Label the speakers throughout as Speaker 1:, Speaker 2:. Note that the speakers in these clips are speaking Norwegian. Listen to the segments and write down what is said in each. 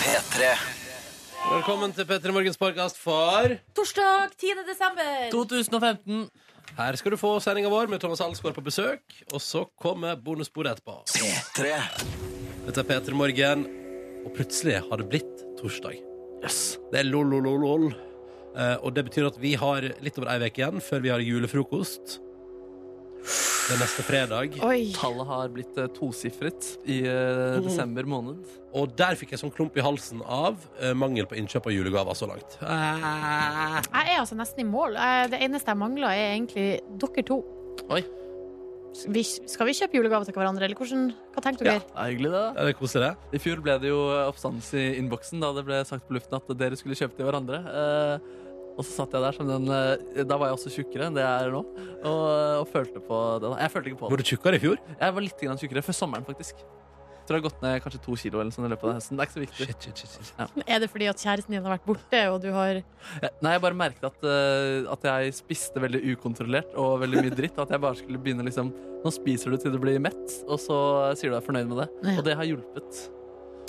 Speaker 1: P3.
Speaker 2: Velkommen til Petter Morgens podcast for
Speaker 3: Torsdag 10. desember.
Speaker 4: 2015.
Speaker 2: Her skal du få sendinga vår med Thomas Alsgaard på besøk. Og så kommer bonusbordet etterpå.
Speaker 1: P3.
Speaker 2: Dette er Peter Morgen, og plutselig har det blitt torsdag. Det er lol, lol, lol, lol. Eh, og det betyr at vi har litt over ei uke igjen før vi har julefrokost. Det er neste fredag.
Speaker 5: Oi.
Speaker 4: Tallet har blitt eh, tosifret i eh, desember måned.
Speaker 2: Og der fikk jeg sånn klump i halsen av eh, mangel på innkjøp av julegaver så langt. Ah.
Speaker 5: Jeg er altså nesten i mål. Eh, Det eneste jeg mangler, er egentlig dere to.
Speaker 4: Oi.
Speaker 5: S- Vi, skal vi kjøpe julegaver til hverandre, eller hvordan, hva tenker
Speaker 2: Ja.
Speaker 5: dere?
Speaker 4: Det er hyggelig, det.
Speaker 2: Er det koselig?
Speaker 4: I fjor ble det jo eh, oppstandelse i innboksen da det ble sagt på luften at dere skulle kjøpe til hverandre. Eh, og så satt jeg der som den eh, Da var jeg også tjukkere enn det jeg er nå. Og, eh, og følte på det. da Jeg følte ikke på
Speaker 2: Var
Speaker 4: det.
Speaker 2: du tjukkere i fjor?
Speaker 4: Jeg var litt grann tjukkere før sommeren, faktisk. Jeg tror jeg har gått ned kanskje to kilo eller sånn i løpet av høsten. Det er ikke så viktig.
Speaker 2: Shit, shit, shit, shit.
Speaker 5: Er det fordi at kjæresten din har vært borte, og du har
Speaker 4: Jeg- Nei, jeg bare merket at, eh, at jeg spiste veldig ukontrollert og veldig mye dritt. og At jeg bare skulle begynne liksom Nå spiser du til du blir mett, og så sier du deg fornøyd med det.
Speaker 5: Ja.
Speaker 4: Og det har hjulpet.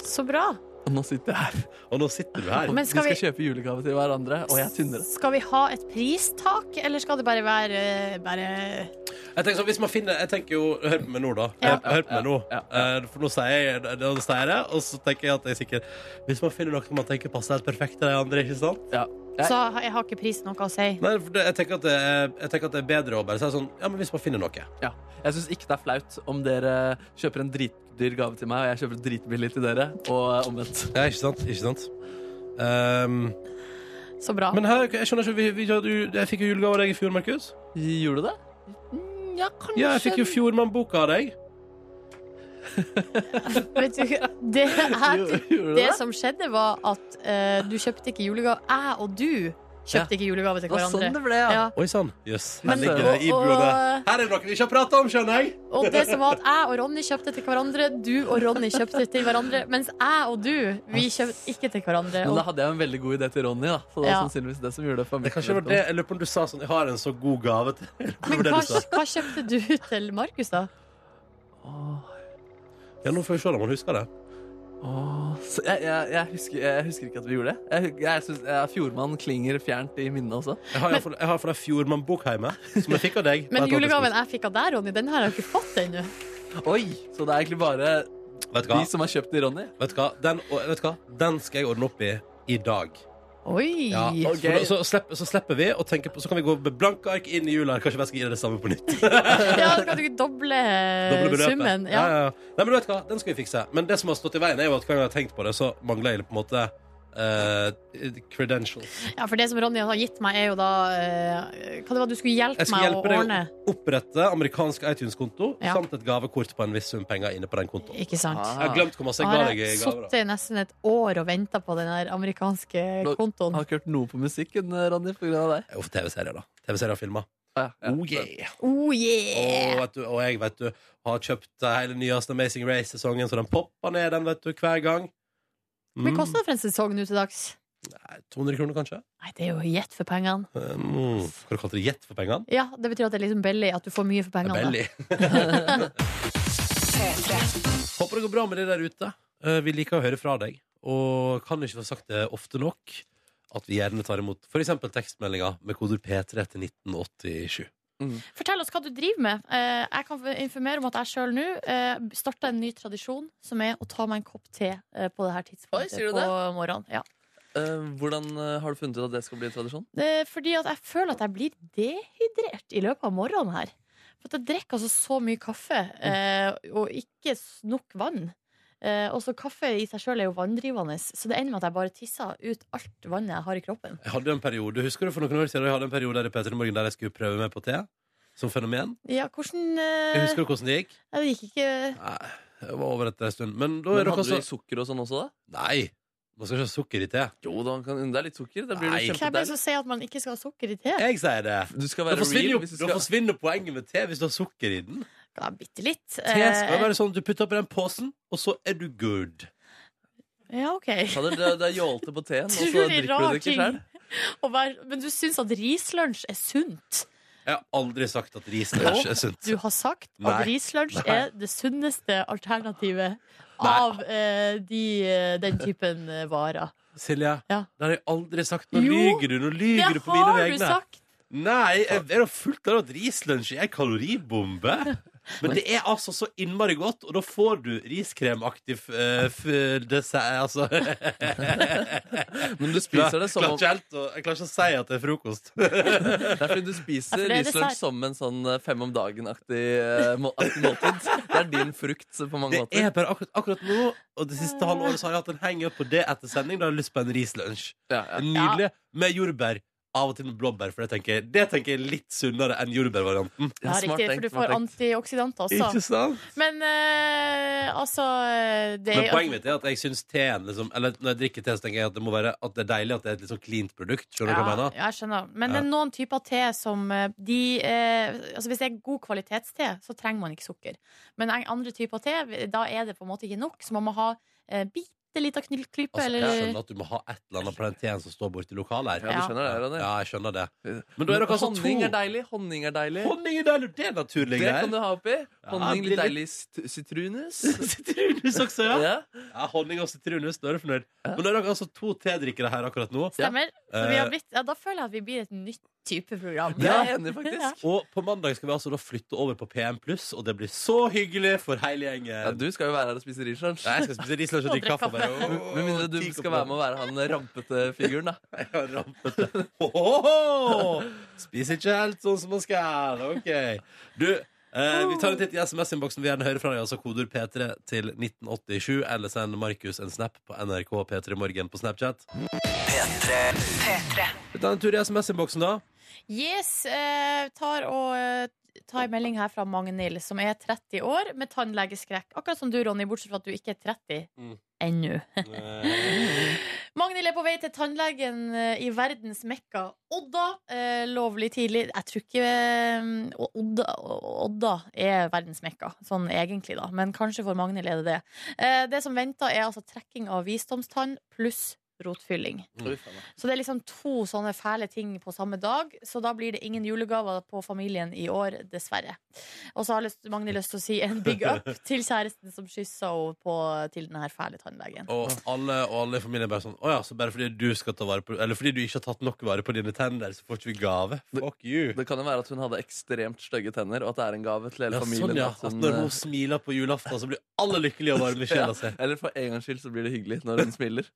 Speaker 5: Så bra!
Speaker 4: Og nå sitter jeg her.
Speaker 2: Og nå sitter du her.
Speaker 4: Og
Speaker 5: Men skal
Speaker 4: vi skal kjøpe julegave til hverandre, og jeg er tynnere.
Speaker 5: Skal vi ha et pristak, eller skal det bare være eh, bare
Speaker 2: Jeg tenker sånn, hvis man finner Jeg tenker jo Hør på meg nå, da.
Speaker 5: Ja.
Speaker 2: Hør, hør på meg nå.
Speaker 4: Ja,
Speaker 2: Eh, For nå sier jeg det, det sier jeg, og så tenker jeg at jeg sikkert Hvis man finner noe som man tenker passer helt perfekt til de andre, ikke sant?
Speaker 4: Ja. Jeg-
Speaker 5: Så har- jeg har ikke pris noe å si.
Speaker 2: Nei, for det, jeg, tenker at det er, jeg tenker at det er bedre å bare si sånn Ja, men hvis man finner noe.
Speaker 4: Ja. Jeg syns ikke det er flaut om dere kjøper en dritdyr gave til meg, og jeg kjøper dritbillig til dere, og omvendt.
Speaker 2: Ja, ikke sant? Ikke sant? Ehm,
Speaker 5: Så bra.
Speaker 2: men her, jeg skjønner ikke vi, vi, du, Jeg fikk jo julegave av deg i fjor, Markus.
Speaker 4: Gjorde du det? Ja, kanskje.
Speaker 2: Ja, jeg fikk jo Fjordmann-boka av deg.
Speaker 5: Vet du, det, jeg,
Speaker 4: Gjorde du
Speaker 5: det
Speaker 4: det?
Speaker 5: som skjedde, var at eh, du kjøpte ikke julegave Jeg og du kjøpte ikke julegave til
Speaker 4: Det var sånn
Speaker 5: hverandre.
Speaker 4: det ble, ja.
Speaker 5: Ja.
Speaker 2: Oi sann. Jøss.
Speaker 4: Men-
Speaker 2: Her ligger det i blodet.
Speaker 5: og,
Speaker 2: Her er det noe vi ikke har prata om, skjønner jeg.
Speaker 5: og det som var at jeg og Ronny kjøpte til hverandre, du og Ronny kjøpte til hverandre, mens jeg og du, vi kjøpte ikke til hverandre.
Speaker 4: Men da
Speaker 5: Og,
Speaker 4: hadde jeg en veldig god idé til Ronny, da. Så det var
Speaker 5: Ja.
Speaker 4: sannsynligvis det som gjorde det for
Speaker 2: Det
Speaker 4: meg.
Speaker 2: er kanskje det var det Jeg lurer på om du sa sånn Jeg har en så god gave til
Speaker 5: men
Speaker 2: Det var
Speaker 5: hva,
Speaker 2: det du sa.
Speaker 5: hva kjøpte du til Markus, da?
Speaker 4: Åh.
Speaker 2: Ja, nå får vi se om han husker det.
Speaker 4: Åh, så jeg, jeg, jeg, husker, jeg husker ikke at vi gjorde det. Jeg, jeg synes, jeg, Fjordmann klinger fjernt i minnet også.
Speaker 2: Jeg har, i hvert fall- jeg har fra Fjordmann-bok hjemme, som jeg fikk av deg.
Speaker 5: Men
Speaker 2: Vet du hva,
Speaker 5: julegaven jeg fikk av deg, Ronny, den har jeg jo ikke fått ennå.
Speaker 4: Oi, Så det er egentlig bare
Speaker 2: Vet du hva?
Speaker 4: de som har kjøpt de, Ronny.
Speaker 2: Vet du hva? Den, og, vet du hva? Den skal jeg ordne opp i i dag.
Speaker 5: Oi!
Speaker 2: Ja,
Speaker 4: Ok.
Speaker 2: for da- så, slipper, så slipper vi å tenke på Så kan vi gå med blanke ark inn i jula. her. Kanskje jeg skal gi deg det samme på nytt.
Speaker 5: Ja, da kan du ikke doble
Speaker 2: Doble beløpet.
Speaker 5: Eh, summen.
Speaker 2: Ja,
Speaker 5: Ja.
Speaker 2: ja, ja. Nei, men vet du hva? Den skal vi fikse. Men det som har stått i veien, er jo at hver gang jeg har tenkt på det, så mangler jeg på en måte eh, credentials.
Speaker 5: ja, for det som Ronny har gitt meg, er jo da eh, Hva det var du skulle hjelpe
Speaker 2: Jeg skal
Speaker 5: meg å
Speaker 2: hjelpe deg
Speaker 5: ordne?
Speaker 2: å opprette amerikansk iTunes-konto
Speaker 5: Ja.
Speaker 2: samt et gavekort på en viss sum penger inne på den kontoen.
Speaker 5: Ikke sant?
Speaker 4: Ah.
Speaker 2: Jeg har glemt hvor masse jeg
Speaker 5: Har
Speaker 2: ga deg i
Speaker 5: jeg
Speaker 2: gaver. da.
Speaker 5: sittet i nesten et år og venta på den der amerikanske
Speaker 4: Nå- Jeg
Speaker 5: kontoen?
Speaker 4: har ikke hørt noe på musikken, eh, Ronny, på grunn av deg.
Speaker 2: Det
Speaker 4: Ah,
Speaker 2: er jo TV-serier, da. TV-serier og filmer.
Speaker 4: Ja, ja.
Speaker 2: Oh, yeah.
Speaker 5: Oh yeah!
Speaker 2: og, vet du, og jeg, vet du, har kjøpt eh, hele nyeste Amazing Race-sesongen, så den popper ned, den, vet du, hver gang.
Speaker 5: Hva koster det for en sesong nå til dags?
Speaker 2: Mm. Nei, 200 kroner, kanskje?
Speaker 5: Nei, det er jo gjett for pengene.
Speaker 2: Mm. Hva kalte du det? Gjett for pengene?
Speaker 5: Ja, Det betyr at det er liksom billig, at du får mye for
Speaker 2: Det er
Speaker 5: pengene. da.
Speaker 2: Belly. Håper det går bra med det der ute. Eh, Vi liker å høre fra deg, og kan ikke få sagt det ofte nok at vi gjerne tar imot f.eks. tekstmeldinger med koder P3 til 1987.
Speaker 5: Fortell oss hva du driver med. Eh, Jeg kan informere om at jeg sjøl nå starta en ny tradisjon, som er å ta meg en kopp te eh, på det her tidspunktet
Speaker 4: Oi, sier du
Speaker 5: på
Speaker 4: det?
Speaker 5: morgenen. Ja.
Speaker 4: Eh, hvordan eh, har du funnet ut at det skal bli en tradisjon?
Speaker 5: Det er fordi at jeg føler at jeg blir dehydrert i løpet av morgenen her. For at jeg drikker altså så mye kaffe, eh, og ikke s- nok vann. Eh, og så kaffe i seg sjøl er jo vanndrivende, så det ender med at jeg bare tisser ut alt vannet jeg har i kroppen.
Speaker 2: Jeg hadde jo en periode, Husker du for noen år siden jeg hadde en periode der i P3 Morgen der jeg skulle prøve meg på te? Som fenomen.
Speaker 5: Ja, hvordan
Speaker 2: Jeg
Speaker 5: eh,
Speaker 2: husker du hvordan det gikk?
Speaker 5: Nei, det gikk ikke
Speaker 2: Nei, det var over etter en stund. Men da er
Speaker 4: Men
Speaker 2: dere
Speaker 4: hadde du
Speaker 2: også
Speaker 4: i sukker og sånn også, da?
Speaker 2: Nei! Man skal ikke ha sukker i te.
Speaker 4: Jo, da kan, det er litt sukker. Det blir
Speaker 2: Nei.
Speaker 5: Hvem er
Speaker 4: jo
Speaker 5: det
Speaker 4: kjempedeilig.
Speaker 5: som sier at man ikke skal ha sukker i te?
Speaker 2: Jeg sier det.
Speaker 4: Du skal
Speaker 2: Da
Speaker 4: være
Speaker 2: forsvinner,
Speaker 4: real.
Speaker 2: jo,
Speaker 4: Hvis du
Speaker 2: da
Speaker 4: skal...
Speaker 2: forsvinner poenget med te hvis du har sukker i den.
Speaker 5: Ja, bitte litt.
Speaker 2: Te skal jo
Speaker 5: Eh,
Speaker 2: være sånn du putter oppi den posen, og så er du good.
Speaker 5: ja, OK.
Speaker 4: Ta det, det, det er jålte på teen, og så
Speaker 5: Utrolig
Speaker 4: drikker du
Speaker 5: rar
Speaker 4: det ikke
Speaker 5: ting.
Speaker 4: selv
Speaker 5: Å være, men du syns at rislunsj er sunt?
Speaker 2: Jeg har aldri sagt at rislunsj er sunt.
Speaker 5: Du har sagt
Speaker 2: Nei.
Speaker 5: at rislunsj er det sunneste alternativet
Speaker 2: Nei.
Speaker 5: av eh, de, eh, den typen eh, varer.
Speaker 2: Silje,
Speaker 5: Ja.
Speaker 2: det har jeg aldri sagt. Nå
Speaker 5: Jo,
Speaker 2: lyver du. Nå
Speaker 5: Det
Speaker 2: lyver du på mine
Speaker 5: har du
Speaker 2: vegne.
Speaker 5: sagt!
Speaker 2: Nei, jeg jeg er jo fullt klar over at rislunsj er kaloribombe. Men det er altså så innmari godt, og da får du riskremaktiv uh, dessert Altså, jeg
Speaker 4: Men du spiser
Speaker 2: klarer,
Speaker 4: det som om
Speaker 2: ikke helt å- jeg klarer ikke å si at det er frokost.
Speaker 4: Det er fordi du
Speaker 5: Ja,
Speaker 4: spiser
Speaker 5: for det er dessert.
Speaker 4: rislunsj som en sånn eh, fem om dagen-aktig eh, må- aktig måltid. Det er din frukt eh, på mange
Speaker 2: Det
Speaker 4: måter.
Speaker 2: er bare akkurat, akkurat nå, og det siste halve året så har jeg hatt en hang-up på det etter sending. Da har jeg lyst på en rislunsj.
Speaker 4: Ja, ja.
Speaker 2: Nydelig. Med jordbær. Av og til med blåbær, for det tenker jeg, det tenker jeg er litt sunnere enn jordbærvarianten.
Speaker 5: Ja,
Speaker 4: smart
Speaker 5: riktig,
Speaker 4: tenkt,
Speaker 5: for du
Speaker 4: smart
Speaker 5: får
Speaker 4: tenkt.
Speaker 5: antioksidanter
Speaker 2: Ikke
Speaker 5: også.
Speaker 2: sant?
Speaker 5: Men eh, altså eh, det
Speaker 2: Men
Speaker 5: er,
Speaker 2: poenget mitt er at jeg syns teen liksom, Eller når jeg drikker te, så tenker jeg at det må være At det er deilig at det er et litt sånn cleant produkt. Skjønner du hva jeg
Speaker 5: ja,
Speaker 2: mener?
Speaker 5: jeg skjønner. Men det
Speaker 2: Ja.
Speaker 5: er noen typer te som eh, de, eh, altså Hvis det er god kvalitetste, så trenger man ikke sukker. Men en- andre typer te, da er det på en måte ikke nok, så man må ha eh, bitte lita klype
Speaker 2: Altså,
Speaker 5: eller
Speaker 2: jeg skjønner at du må ha et eller annet på den teen som står borti lokalet her.
Speaker 4: Ja, du
Speaker 5: Ja.
Speaker 4: skjønner det, Ronny.
Speaker 2: Ja, jeg skjønner det. Men
Speaker 4: Men
Speaker 2: da er dere altså
Speaker 4: honning
Speaker 2: to.
Speaker 4: er deilig. Honning er deilig.
Speaker 2: Honning er deilig. Det er naturlig
Speaker 4: Det kan du
Speaker 2: greier.
Speaker 4: ha oppi. Honning,
Speaker 2: det
Speaker 4: litt
Speaker 2: blir
Speaker 4: deilig sit- sitrunus.
Speaker 2: Sitronhus også, ja.
Speaker 4: Ja.
Speaker 2: ja. Honning og sitronhus. Da er du fornøyd. Men da er dere altså to tedrikkere her akkurat nå.
Speaker 5: Stemmer. Så vi
Speaker 2: Eh.
Speaker 5: har blitt, ja, da føler jeg at vi blir et nytt type program.
Speaker 4: Jeg er enig,
Speaker 5: Ja.
Speaker 4: faktisk.
Speaker 2: Og på mandag skal vi altså da flytte over på PM+, og det blir så hyggelig for hele gjengen.
Speaker 4: Ja, du skal jo være her og spise rislunsj.
Speaker 2: Nei, jeg skal spise rislunsj og drikke kaffe. Bare. Åh,
Speaker 4: Med mindre du
Speaker 2: ti
Speaker 4: skal
Speaker 2: kopper.
Speaker 4: være med og være han rampete figuren, da.
Speaker 2: Jeg har rampet det. Åhåhå! Spiser ikke helt sånn som man skal. OK. Du, eh, vi tar en titt i SMS-innboksen. Vi gjerne hører fra deg, altså kodeord P3 til 1987, eller send Markus en snap på NRK P3 Morgen på Snapchat. Vi tar en tur i SMS-innboksen, da.
Speaker 5: Yes, eh, tar og eh, Ta en melding her fra Magnhild, som er 30 år med tannlegeskrekk. Akkurat som du, Ronny, bortsett fra at du ikke er 30
Speaker 2: Mm.
Speaker 5: ennå.
Speaker 2: Eh,
Speaker 5: Magnhild er på vei til tannlegen eh, i verdens mekka Odda. Eh, lovlig tidlig. Jeg tror ikke eh, Odda, Odda er verdens mekka, sånn egentlig, da. Men kanskje for Magnhild er det det. Eh, det som venter, er altså trekking av visdomstann pluss rotfylling. Så det er liksom to sånne fæle ting på samme dag, så da blir det ingen julegaver på familien i år, dessverre. Og så har lyst- Magnhild lyst til å si en big up til kjæresten som kyssa henne på- til den her fæle tannlegen.
Speaker 2: og alle og alle i familien bare sånn Å ja, så bare fordi du skal ta vare på Eller fordi du ikke har tatt nok vare på dine tenner, så får ikke vi gave. Fuck you.
Speaker 4: Det kan jo være at hun hadde ekstremt stygge tenner, og at det er en gave til
Speaker 2: Ja,
Speaker 4: hele familien.
Speaker 2: sånn, ja.
Speaker 4: at
Speaker 2: At
Speaker 4: hun,
Speaker 2: når
Speaker 4: eh,
Speaker 2: hun smiler på julaften, så blir alle lykkelige og varme i sjela si.
Speaker 4: Eller for en gangs skyld så blir det hyggelig når hun smiler.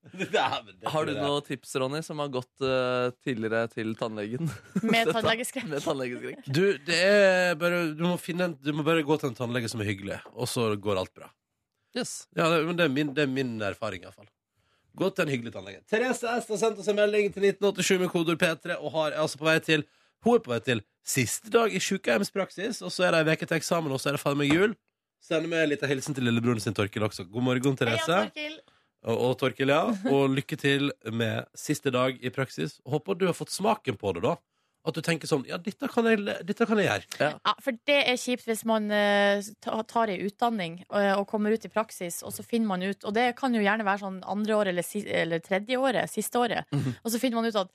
Speaker 4: Har du noen tips, Ronny, som har gått eh, tidligere til tannlegen?
Speaker 5: Med
Speaker 4: Dette-
Speaker 5: tannlegeskrekk.
Speaker 4: Med tannlegeskrekk.
Speaker 2: Du, det er bare, du, må finne en, du må bare gå til en tannlege som er hyggelig, og så går alt bra.
Speaker 4: Yes.
Speaker 2: Ja, det, men det, er min, det er min erfaring, iallfall. Gå til en hyggelig tannlege. Therese S har sendt oss en melding til 1987 med kodeord P3, og har, er altså på vei til, hun er på vei til siste dag i sykehjemspraksis, og så er det ei uke til eksamen, og så er det faen meg jul. Sender med en liten hilsen til lillebroren sin, Torkil, også. God morgen,
Speaker 5: Hei,
Speaker 2: Therese.
Speaker 5: Jan Torkil.
Speaker 2: Og, og Torkil, ja. Og lykke til med siste dag i praksis. Håper du har fått smaken på det, da. At du tenker sånn Ja, dette kan jeg, le- dette kan jeg gjøre.
Speaker 5: Ja, for det er kjipt hvis man eh, ta- tar ei utdanning eh, og kommer ut i praksis, og så finner man ut Og det kan jo gjerne være sånn andre året eller, si, eller tredje året, siste året.
Speaker 2: Mhm.
Speaker 5: Og så finner man ut at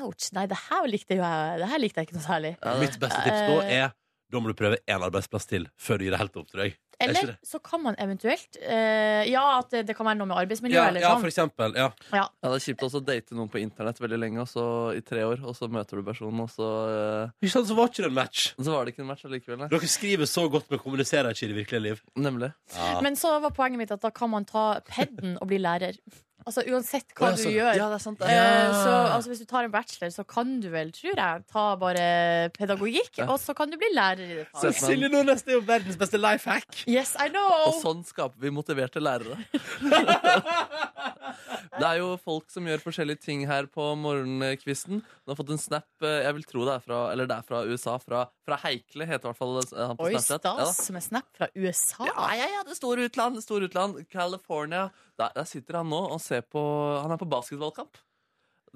Speaker 5: ouch, nei, det her likte jo jeg, det her likte jeg ikke noe særlig.
Speaker 2: Mitt beste tips da er da må du prøve én arbeidsplass til før du gir det helt opp, tror jeg. Er ikke
Speaker 5: Eller
Speaker 2: det?
Speaker 5: så kan man eventuelt eh, Ja, at det, det kan være noe med arbeidsmiljø
Speaker 2: Ja,
Speaker 5: eller
Speaker 2: ja,
Speaker 5: sånn.
Speaker 2: for eksempel. Ja.
Speaker 4: Ja, det er kjipt også å date noen på internett veldig lenge, og så i tre år, og så møter du personen, og så, eh,
Speaker 2: Ikke sant, så var ikke det en match.
Speaker 4: så var det ikke en match allikevel. nei.
Speaker 2: Dere skriver så godt, men kommuniserer ikke i det virkelige liv.
Speaker 4: Nemlig.
Speaker 2: Ja.
Speaker 5: Men så var poenget mitt at da kan man ta peden og bli lærer. Altså uansett hva
Speaker 2: Å, ja,
Speaker 5: du
Speaker 2: sånn.
Speaker 5: gjør.
Speaker 4: Ja, det er sant. det.
Speaker 5: Eh, Så altså, hvis du tar en bachelor, så kan du vel, tror jeg, ta bare pedagogikk,
Speaker 4: Ja.
Speaker 5: og så kan du bli lærer i det
Speaker 4: Så-
Speaker 5: faget.
Speaker 2: Silje Nordnes det er jo verdens beste life hack.
Speaker 5: Yes, I
Speaker 4: Og
Speaker 5: know!
Speaker 4: sånn skaper vi motiverte lærere. det er jo folk som gjør forskjellige ting her på morgenkvisten. Hun har fått en snap, eh, jeg vil tro det er fra, eller det er fra USA, fra, fra Heikle, heter i hvert fall eh, han på
Speaker 5: Oi,
Speaker 4: Snapchat. Ja, da.
Speaker 5: stas med snap fra USA.
Speaker 4: Ja, ja, ja, det store utland, det store utland. California. Der, der sitter han nå og ser på Han er på basketballkamp.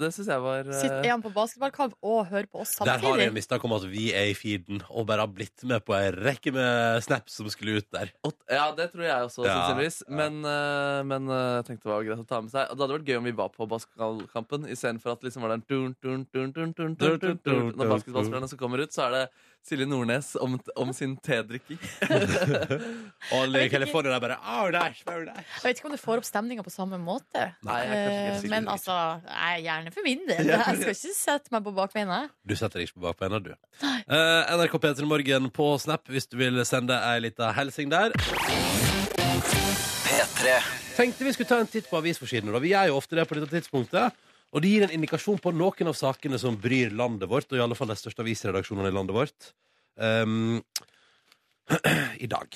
Speaker 4: Det syns jeg var eh,
Speaker 5: Sitt, er han på basketballkamp og hører på oss
Speaker 2: Der har jeg en
Speaker 5: samtidig?
Speaker 2: mistanke om at vi er i feeden og bare har blitt med på ei rekke med snaps som skulle ut der.
Speaker 4: Og- Ja, det tror jeg også,
Speaker 2: Ja,
Speaker 4: sannsynligvis.
Speaker 2: ja.
Speaker 4: Men, eh, men eh, jeg tenkte det var greit å ta med seg. Og det hadde vært gøy om vi var på basketballkampen istedenfor at det liksom var den dun, dun, dun, dun, dun, dun, dun, dun. Når basketballspillerne som kommer ut, så er det Silje Nordnes om, om sin tedrikking.
Speaker 2: Og alle i
Speaker 5: Jeg vet ikke.
Speaker 2: California der bare oh, nice, very nice.
Speaker 5: Jeg vet ikke om du får opp stemninga på samme måte.
Speaker 4: Nei, jeg er kanskje ikke helt
Speaker 5: Eh,
Speaker 4: sikker.
Speaker 5: Men altså, jeg er gjerne for min del. Jeg skal ikke sette meg på bakbeina.
Speaker 2: Du setter deg ikke på bakbeina, du. Eh, NRK P3 Morgen på Snap hvis du vil sende ei lita hilsing der. Tenkte vi skulle ta en titt på avisforsidene. da. Vi gjør jo ofte det på dette tidspunktet. Og det gir en indikasjon på noen av sakene som bryr landet vårt, og i alle fall de største avisredaksjonene i landet vårt, um, i dag.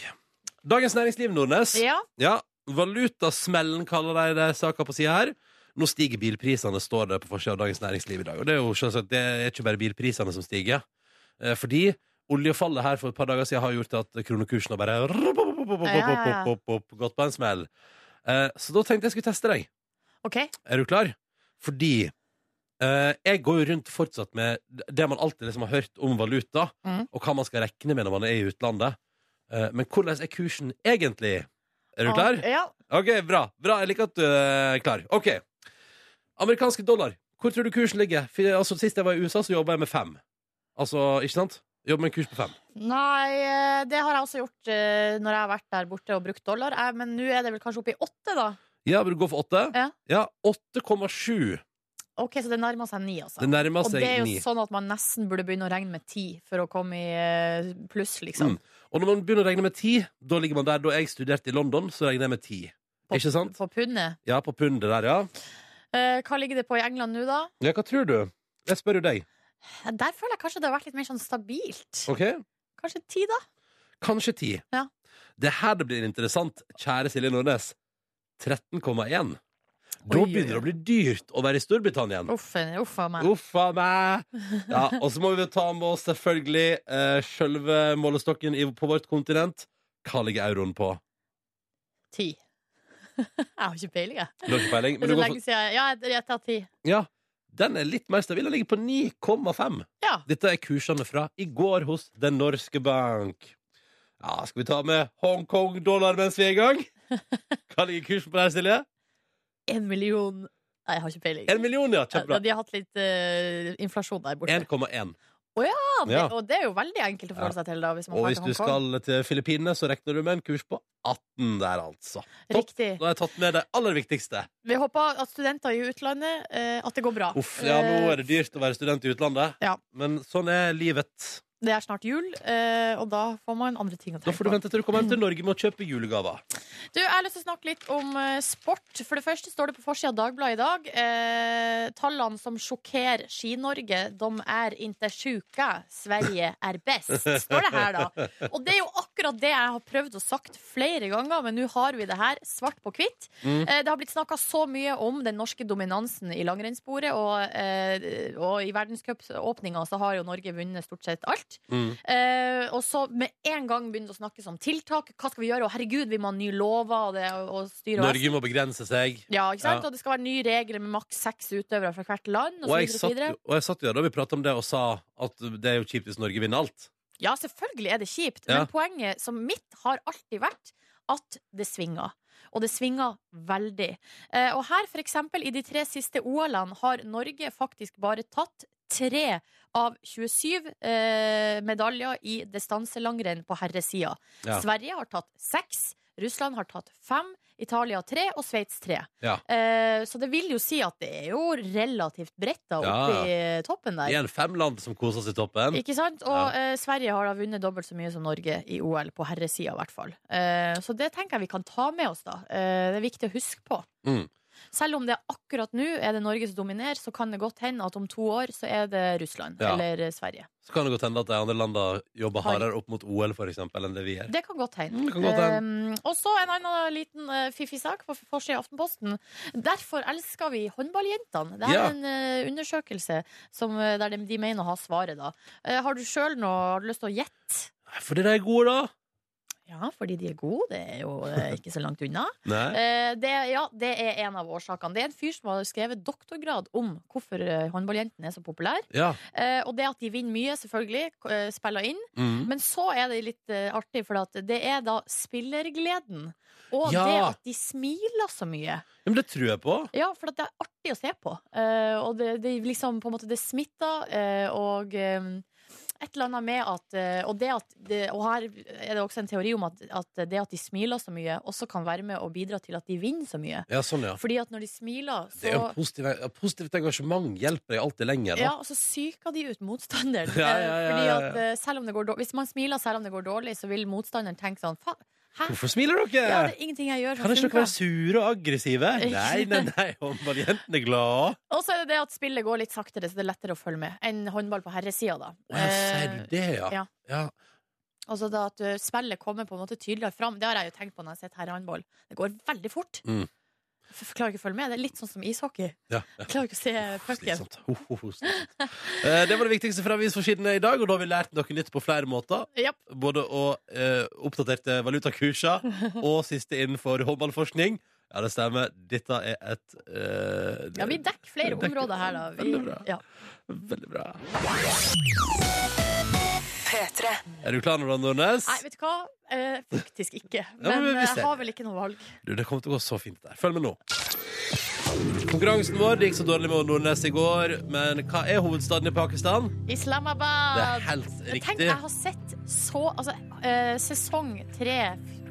Speaker 2: Dagens Næringsliv, Nordnes.
Speaker 5: Ja,
Speaker 2: Ja, valutasmellen kaller de det saka på sida her. Nå stiger bilprisene, står det på forsida av Dagens Næringsliv i dag. Og det er jo selvsagt, det er ikke bare bilprisene som stiger. Eh, fordi oljefallet her for et par dager siden har gjort at kronekursen har bare rop, rop, rop, rop,
Speaker 5: Ja, ja, ja.
Speaker 2: rop, rop, rop, gått på en smell. Eh, så da tenkte jeg skulle teste deg.
Speaker 5: OK.
Speaker 2: Er du klar? Fordi eh, jeg går jo rundt fortsatt med det man alltid liksom har hørt om valuta,
Speaker 5: Mhm.
Speaker 2: og hva man skal regne med når man er i utlandet. Eh, men hvordan er kursen egentlig? Er du
Speaker 5: Ah,
Speaker 2: klar?
Speaker 5: Ja.
Speaker 2: Ok, bra. bra. Jeg liker at du er klar. Ok. Amerikanske dollar. Hvor tror du kursen ligger? For, altså, sist jeg var i USA, så jobba jeg med fem. Altså, ikke sant? Jobber med en kurs på fem.
Speaker 5: Nei, eh, det har jeg også gjort eh, når jeg har vært der borte og brukt dollar. Eh, Men nå er det vel kanskje oppe i åtte, da.
Speaker 2: Ja, vil du gå for åtte?
Speaker 5: Ja.
Speaker 2: 8,7.
Speaker 5: OK, så det nærmer seg ni, altså.
Speaker 2: Det nærmer
Speaker 5: Og
Speaker 2: seg
Speaker 5: det er
Speaker 2: ni.
Speaker 5: jo sånn at man nesten burde begynne å regne med ti for å komme i eh, pluss, liksom.
Speaker 2: Mm. Og når man begynner å regne med ti, da ligger man der. Da jeg studerte i London, så regner jeg med ti.
Speaker 5: På,
Speaker 2: Mm, Ikke sant?
Speaker 5: På pundet.
Speaker 2: Ja, på pundet der, ja.
Speaker 5: Eh, hva ligger det på i England nå, da?
Speaker 2: Ja, hva tror du? Jeg spør jo deg.
Speaker 5: Eh, Der føler jeg kanskje det har vært litt mer sånn stabilt.
Speaker 2: Ok?
Speaker 5: Kanskje ti, da?
Speaker 2: Kanskje ti.
Speaker 5: Ja.
Speaker 2: Det er her det blir interessant, kjære Silje Nordnes. 13,1. Da
Speaker 5: Oi, oi,
Speaker 2: begynner det
Speaker 5: oi.
Speaker 2: å bli dyrt å være i Storbritannia. igjen.
Speaker 5: Uff uff a meg.
Speaker 2: Uff a meg! Ja, og så må vi ta med oss selvfølgelig eh, sjølve målestokken i, på vårt kontinent. Hva ligger euroen på?
Speaker 5: Ti. jeg har ikke peiling, jeg.
Speaker 2: Du har ikke peiling?
Speaker 5: Det
Speaker 2: Men
Speaker 5: er
Speaker 2: du
Speaker 5: så
Speaker 2: går
Speaker 5: lenge
Speaker 2: for,
Speaker 5: siden. jeg- Ja, jeg- jeg tar ti.
Speaker 2: ja, den er litt mer stabil. Den ligger på 9,5.
Speaker 5: Ja.
Speaker 2: Dette er kursene fra i går hos Den norske bank. Ja, Skal vi ta med Hongkong-dollar mens vi er i gang? Hva ligger kursen på der, Silje?
Speaker 5: En million Nei, jeg har ikke peiling.
Speaker 2: En million, ja.
Speaker 5: Ja,
Speaker 2: Kjempebra.
Speaker 5: de har hatt litt eh, inflasjon der borte.
Speaker 2: 1,1.
Speaker 5: ja, det,
Speaker 2: ja.
Speaker 5: Og det er jo veldig enkelt å
Speaker 2: Ja.
Speaker 5: forholde seg til, da, hvis man
Speaker 2: Og
Speaker 5: drar
Speaker 2: hvis
Speaker 5: til
Speaker 2: du
Speaker 5: Hongkong.
Speaker 2: skal til Filippinene, så regner du med en kurs på 18 der, altså. topp.
Speaker 5: Riktig.
Speaker 2: Da har jeg tatt med det aller viktigste.
Speaker 5: Vi håper at studenter i utlandet eh, At det går bra. Eh,
Speaker 2: Uff, ja, nå er det dyrt å være student i utlandet.
Speaker 5: Ja.
Speaker 2: Men sånn er livet.
Speaker 5: Det er snart jul, eh, og da får man andre ting å
Speaker 2: Da
Speaker 5: tenke
Speaker 2: får du
Speaker 5: på.
Speaker 2: vente til du kommer hjem til Norge med å kjøpe julegaver.
Speaker 5: Du, Jeg har lyst til å snakke litt om eh, sport. For det første står det på forsida av Dagbladet i dag eh, Tallene som sjokkerer Ski-Norge, de er inte sjuka. Sverige er best, står det her, da. Og det er jo akkurat det jeg har prøvd å sagt flere ganger, men nå har vi det her svart på hvitt.
Speaker 2: Mm.
Speaker 5: Eh, det har blitt snakka så mye om den norske dominansen i langrennssporet, og, eh, og i verdenscupåpninga så har jo Norge vunnet stort sett alt.
Speaker 2: Mm.
Speaker 5: Eh, og så med en gang begynner det å snakkes om tiltak. Hva skal vi gjøre? Å, herregud, vi må ha nye lover og, det, og, og styre og
Speaker 2: Norge må begrense seg.
Speaker 5: Ja, ikke sant?
Speaker 2: Ja.
Speaker 5: Og det skal være nye regler med maks seks utøvere fra hvert land. Og
Speaker 2: Og jeg
Speaker 5: så videre, og så
Speaker 2: satt,
Speaker 5: videre.
Speaker 2: og jeg satt jo her da vi prata om det, og sa at det er jo kjipt hvis Norge vinner alt.
Speaker 5: Ja, selvfølgelig er det kjipt,
Speaker 2: Ja.
Speaker 5: men poenget som mitt har alltid vært at det svinger. Og det svinger veldig. Eh, og her, for eksempel, i de tre siste OL-ene har Norge faktisk bare tatt tre av 27 eh, medaljer i distanselangrenn på herresida.
Speaker 2: Ja.
Speaker 5: Sverige har tatt seks, Russland har tatt fem, Italia tre og Sveits tre.
Speaker 2: Ja.
Speaker 5: Eh, så det vil jo si at det er jo relativt bredt da oppe i toppen der.
Speaker 2: Det er en femland som koser seg i toppen.
Speaker 5: Ikke sant? Og
Speaker 2: Ja.
Speaker 5: eh, Sverige har da vunnet dobbelt så mye som Norge i OL, på herresida i hvert fall. Eh, så det tenker jeg vi kan ta med oss, da. Eh, det er viktig å huske på.
Speaker 2: Mm.
Speaker 5: Selv om det akkurat nå er det Norge som dominerer, så kan det godt hende at om to år så er det Russland
Speaker 2: Ja.
Speaker 5: eller eh, Sverige.
Speaker 2: Så kan det godt hende at de andre landa jobber
Speaker 5: Har-
Speaker 2: hardere opp mot OL, for eksempel, enn det vi gjør.
Speaker 5: Det kan godt hende.
Speaker 2: Mm, det kan godt hende.
Speaker 5: Eh, og så en annen liten eh, fiffig sak på forsida av Aftenposten. Derfor elsker vi håndballjentene. Det er
Speaker 2: Ja.
Speaker 5: en eh, undersøkelse som, eh, der de, de mener å ha svaret, da. Eh, har du sjøl noe Har du lyst til å gjette?
Speaker 2: Nei, Fordi de er gode, da!
Speaker 5: Ja, fordi de er gode. Det er jo eh, ikke så langt unna.
Speaker 2: Nei?
Speaker 5: Eh, det, ja, det er en av årsakene. Det er en fyr som har skrevet doktorgrad om hvorfor eh, håndballjentene er så populære.
Speaker 2: Ja.
Speaker 5: Eh, og det at de vinner mye, selvfølgelig, k- eh, spiller inn.
Speaker 2: Mm.
Speaker 5: Men så er det litt eh, artig, for at det er da spillergleden. Og
Speaker 2: Ja.
Speaker 5: det at de smiler så mye.
Speaker 2: Ja, Men det tror jeg på.
Speaker 5: Ja, for at det er artig å se på. Eh, og det, det er liksom på en måte det smitter, eh, og eh, et eller annet med at eh, Og det at det, Og her er det også en teori om at, at det at de smiler så mye, også kan være med og bidra til at de vinner så mye.
Speaker 2: Ja, sånn, ja.
Speaker 5: Fordi at når de smiler,
Speaker 2: Det er jo
Speaker 5: så
Speaker 2: positiv, ja, positivt engasjement hjelper deg alltid lenger. Da.
Speaker 5: ja, og så psyker de ut motstanderen.
Speaker 2: Ja,
Speaker 5: Eh,
Speaker 2: ja, ja,
Speaker 5: Fordi
Speaker 2: ja,
Speaker 5: at eh, selv om det går dårlig Hvis man smiler selv om det går dårlig, så vil motstanderen tenke sånn Faen, hæ?
Speaker 2: Hvorfor smiler
Speaker 5: Ja,
Speaker 2: dere?
Speaker 5: det er ingenting jeg gjør som
Speaker 2: kan ikke dere
Speaker 5: funker.
Speaker 2: være sure og aggressive? Nei, nei, nei, håndballjentene er glade.
Speaker 5: Og så er det det at spillet går litt saktere, så det er lettere å følge med enn håndball på herresida, da.
Speaker 2: Å, ja, sier du
Speaker 5: Eh,
Speaker 2: det, ja?
Speaker 5: ja.
Speaker 2: ja.
Speaker 5: Altså da at eh, spillet kommer på en måte tydeligere fram. Det har jeg jo tenkt på når jeg har sett herrehåndball. Det går veldig fort.
Speaker 2: Mm.
Speaker 5: F- f- Klarer ikke å følge med. Det er litt sånn som ishockey.
Speaker 2: ja, ja.
Speaker 5: Klarer ikke å se pucken.
Speaker 2: Slitsomt. Ho, ho, ho, slitsomt. Eh, Det var det viktigste fra avisforsidene i dag, og da har vi lært noe nytt på flere måter.
Speaker 5: Japp.
Speaker 2: Både å eh, oppdaterte valutakurser og siste innenfor håndballforskning. Ja, det stemmer. Dette er et eh,
Speaker 5: Ja, vi dekker flere
Speaker 2: Dekker-
Speaker 5: områder her, da.
Speaker 2: Veldig bra.
Speaker 5: Vi, ja.
Speaker 2: Veldig bra. Er du klar nå, Nordnes?
Speaker 5: Nei, vet du hva? Eh, faktisk ikke.
Speaker 2: men
Speaker 5: Men
Speaker 2: vi
Speaker 5: eh,
Speaker 2: ser.
Speaker 5: jeg har vel ikke noe valg.
Speaker 2: Du, det kommer til å gå så fint der. Følg med nå. Konkurransen vår det gikk så dårlig med Nordnes i går, men hva er hovedstaden i Pakistan? Det er
Speaker 5: Islamabad.
Speaker 2: helt
Speaker 5: Tenk,
Speaker 2: riktig.
Speaker 5: jeg har sett så Altså, eh, sesong tre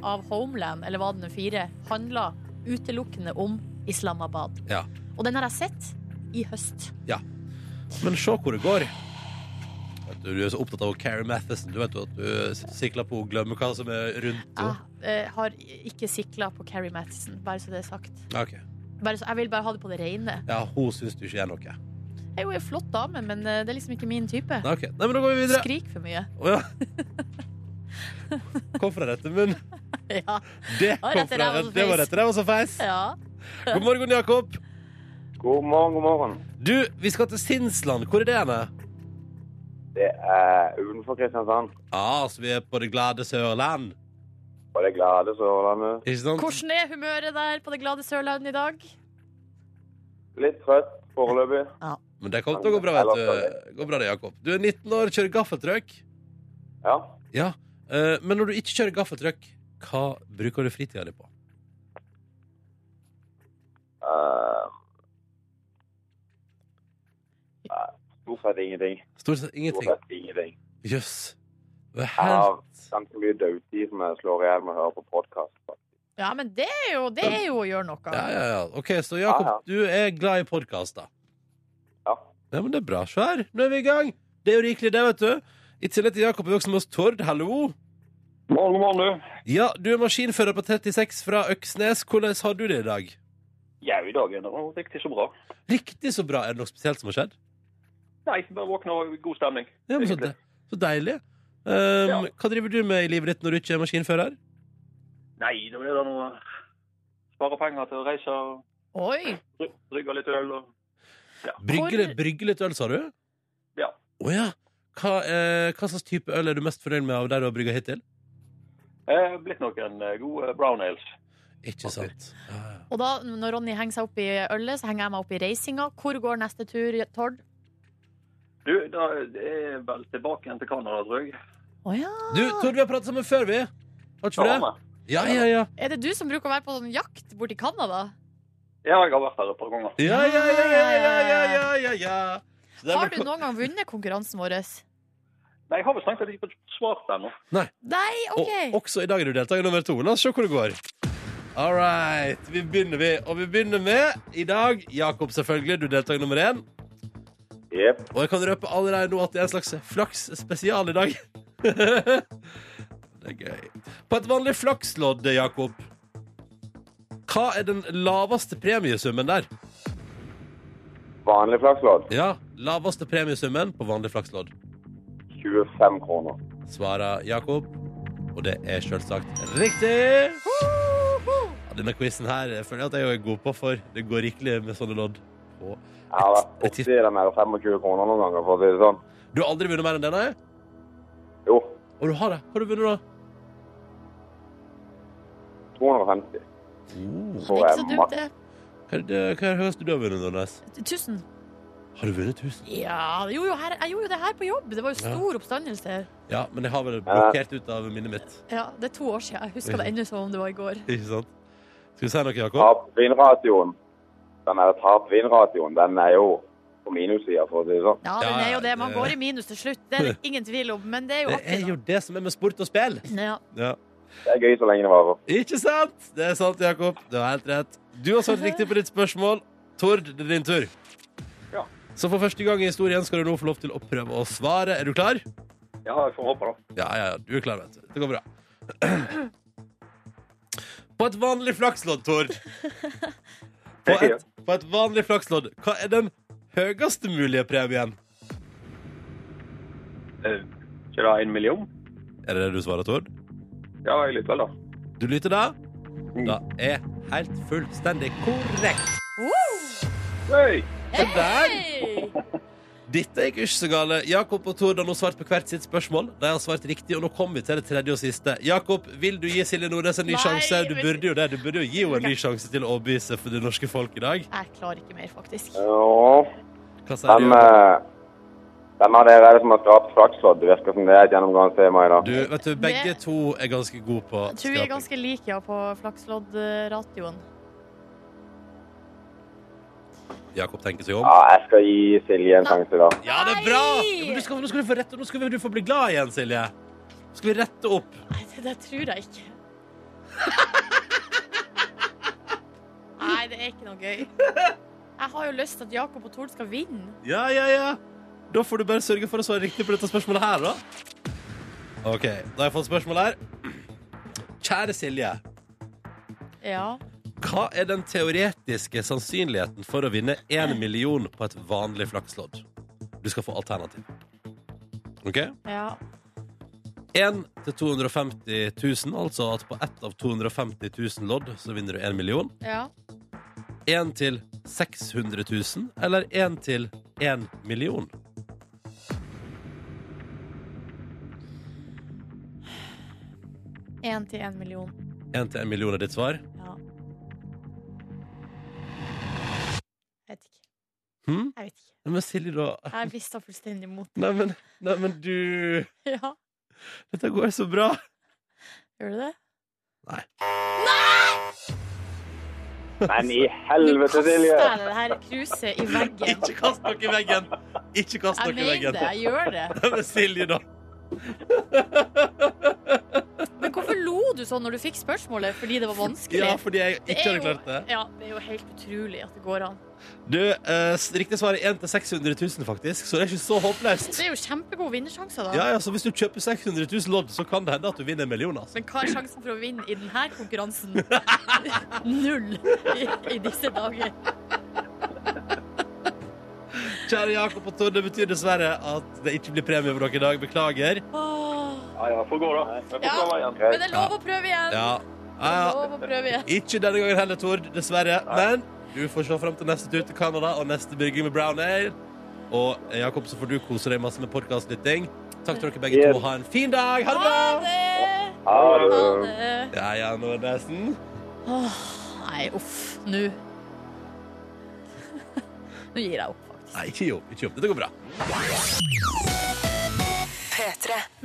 Speaker 5: av Homeland, eller var det den fire, handla utelukkende om Islamabad.
Speaker 2: Ja.
Speaker 5: Og den har jeg sett i høst.
Speaker 2: Men se hvor det går. Vet Du, du er så opptatt av Carrie Mathison. Du vet jo at du sikler på å glemme hva som er rundt henne.
Speaker 5: Jeg eh, har ikke sikla på Carrie Mathisen, bare så det er sagt.
Speaker 2: Ok.
Speaker 5: Bare så, jeg vil bare ha det på det rene.
Speaker 2: Ja, hun syns du ikke er noe.
Speaker 5: Jeg er jo en flott dame, men eh, det er liksom ikke min type.
Speaker 2: Nei, ok. Nei, men da går vi videre.
Speaker 5: Skrik for mye.
Speaker 2: Å ja. Kom fra rette munn.
Speaker 5: Ja.
Speaker 2: Det
Speaker 5: Og
Speaker 2: kom
Speaker 5: rette
Speaker 2: fra
Speaker 5: ræva
Speaker 2: rette.
Speaker 5: som
Speaker 2: Det var
Speaker 5: feis.
Speaker 2: rette ræva som feis.
Speaker 5: ja.
Speaker 2: God morgen, Jakob.
Speaker 1: God morgen, god morgen.
Speaker 2: Du, vi skal til Sinsland. Hvor er det henne?
Speaker 1: Det er utenfor Kristiansand.
Speaker 2: Ja, så vi er på det glade Sørland.
Speaker 1: Og det glade Sørlandet.
Speaker 2: Ikke sant?
Speaker 5: Hvordan er humøret der på det glade Sørlandet i dag?
Speaker 1: Litt trøtt foreløpig.
Speaker 2: Men det kommer til å gå bra, vet du. Det Går bra det, Jakob. Du er 19 år, kjører gaffeltruck.
Speaker 1: Ja.
Speaker 2: Ja, eh, men når du ikke kjører gaffeltruck, hva bruker du fritida di på?
Speaker 1: eh, nei, Stort sett ingenting.
Speaker 2: Stort sett
Speaker 1: Stort
Speaker 2: ingenting.
Speaker 1: sett ingenting.
Speaker 2: Jøss. Det er
Speaker 1: Jeg har
Speaker 2: helt
Speaker 1: ganske mye dødtid som jeg slår i hjel med å høre på podkast.
Speaker 5: Ja, men det er jo, det er jo å gjøre noe.
Speaker 2: Ja, ja, ja. OK, så Jakob,
Speaker 1: Ja,
Speaker 2: du er glad i podkaster.
Speaker 1: Ja.
Speaker 2: ja. Men det er bra. Se her, nå er vi i gang. Det er jo rikelig, det, vet du. I tillegg til Jakob er vi også med oss Tord. Hallo.
Speaker 1: Morgen, morgen, du.
Speaker 2: Ja, du er maskinfører på 36 fra Øksnes. Hvordan har du det i dag?
Speaker 1: Jau, dagen var riktig så bra.
Speaker 2: Riktig så bra. Er det noe spesielt som har skjedd?
Speaker 1: Nei, bare våkna og god stemning.
Speaker 2: Ja, men så, de
Speaker 1: Egentlig.
Speaker 2: så deilig. Um,
Speaker 1: Ja.
Speaker 2: Hva driver du med i livet ditt når du ikke er maskinfører?
Speaker 1: Nei, det blir da noe Spare penger til å reise og
Speaker 5: Oi!
Speaker 1: brygge litt øl og
Speaker 2: Brygge,
Speaker 5: Hvor-
Speaker 2: brygge litt øl, sa du?
Speaker 1: Ja.
Speaker 2: Å ja. Hva, eh, hva slags type øl er du mest fornøyd med av det du har brygga hittil?
Speaker 1: Eh, Blitt noen eh, gode brown ales.
Speaker 2: Ikke sant. Ja, ja.
Speaker 5: Og da, når Ronny henger seg opp i ølet, så henger jeg meg opp i reisinga. Hvor går neste tur, Tord?
Speaker 1: Du, da, det er vel tilbake igjen til Canada, tror jeg.
Speaker 5: Å ja.
Speaker 2: Du, Tord, vi har pratet sammen før, vi. Har ikke vi det? Ja, ja, ja.
Speaker 5: Er det du som bruker å være på sånn jakt borti Canada?
Speaker 1: Ja, jeg har vært her et par ganger.
Speaker 2: Ja, ja, ja, ja, ja, ja, ja, ja. Så det er
Speaker 5: Har
Speaker 2: vel-
Speaker 5: du noen gang vunnet konkurransen vår?
Speaker 1: Nei, jeg har vel strengt tatt ikke fått svart ennå.
Speaker 5: Nei,
Speaker 2: Og
Speaker 5: OK!
Speaker 2: også i dag er du deltaker nummer to. La oss se hvor det går. All right. Vi begynner, vi. Og vi begynner med i dag Jakob, selvfølgelig. Du er deltaker nummer én.
Speaker 1: Jepp.
Speaker 2: Og jeg kan røpe allerede nå at det er en slags flaks-spesial i dag. det er gøy. På et vanlig flakslodd, Jakob, hva er den laveste premiesummen der?
Speaker 1: Vanlig flakslodd
Speaker 2: Ja, laveste premiesummen på vanlig flakslodd,
Speaker 1: 25 kroner.
Speaker 2: svarer Jakob. Og det er selvsagt riktig! Ja, denne quizen her føler jeg at jeg er god på, for det går rikelig med sånne lodd. på
Speaker 1: Jeg har
Speaker 2: et-
Speaker 1: vært
Speaker 2: et tids-
Speaker 1: oppi den her 25 kroner noen ganger, for å si det sånn.
Speaker 2: Du har aldri vunnet mer enn denne?
Speaker 1: Jo,
Speaker 2: Og du har det. Hva har du vunnet, da?
Speaker 6: 250.
Speaker 2: Oh.
Speaker 5: Det er ikke så dumt, det.
Speaker 2: Hva er det hva er det høyeste du har vunnet, Nordnes?
Speaker 5: 1000.
Speaker 2: Har du vunnet 1000?
Speaker 5: Ja, jeg gjorde, jo her, jeg gjorde jo det her på jobb. Det var jo stor oppstandelse her.
Speaker 2: Ja, men jeg har vel blokkert ut av minnet mitt.
Speaker 5: Ja, det er to år siden. Jeg husker det ennå som om det var i går.
Speaker 2: Ikke sant? Skal vi si noe, Jakob?
Speaker 6: Tap-vinn-ratioen. Den her tap-vinn-ratioen, den er jo på minussida, for å si det sånn.
Speaker 5: Ja, den
Speaker 2: Ja,
Speaker 5: er jo det. Man
Speaker 2: det-
Speaker 5: går i minus til slutt. Det er det ingen tvil om. Men det er jo
Speaker 2: Det er
Speaker 5: artig.
Speaker 2: jo det som er med sport og spill.
Speaker 5: da. Ja.
Speaker 2: Ja.
Speaker 6: Det er gøy så lenge det varer.
Speaker 2: Ikke sant? Det er sant, Jakob. Du har helt rett. Du har svart riktig på ditt spørsmål. Tord, det er din tur.
Speaker 1: Ja.
Speaker 2: Så for første gang i historien skal du nå få lov til å prøve å svare. Er du klar?
Speaker 1: Ja, jeg får håpe, da.
Speaker 2: Ja, ja, ja. Du er klar, vet du. Det går bra. På et vanlig flakslodd, Tord på et, på et vanlig flakslodd, hva er den høyeste mulige premien?
Speaker 1: Eh, Ikke det en million?
Speaker 2: Er det det du svarer, Tord?
Speaker 1: Ja, jeg lytter vel, da.
Speaker 2: Du lytter da? Da er helt fullstendig korrekt.
Speaker 1: Hei!
Speaker 2: Det der
Speaker 5: Hei!
Speaker 2: Dette gikk ikke så gale. Jakob og Tord har nå svart på hvert sitt spørsmål. De har svart riktig, og nå kommer vi til det tredje og siste. Jakob, vil du gi Silje Nordnes en ny
Speaker 5: Nei,
Speaker 2: sjanse? Du
Speaker 5: men-
Speaker 2: burde jo det. Du burde jo gi henne en ny sjanse til å overbevise for det norske folk i dag.
Speaker 5: Jeg klarer ikke mer, faktisk.
Speaker 6: Ja,
Speaker 2: Hva sier du?
Speaker 6: hvem,
Speaker 2: Jakob?
Speaker 6: eh, hvem av dere er det som har skapt flakslodd? Det virker som det er et gjennomgående tema i dag.
Speaker 2: Du, vet du, begge to er ganske gode på
Speaker 5: Jeg tror vi er ganske like ja, på flakslodd-ratioen.
Speaker 2: Jakob tenker seg om.
Speaker 6: Ja, jeg skal gi Silje en sjanse i dag.
Speaker 2: Ja, det er bra!
Speaker 5: Nei!
Speaker 2: Ja, men du skal, nå skal du få rett, nå skal vi- du få bli glad igjen, Silje. Nå skal vi rette opp.
Speaker 5: Nei, det, det tror jeg ikke. Nei, det er ikke noe gøy. Jeg har jo lyst til at Jakob og Tord skal vinne.
Speaker 2: Ja, ja, ja. Da får du bare sørge for å svare riktig på dette spørsmålet her, da. OK, da har jeg fått spørsmål her. Kjære Silje.
Speaker 5: Ja.
Speaker 2: Hva er den teoretiske sannsynligheten for å vinne 1 million på et vanlig flakslodd? Du skal få alternativ. OK?
Speaker 5: ja.
Speaker 2: 1 til 250 000, altså at på ett av 250 000 lodd så vinner du 1 million.
Speaker 5: Ja.
Speaker 2: 1 til 600 000, eller 1 til 1 million?
Speaker 5: Én til én million.
Speaker 2: 1 til 1 million er ditt svar.
Speaker 5: Ja. Jeg vet ikke.
Speaker 2: Hm?
Speaker 5: Jeg vet ikke.
Speaker 2: Nei, Men Silje, da
Speaker 5: Jeg mista fullstendig mot.
Speaker 2: Neimen, nei, men du
Speaker 5: Ja,
Speaker 2: Dette går så bra.
Speaker 5: gjør du det?
Speaker 6: Men i
Speaker 5: Nå
Speaker 6: helvete,
Speaker 5: kaster
Speaker 6: Silje!
Speaker 5: jeg det her kruset i veggen.
Speaker 2: Ikke kast dere i veggen! Ikke kast
Speaker 5: Jeg
Speaker 2: dere i
Speaker 5: mener
Speaker 2: veggen.
Speaker 5: det, jeg gjør det.
Speaker 2: Nei, Men Silje, da.
Speaker 5: Men hvorfor lo du sånn når du fikk spørsmålet? Fordi det var vanskelig?
Speaker 2: Ja, fordi jeg
Speaker 5: Det
Speaker 2: ikke
Speaker 5: er
Speaker 2: hadde
Speaker 5: jo-
Speaker 2: klart det.
Speaker 5: Ja, det er jo helt utrolig at det går an.
Speaker 2: Du, eh, s- Riktig svar er 1 til 600 000, faktisk, så det er ikke så håpløst.
Speaker 5: Det er jo kjempegode vinnersjanser, da.
Speaker 2: Ja, ja, så Hvis du kjøper 600 000 lodd, så kan det hende at du vinner en million. Altså.
Speaker 5: Men hva er sjansen for å vinne i denne konkurransen? Null i, i disse dager.
Speaker 2: Kjære Jakob og Tord, det betyr dessverre at det ikke blir premie for dere i dag. Beklager.
Speaker 5: Åh.
Speaker 1: Ja, ja, får gå, da. Jeg får
Speaker 5: Ja.
Speaker 1: prøve igjen.
Speaker 5: Men det er lov å prøve igjen.
Speaker 2: Ja.
Speaker 5: Det
Speaker 2: Ja,
Speaker 5: er
Speaker 2: ja.
Speaker 5: lov å prøve igjen.
Speaker 2: Ikke denne gangen heller, Tord, dessverre. Men du får se fram til neste tur til Canada og neste bygging med brown ale. Og eh, Jakob, så får du kose deg masse med podkastlytting. Takk til dere begge
Speaker 6: Yes.
Speaker 2: to. Ha en fin dag! Ha det
Speaker 5: Ha
Speaker 2: bra!
Speaker 5: det!
Speaker 6: Ha det!
Speaker 5: Ha det.
Speaker 2: Ja, ja, Nordnesen.
Speaker 5: Åh, nei, uff. Nå Nå gir jeg opp, faktisk.
Speaker 2: Nei, ikke jobb. Ikke jobb. Dette går bra.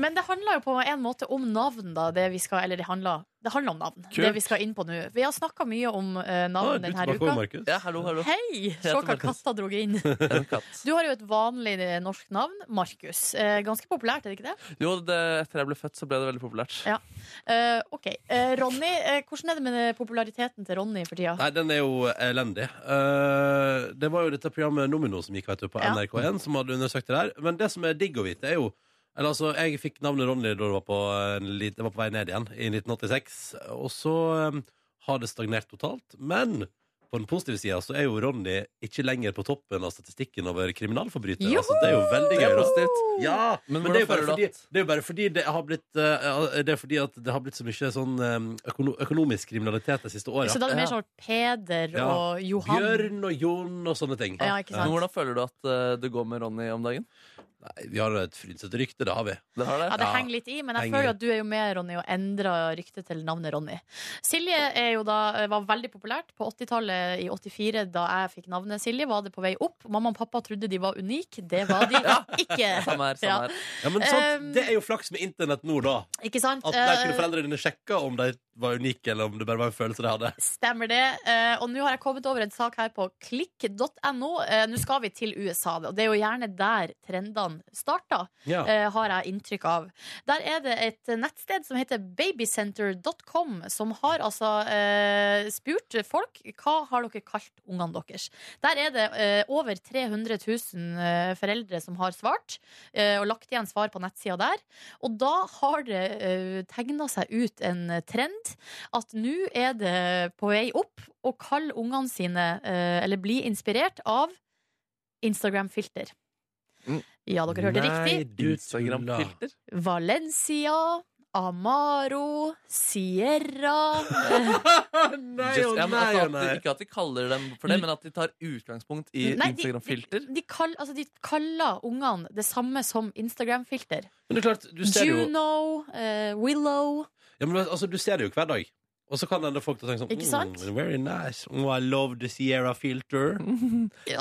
Speaker 5: Men det handler jo på en måte om navn, da. Det vi skal, eller det handler, det handler om navn. Det vi skal inn på nå. Vi har snakka mye om eh,
Speaker 2: Ah,
Speaker 5: navn
Speaker 2: du
Speaker 5: denne
Speaker 2: tilbake over,
Speaker 5: uka.
Speaker 2: Markus.
Speaker 4: Ja, hallo, hallo.
Speaker 5: Hei! Se hva
Speaker 4: Markus.
Speaker 5: katta drog inn.
Speaker 4: Er det en katt?
Speaker 5: Du har jo et vanlig eh, norsk navn, Markus. Eh, ganske populært, er det ikke det?
Speaker 4: Jo, det, etter jeg ble født, så ble det veldig populært.
Speaker 5: Ja. Eh, OK. Eh, Ronny, eh, hvordan er det med eh, populariteten til Ronny for tida?
Speaker 2: Nei, den er jo elendig. Eh, det var jo dette programmet Nomino som gikk vet du, på
Speaker 5: Ja.
Speaker 2: NRK1, som hadde undersøkt det der. Men det som er digg å vite, er jo eller altså, Jeg fikk navnet Ronny da det var på, en lit- det var på vei ned igjen, i 1986. Og så eh, har det stagnert totalt. Men på den positive sida så er jo Ronny ikke lenger på toppen av statistikken over kriminalforbrytere. Altså, det er jo veldig
Speaker 4: Det
Speaker 2: gøy.
Speaker 4: er
Speaker 2: da.
Speaker 4: positivt.
Speaker 2: Ja, men,
Speaker 4: Men
Speaker 2: det, er jo
Speaker 4: hvordan
Speaker 2: bare
Speaker 4: føler du
Speaker 2: fordi,
Speaker 4: at-
Speaker 2: det er jo bare fordi det har blitt eh, Det er fordi at det har blitt så mye sånn eh, økono økonomisk kriminalitet de siste åra.
Speaker 5: Så da er det mer
Speaker 4: Ja.
Speaker 5: sånn Peder
Speaker 2: Ja.
Speaker 5: og Johan.
Speaker 2: Bjørn og Jon og sånne ting.
Speaker 5: Ja, ikke sant?
Speaker 4: Men hvordan føler du at eh, det går med Ronny om dagen?
Speaker 2: Nei, vi har et frynsete rykte, det har vi.
Speaker 4: Dere har det?
Speaker 5: Ja, det
Speaker 2: Ja.
Speaker 5: henger litt i, men jeg
Speaker 2: Henger.
Speaker 5: føler jo at du er jo med, Ronny, og endrer ryktet til navnet Ronny. Silje er jo da, eh, var veldig populært på 80-tallet, i 84, da jeg fikk navnet Silje, var det på vei opp. Mamma og pappa trodde de var unike, det var de ikke.
Speaker 4: Samme her. samme
Speaker 5: Ja.
Speaker 4: her
Speaker 2: Ja, men sant,
Speaker 5: Um,
Speaker 2: Det er jo flaks med internett nå, da.
Speaker 5: Ikke sant?
Speaker 2: At der kunne
Speaker 5: Eh,
Speaker 2: foreldrene dine sjekke om de var unike, eller om det bare var en følelse de hadde.
Speaker 5: Stemmer det. Eh, Og nå har jeg kommet over en sak her på klikk.no. Eh, Nå skal vi til USA, og det er jo gjerne der trendene starter.
Speaker 2: Ja.
Speaker 5: eh, har jeg inntrykk av. Der er det et nettsted som heter babycenter.com, som har altså eh, spurt folk hva har dere kalt ungene deres. Der er det eh, over 300 000 eh, foreldre som har svart, eh, og lagt igjen svar på nettsida der. Og da har det eh, tegna seg ut en trend at nå er det på vei opp å kalle ungene sine, eh, eller bli inspirert av, Instagram-filter.
Speaker 4: Mm.
Speaker 5: Ja, dere hørte riktig.
Speaker 2: du tuller.
Speaker 4: Instagram-filter.
Speaker 5: Valencia, Amaro, Sierra
Speaker 2: nei
Speaker 4: Just-
Speaker 2: og
Speaker 4: ja, men
Speaker 2: nei
Speaker 4: altså
Speaker 2: og
Speaker 4: at de-
Speaker 2: nei.
Speaker 4: Ikke at de kaller dem for det, men at de tar utgangspunkt i
Speaker 5: Nei, de-
Speaker 4: Instagram-filter.
Speaker 5: De, kall, altså, de kaller ungene det samme som Instagram-filter.
Speaker 2: Men det er klart, du ser det jo,
Speaker 5: Juno, eh, Willow
Speaker 2: ja, men altså, du ser det jo hver dag. Og så kan det hende folk tenker sånn
Speaker 5: Ikke sant?
Speaker 2: Mm, Very nice. Mm, I love the Sierra filter.
Speaker 4: Ja,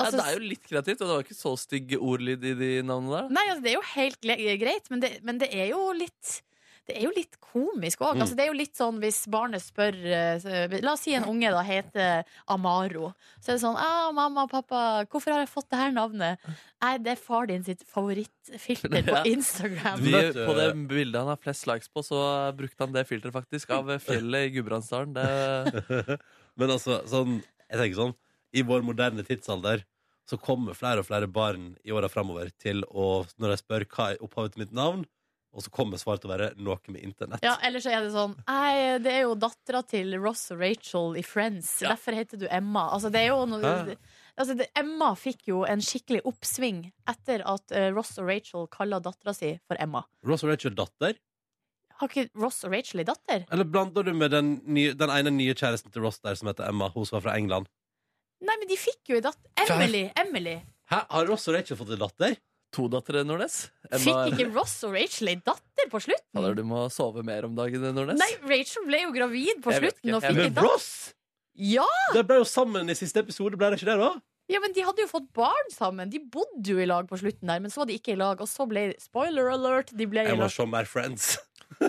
Speaker 5: altså,
Speaker 4: det er jo litt kreativt, og det var ikke så stygg ordlyd i de navnene der.
Speaker 5: Nei, altså, det er jo helt gle- greit, men det, men det er jo litt det er jo litt komisk òg.
Speaker 2: Mm.
Speaker 5: Altså, det er jo litt sånn hvis barnet spør eh, så- La oss si en unge da heter Amaro. Så er det sånn ah, 'Mamma og pappa, hvorfor har jeg fått det her navnet?' Nei, det er far din sitt favorittfilter på
Speaker 4: Ja.
Speaker 5: Instagram.
Speaker 2: Du
Speaker 4: Vi,
Speaker 2: vet, eh,
Speaker 4: på det bildet han har flest likes på, så brukte han det filteret faktisk av fjellet i Gudbrandsdalen. Det,
Speaker 2: Men altså, sånn, jeg tenker sånn I vår moderne tidsalder så kommer flere og flere barn i åra framover til å Når de spør hva er opphavet til mitt navn, og så kommer svaret til å være noe med internett.
Speaker 5: Ja, eller så er det sånn Nei, det er jo dattera til Ross og Rachel i Friends.
Speaker 2: Ja.
Speaker 5: Derfor heter du Emma. Altså, det er jo noe
Speaker 2: Hæ?
Speaker 5: altså, det, Emma fikk jo en skikkelig oppsving etter at eh, Ross og Rachel kalla dattera si for Emma.
Speaker 2: Ross og Rachel datter?
Speaker 5: Har ikke Ross og Rachel ei datter?
Speaker 2: Eller blander du med den, nye, den ene nye kjæresten til Ross der som heter Emma? Hun som var fra England.
Speaker 5: Nei, men de fikk jo ei datter. Emily! Emily.
Speaker 2: Hæ? Har Ross og Rachel fått en datter?
Speaker 4: to dattere, Nordnes.
Speaker 5: Fikk ikke Ross og Rachel ei datter på
Speaker 4: Fader,
Speaker 5: slutten?
Speaker 4: du må sove mer om dagen, Nordnes.
Speaker 5: Nei, Rachel ble jo gravid på
Speaker 4: Jeg vet
Speaker 5: slutten
Speaker 4: ikke.
Speaker 5: og
Speaker 4: Jeg
Speaker 5: fikk ei
Speaker 2: Men
Speaker 5: datter.
Speaker 2: Ross!
Speaker 5: Ja,
Speaker 2: De ble jo sammen i siste episode, ble det ikke det, da?
Speaker 5: Ja, men De hadde jo fått barn sammen. De bodde jo i lag på slutten, der, men så var de ikke i lag. Og så ble Spoiler alert! De ble i
Speaker 2: Jeg må
Speaker 5: lag.
Speaker 2: se mer Friends.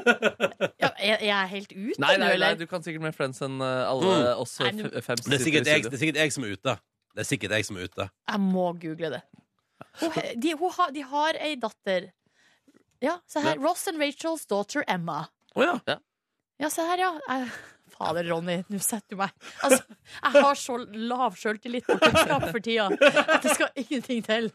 Speaker 5: Ja, jeg, jeg er helt ute
Speaker 4: Nei,
Speaker 5: nå,
Speaker 4: nei, nei,
Speaker 5: eller?
Speaker 4: du kan sikkert mer friends enn eh, alle oss
Speaker 5: Nei,
Speaker 4: f-
Speaker 5: nå-
Speaker 4: fem som
Speaker 2: Mm. Det er
Speaker 4: sitter i
Speaker 2: sikkert jeg,
Speaker 4: studio.
Speaker 2: det er sikkert jeg som er ute. Det er sikkert jeg som er ute.
Speaker 5: Jeg må google det. Hun, he- de, hun har- de har ei datter. Ja, se her. Ross and Rachels daughter Emma.
Speaker 2: Å ja.
Speaker 5: Ja, se her, ja. Jeg, fader, Ronny, nå setter du meg Altså, jeg har så lav sjøltillit på kunnskap for tida at det skal ingenting til.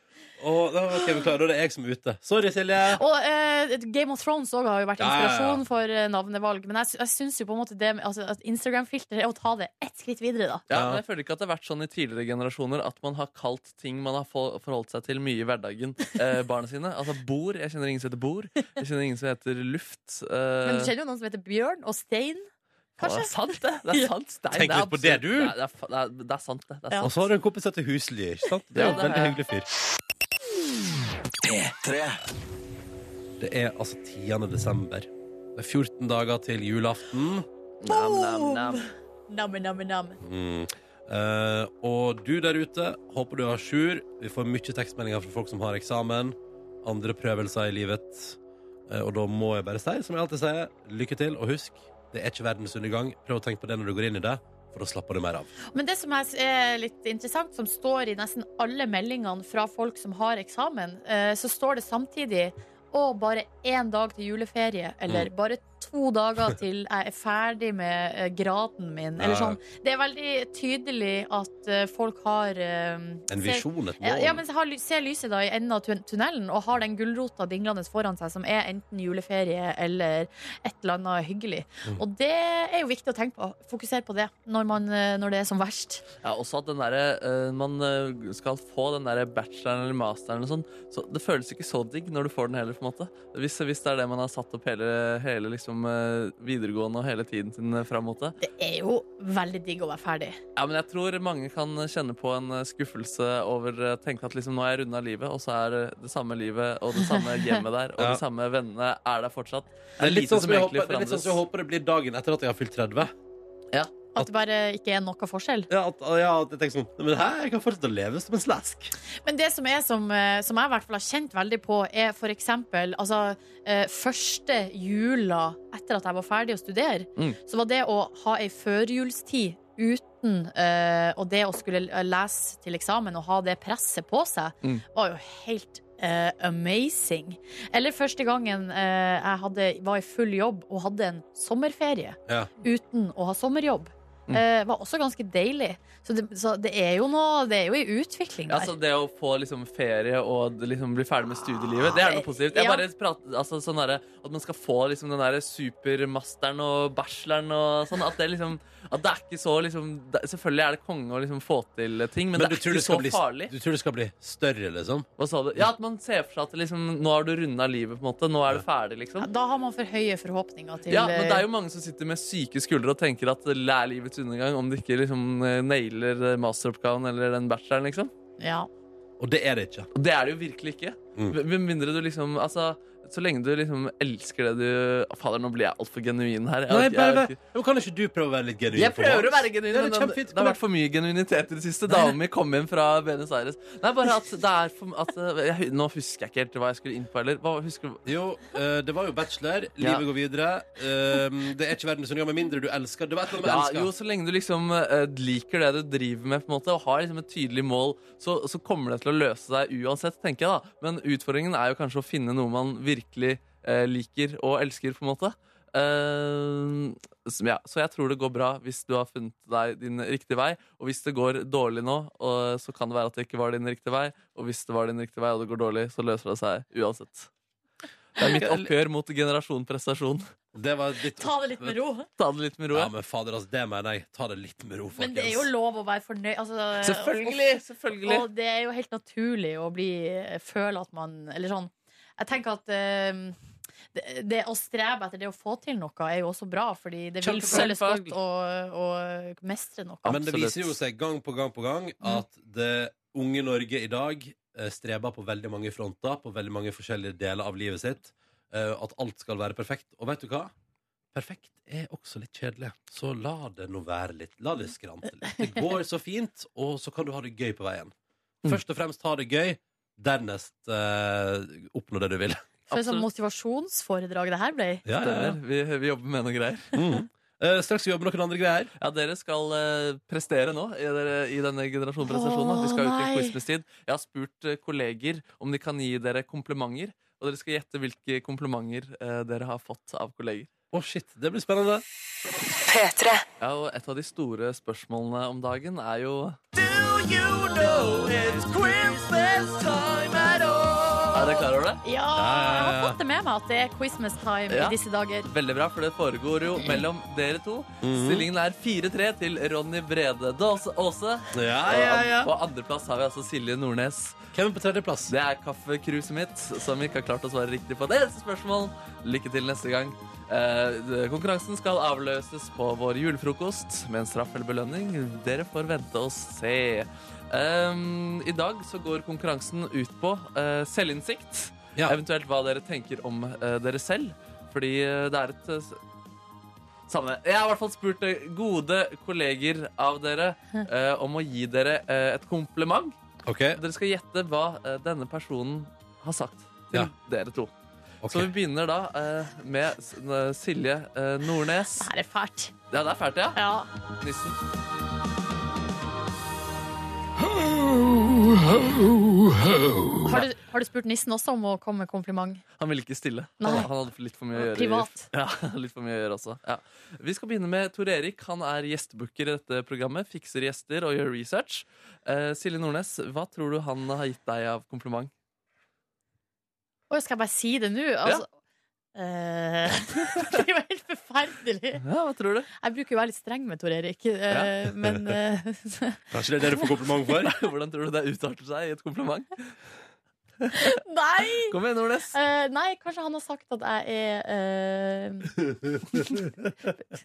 Speaker 2: Å, da, ok, beklager, da er det jeg som er ute. Sorry, Silje.
Speaker 5: Og eh, Game of Thrones også har jo vært
Speaker 2: Ja, ja, ja.
Speaker 5: inspirasjon for eh, navnevalg. Men jeg, sy- jeg syns jo på en måte det med- altså, at Instagram-filter er å ta det ett skritt videre, da.
Speaker 4: Ja,
Speaker 2: Ja.
Speaker 4: men jeg føler ikke at det har vært sånn i tidligere generasjoner at man har kalt ting man har for- forholdt seg til mye i hverdagen, eh, barna sine. Altså bord. Jeg kjenner ingen som heter bord. Jeg kjenner ingen som heter luft. Eh,
Speaker 5: Men du kjenner jo noen som heter Bjørn og Stein.
Speaker 4: faen, Det
Speaker 5: kanskje?
Speaker 4: er sant, det. det er sant. Stein,
Speaker 2: Tenk
Speaker 4: er
Speaker 2: litt på det,
Speaker 4: absolutt-
Speaker 2: du.
Speaker 4: Det er, det er, fa- det er, det er sant, det. det er
Speaker 5: Ja.
Speaker 2: Og
Speaker 4: sant.
Speaker 2: så har du en kompis som heter Husly. Ikke sant? Det er jo
Speaker 4: Ja,
Speaker 2: en
Speaker 4: det
Speaker 2: veldig
Speaker 4: har
Speaker 2: hyggelig fyr. Det er altså 10. desember. Det er 14 dager til julaften.
Speaker 4: Nam, nam, nam.
Speaker 5: Namme, namme, namme.
Speaker 2: Mm. Eh, og du der ute, håper du har sjur. Vi får mye tekstmeldinger fra folk som har eksamen. Andre prøvelser i livet. Eh, og da må jeg bare si, som jeg alltid sier, lykke til. Og husk, det er ikke verdens undergang. Prøv å tenke på det når du går inn i det, for da slapper du mer av.
Speaker 5: Men det som er er litt interessant, som står i nesten alle meldingene fra folk som har eksamen, eh, så står det samtidig å, bare én dag til juleferie, eller
Speaker 2: Mm.
Speaker 5: bare to dager til jeg er ferdig med eh, graden min, eller
Speaker 2: Ja, ja.
Speaker 5: sånn. Det er veldig tydelig at eh, folk har eh,
Speaker 2: En
Speaker 5: ser-
Speaker 2: visjon, et
Speaker 5: Ja,
Speaker 2: mål.
Speaker 5: ja, men har, ly- ser lyset da i enden av tun- tunnelen og har den gulrota dinglende foran seg, som er enten juleferie eller et eller annet hyggelig.
Speaker 2: Mm.
Speaker 5: Og det er jo viktig å tenke på. Fokusere på det når, man, eh, når det er som verst.
Speaker 4: Ja, også at den derre eh, man eh, skal få den derre bacheloren eller masteren eller sånn, så det føles ikke så digg når du får den heller, på en måte. Hvis, hvis det er det man har satt opp hele, hele liksom liksom eh, videregående og hele tiden sin eh, fram mot det.
Speaker 5: Det er jo veldig digg å være ferdig.
Speaker 4: Ja, men jeg tror mange kan kjenne på en eh, skuffelse over eh, tenke at liksom nå er jeg runda livet, og så er eh, det samme livet og det samme hjemmet der, og
Speaker 2: Ja.
Speaker 4: de samme vennene er der fortsatt.
Speaker 2: Det er litt
Speaker 4: lite
Speaker 2: sånn som jeg
Speaker 4: egentlig
Speaker 2: håper det, er litt sånn som jeg håper det blir dagen etter at jeg har fylt 30.
Speaker 5: At det bare ikke er noe forskjell.
Speaker 2: Ja, at, ja, at jeg tenker sånn "Nei, Men hæ, jeg kan fortsette å leve som en slask.
Speaker 5: Men det som, er som, eh, som jeg i hvert fall har kjent veldig på, er for eksempel altså, eh, første jula etter at jeg var ferdig å studere,
Speaker 4: Mm.
Speaker 5: så var det å ha ei førjulstid uten eh, Og det å skulle lese til eksamen og ha det presset på seg,
Speaker 4: Mm.
Speaker 5: var jo helt eh, amazing. Eller første gangen eh, jeg hadde, var i full jobb og hadde en sommerferie
Speaker 2: Ja.
Speaker 5: uten å ha sommerjobb.
Speaker 4: Mm.
Speaker 5: eh, var også ganske deilig. Så det, så det er jo noe Det er jo i utvikling der.
Speaker 4: Ja, altså det å få liksom ferie og d- liksom bli ferdig med studielivet, det er noe positivt. Jeg
Speaker 5: Ja.
Speaker 4: bare prater, altså sånn derre At man skal få liksom den derre supermasteren og bacheloren og sånn. At det liksom At det er ikke så liksom det, Selvfølgelig er det konge å liksom få til ting, men,
Speaker 2: Men
Speaker 4: det
Speaker 2: du
Speaker 4: er
Speaker 2: tror
Speaker 4: ikke
Speaker 2: det, skal
Speaker 4: så
Speaker 2: bli,
Speaker 4: farlig.
Speaker 2: du tror det skal bli større, liksom?
Speaker 4: Hva sa du? Ja, at man ser for seg at liksom Nå har du runda livet, på en måte. Nå er det ferdig,
Speaker 5: Ja,
Speaker 4: liksom.
Speaker 5: Da har man for høye forhåpninger til
Speaker 4: Ja, men det er jo mange som sitter med syke skuldre og tenker at det er livets undergang om de ikke liksom eh, nailer eh, masteroppgaven eller den bacheloren, liksom.
Speaker 5: eh, ja.
Speaker 2: Og det er det ikke.
Speaker 4: Og det er det jo virkelig ikke.
Speaker 2: Mm.
Speaker 4: Med- Med mindre du liksom Altså, så lenge du liksom elsker det du Å, Fader, nå blir jeg altfor genuin her. Jeg,
Speaker 2: Nei,
Speaker 4: orker- jeg,
Speaker 2: bare,
Speaker 4: orker-
Speaker 2: men kan ikke du prøve å være litt genuin?
Speaker 4: jeg
Speaker 2: for
Speaker 4: prøver å
Speaker 2: Mats?
Speaker 4: være genuin,
Speaker 2: Det er
Speaker 4: men det,
Speaker 2: kjempefint.
Speaker 4: det har vært for mye genuinitet i det siste. Dama mi kom hjem fra Buenos Aires. Nei, bare at det er for at, eh, jeg, Nå husker jeg ikke helt hva jeg skulle inn på heller. Hva, husker, du-
Speaker 2: Jo, eh, det var jo bachelor.
Speaker 4: Ja.
Speaker 2: Livet går videre. Eh, det er ikke verdens undergang med mindre du elsker. Det var et eller
Speaker 4: ja,
Speaker 2: annet med
Speaker 4: jo, så lenge du liksom eh, liker det du driver med, på en måte og har liksom et tydelig mål, så, så kommer det til å løse seg uansett, tenker jeg. da Men utfordringen er jo kanskje å finne noe man virkelig eh, liker og elsker, på en måte. Eh, som, ja, så jeg tror det går bra hvis du har funnet deg din riktige vei. Og hvis det går dårlig nå, og, eh, så kan det være at det ikke var din riktige vei. Og hvis det var din riktige vei, og det går dårlig, så løser det seg uansett. Det er mitt oppgjør mot generasjon prestasjon.
Speaker 2: elsker. Det var litt
Speaker 5: Ta det litt med ro.
Speaker 4: Ta det litt med ro.
Speaker 2: Ja,
Speaker 4: ja.
Speaker 2: men fader, altså, det mener jeg. Ta det litt med ro, folkens.
Speaker 5: Men det er jo lov å være fornøyd. Altså,
Speaker 4: Selvfølgelig!
Speaker 5: Og,
Speaker 4: selvfølgelig
Speaker 5: og det er jo helt naturlig å bli eh, føle at man Eller sånn Jeg tenker at eh, det, det å strebe etter det å få til noe er jo også bra, fordi det vil
Speaker 4: Kjempefølgelig.
Speaker 5: føles godt å, å mestre noe.
Speaker 2: Men det
Speaker 4: Absolutt.
Speaker 2: viser jo seg gang på gang på gang at det unge Norge i dag eh, streber på veldig mange fronter, på veldig mange forskjellige deler av livet sitt. eh, At alt skal være perfekt. Og vet du hva? Perfekt er også litt kjedelig, så la det nå være litt. La det skrante litt. Det går så fint, og så kan du ha det gøy på veien.
Speaker 4: Mm.
Speaker 2: Først og fremst ha det gøy, dernest eh, oppnå det du vil.
Speaker 5: For et sånt
Speaker 4: absolutt.
Speaker 5: motivasjonsforedrag det her ble.
Speaker 2: Ja, ja, ja.
Speaker 4: Stemmer. Vi, vi jobber med noen greier.
Speaker 2: Mm. Eh, straks skal vi jobbe med noen andre greier.
Speaker 4: Ja, Dere skal eh, prestere nå i, dere, i denne generasjonprestasjonen. da. Vi skal ut i en
Speaker 5: Åh, nei.
Speaker 4: quizmestid. Jeg har spurt eh, kolleger om de kan gi dere komplimenter. Og dere skal gjette hvilke komplimenter eh, dere har fått av kolleger.
Speaker 2: Å, shit. Det blir spennende.
Speaker 4: Ja, og Et av de store spørsmålene om dagen er jo Er dere klar over det?
Speaker 5: Ja, jeg har fått det med meg at det er Christmas time
Speaker 4: Ja.
Speaker 5: i disse dager.
Speaker 4: Veldig bra, for det foregår jo mellom dere to. Stillingen er 4-3 til Ronny Brede Daas- Aase.
Speaker 2: Ja, ja, ja.
Speaker 4: Og andreplass har vi altså Silje Nordnes.
Speaker 2: Hvem er på tredjeplass?
Speaker 4: Det er kaffekruset mitt, som ikke har klart å svare riktig på det eneste spørsmål. Lykke til neste gang. Eh, konkurransen skal avløses på vår julefrokost med en straff eller belønning. Dere får vente og se. Ehm, I dag så går konkurransen ut på eh, selvinnsikt.
Speaker 2: Ja.
Speaker 4: Eventuelt hva dere tenker om eh, dere selv. Fordi eh, det er et eh, s- samme. Jeg har i hvert fall spurt eh, gode kolleger av dere eh, om å gi dere eh, et kompliment.
Speaker 2: Ok,
Speaker 4: Dere skal gjette hva eh, denne personen har sagt til
Speaker 2: Ja.
Speaker 4: dere to.
Speaker 2: ok.
Speaker 4: Så vi begynner da eh, med S- n- Silje eh, Nordnes.
Speaker 5: Det her er fælt.
Speaker 4: Ja, det er fælt, ja.
Speaker 5: Ja.
Speaker 4: Nissen.
Speaker 5: Har du, har du spurt nissen også om å komme med kompliment?
Speaker 4: Han ville ikke stille.
Speaker 5: Nei.
Speaker 4: Han, han hadde litt for mye å gjøre. i-
Speaker 5: Privat.
Speaker 4: Ja, litt for mye å gjøre også. Ja. Vi skal begynne med Tor Erik. Han er gjestebooker i dette programmet. Fikser gjester og gjør research. Eh, Silje Nordnes, hva tror du han har gitt deg av kompliment?
Speaker 5: Å, skal jeg bare si det nå? Altså, eh, det er jo helt forferdelig.
Speaker 4: Ja, hva tror du?
Speaker 5: Jeg bruker jo å være litt streng med Tor Erik, eh, men eh,
Speaker 2: Kanskje det er det du får kompliment for?
Speaker 4: Hvordan tror du det utarter seg i et kompliment?
Speaker 5: Nei!
Speaker 4: Kom igjen, Nordnes.
Speaker 5: Eh, nei, kanskje han har sagt at jeg er eh,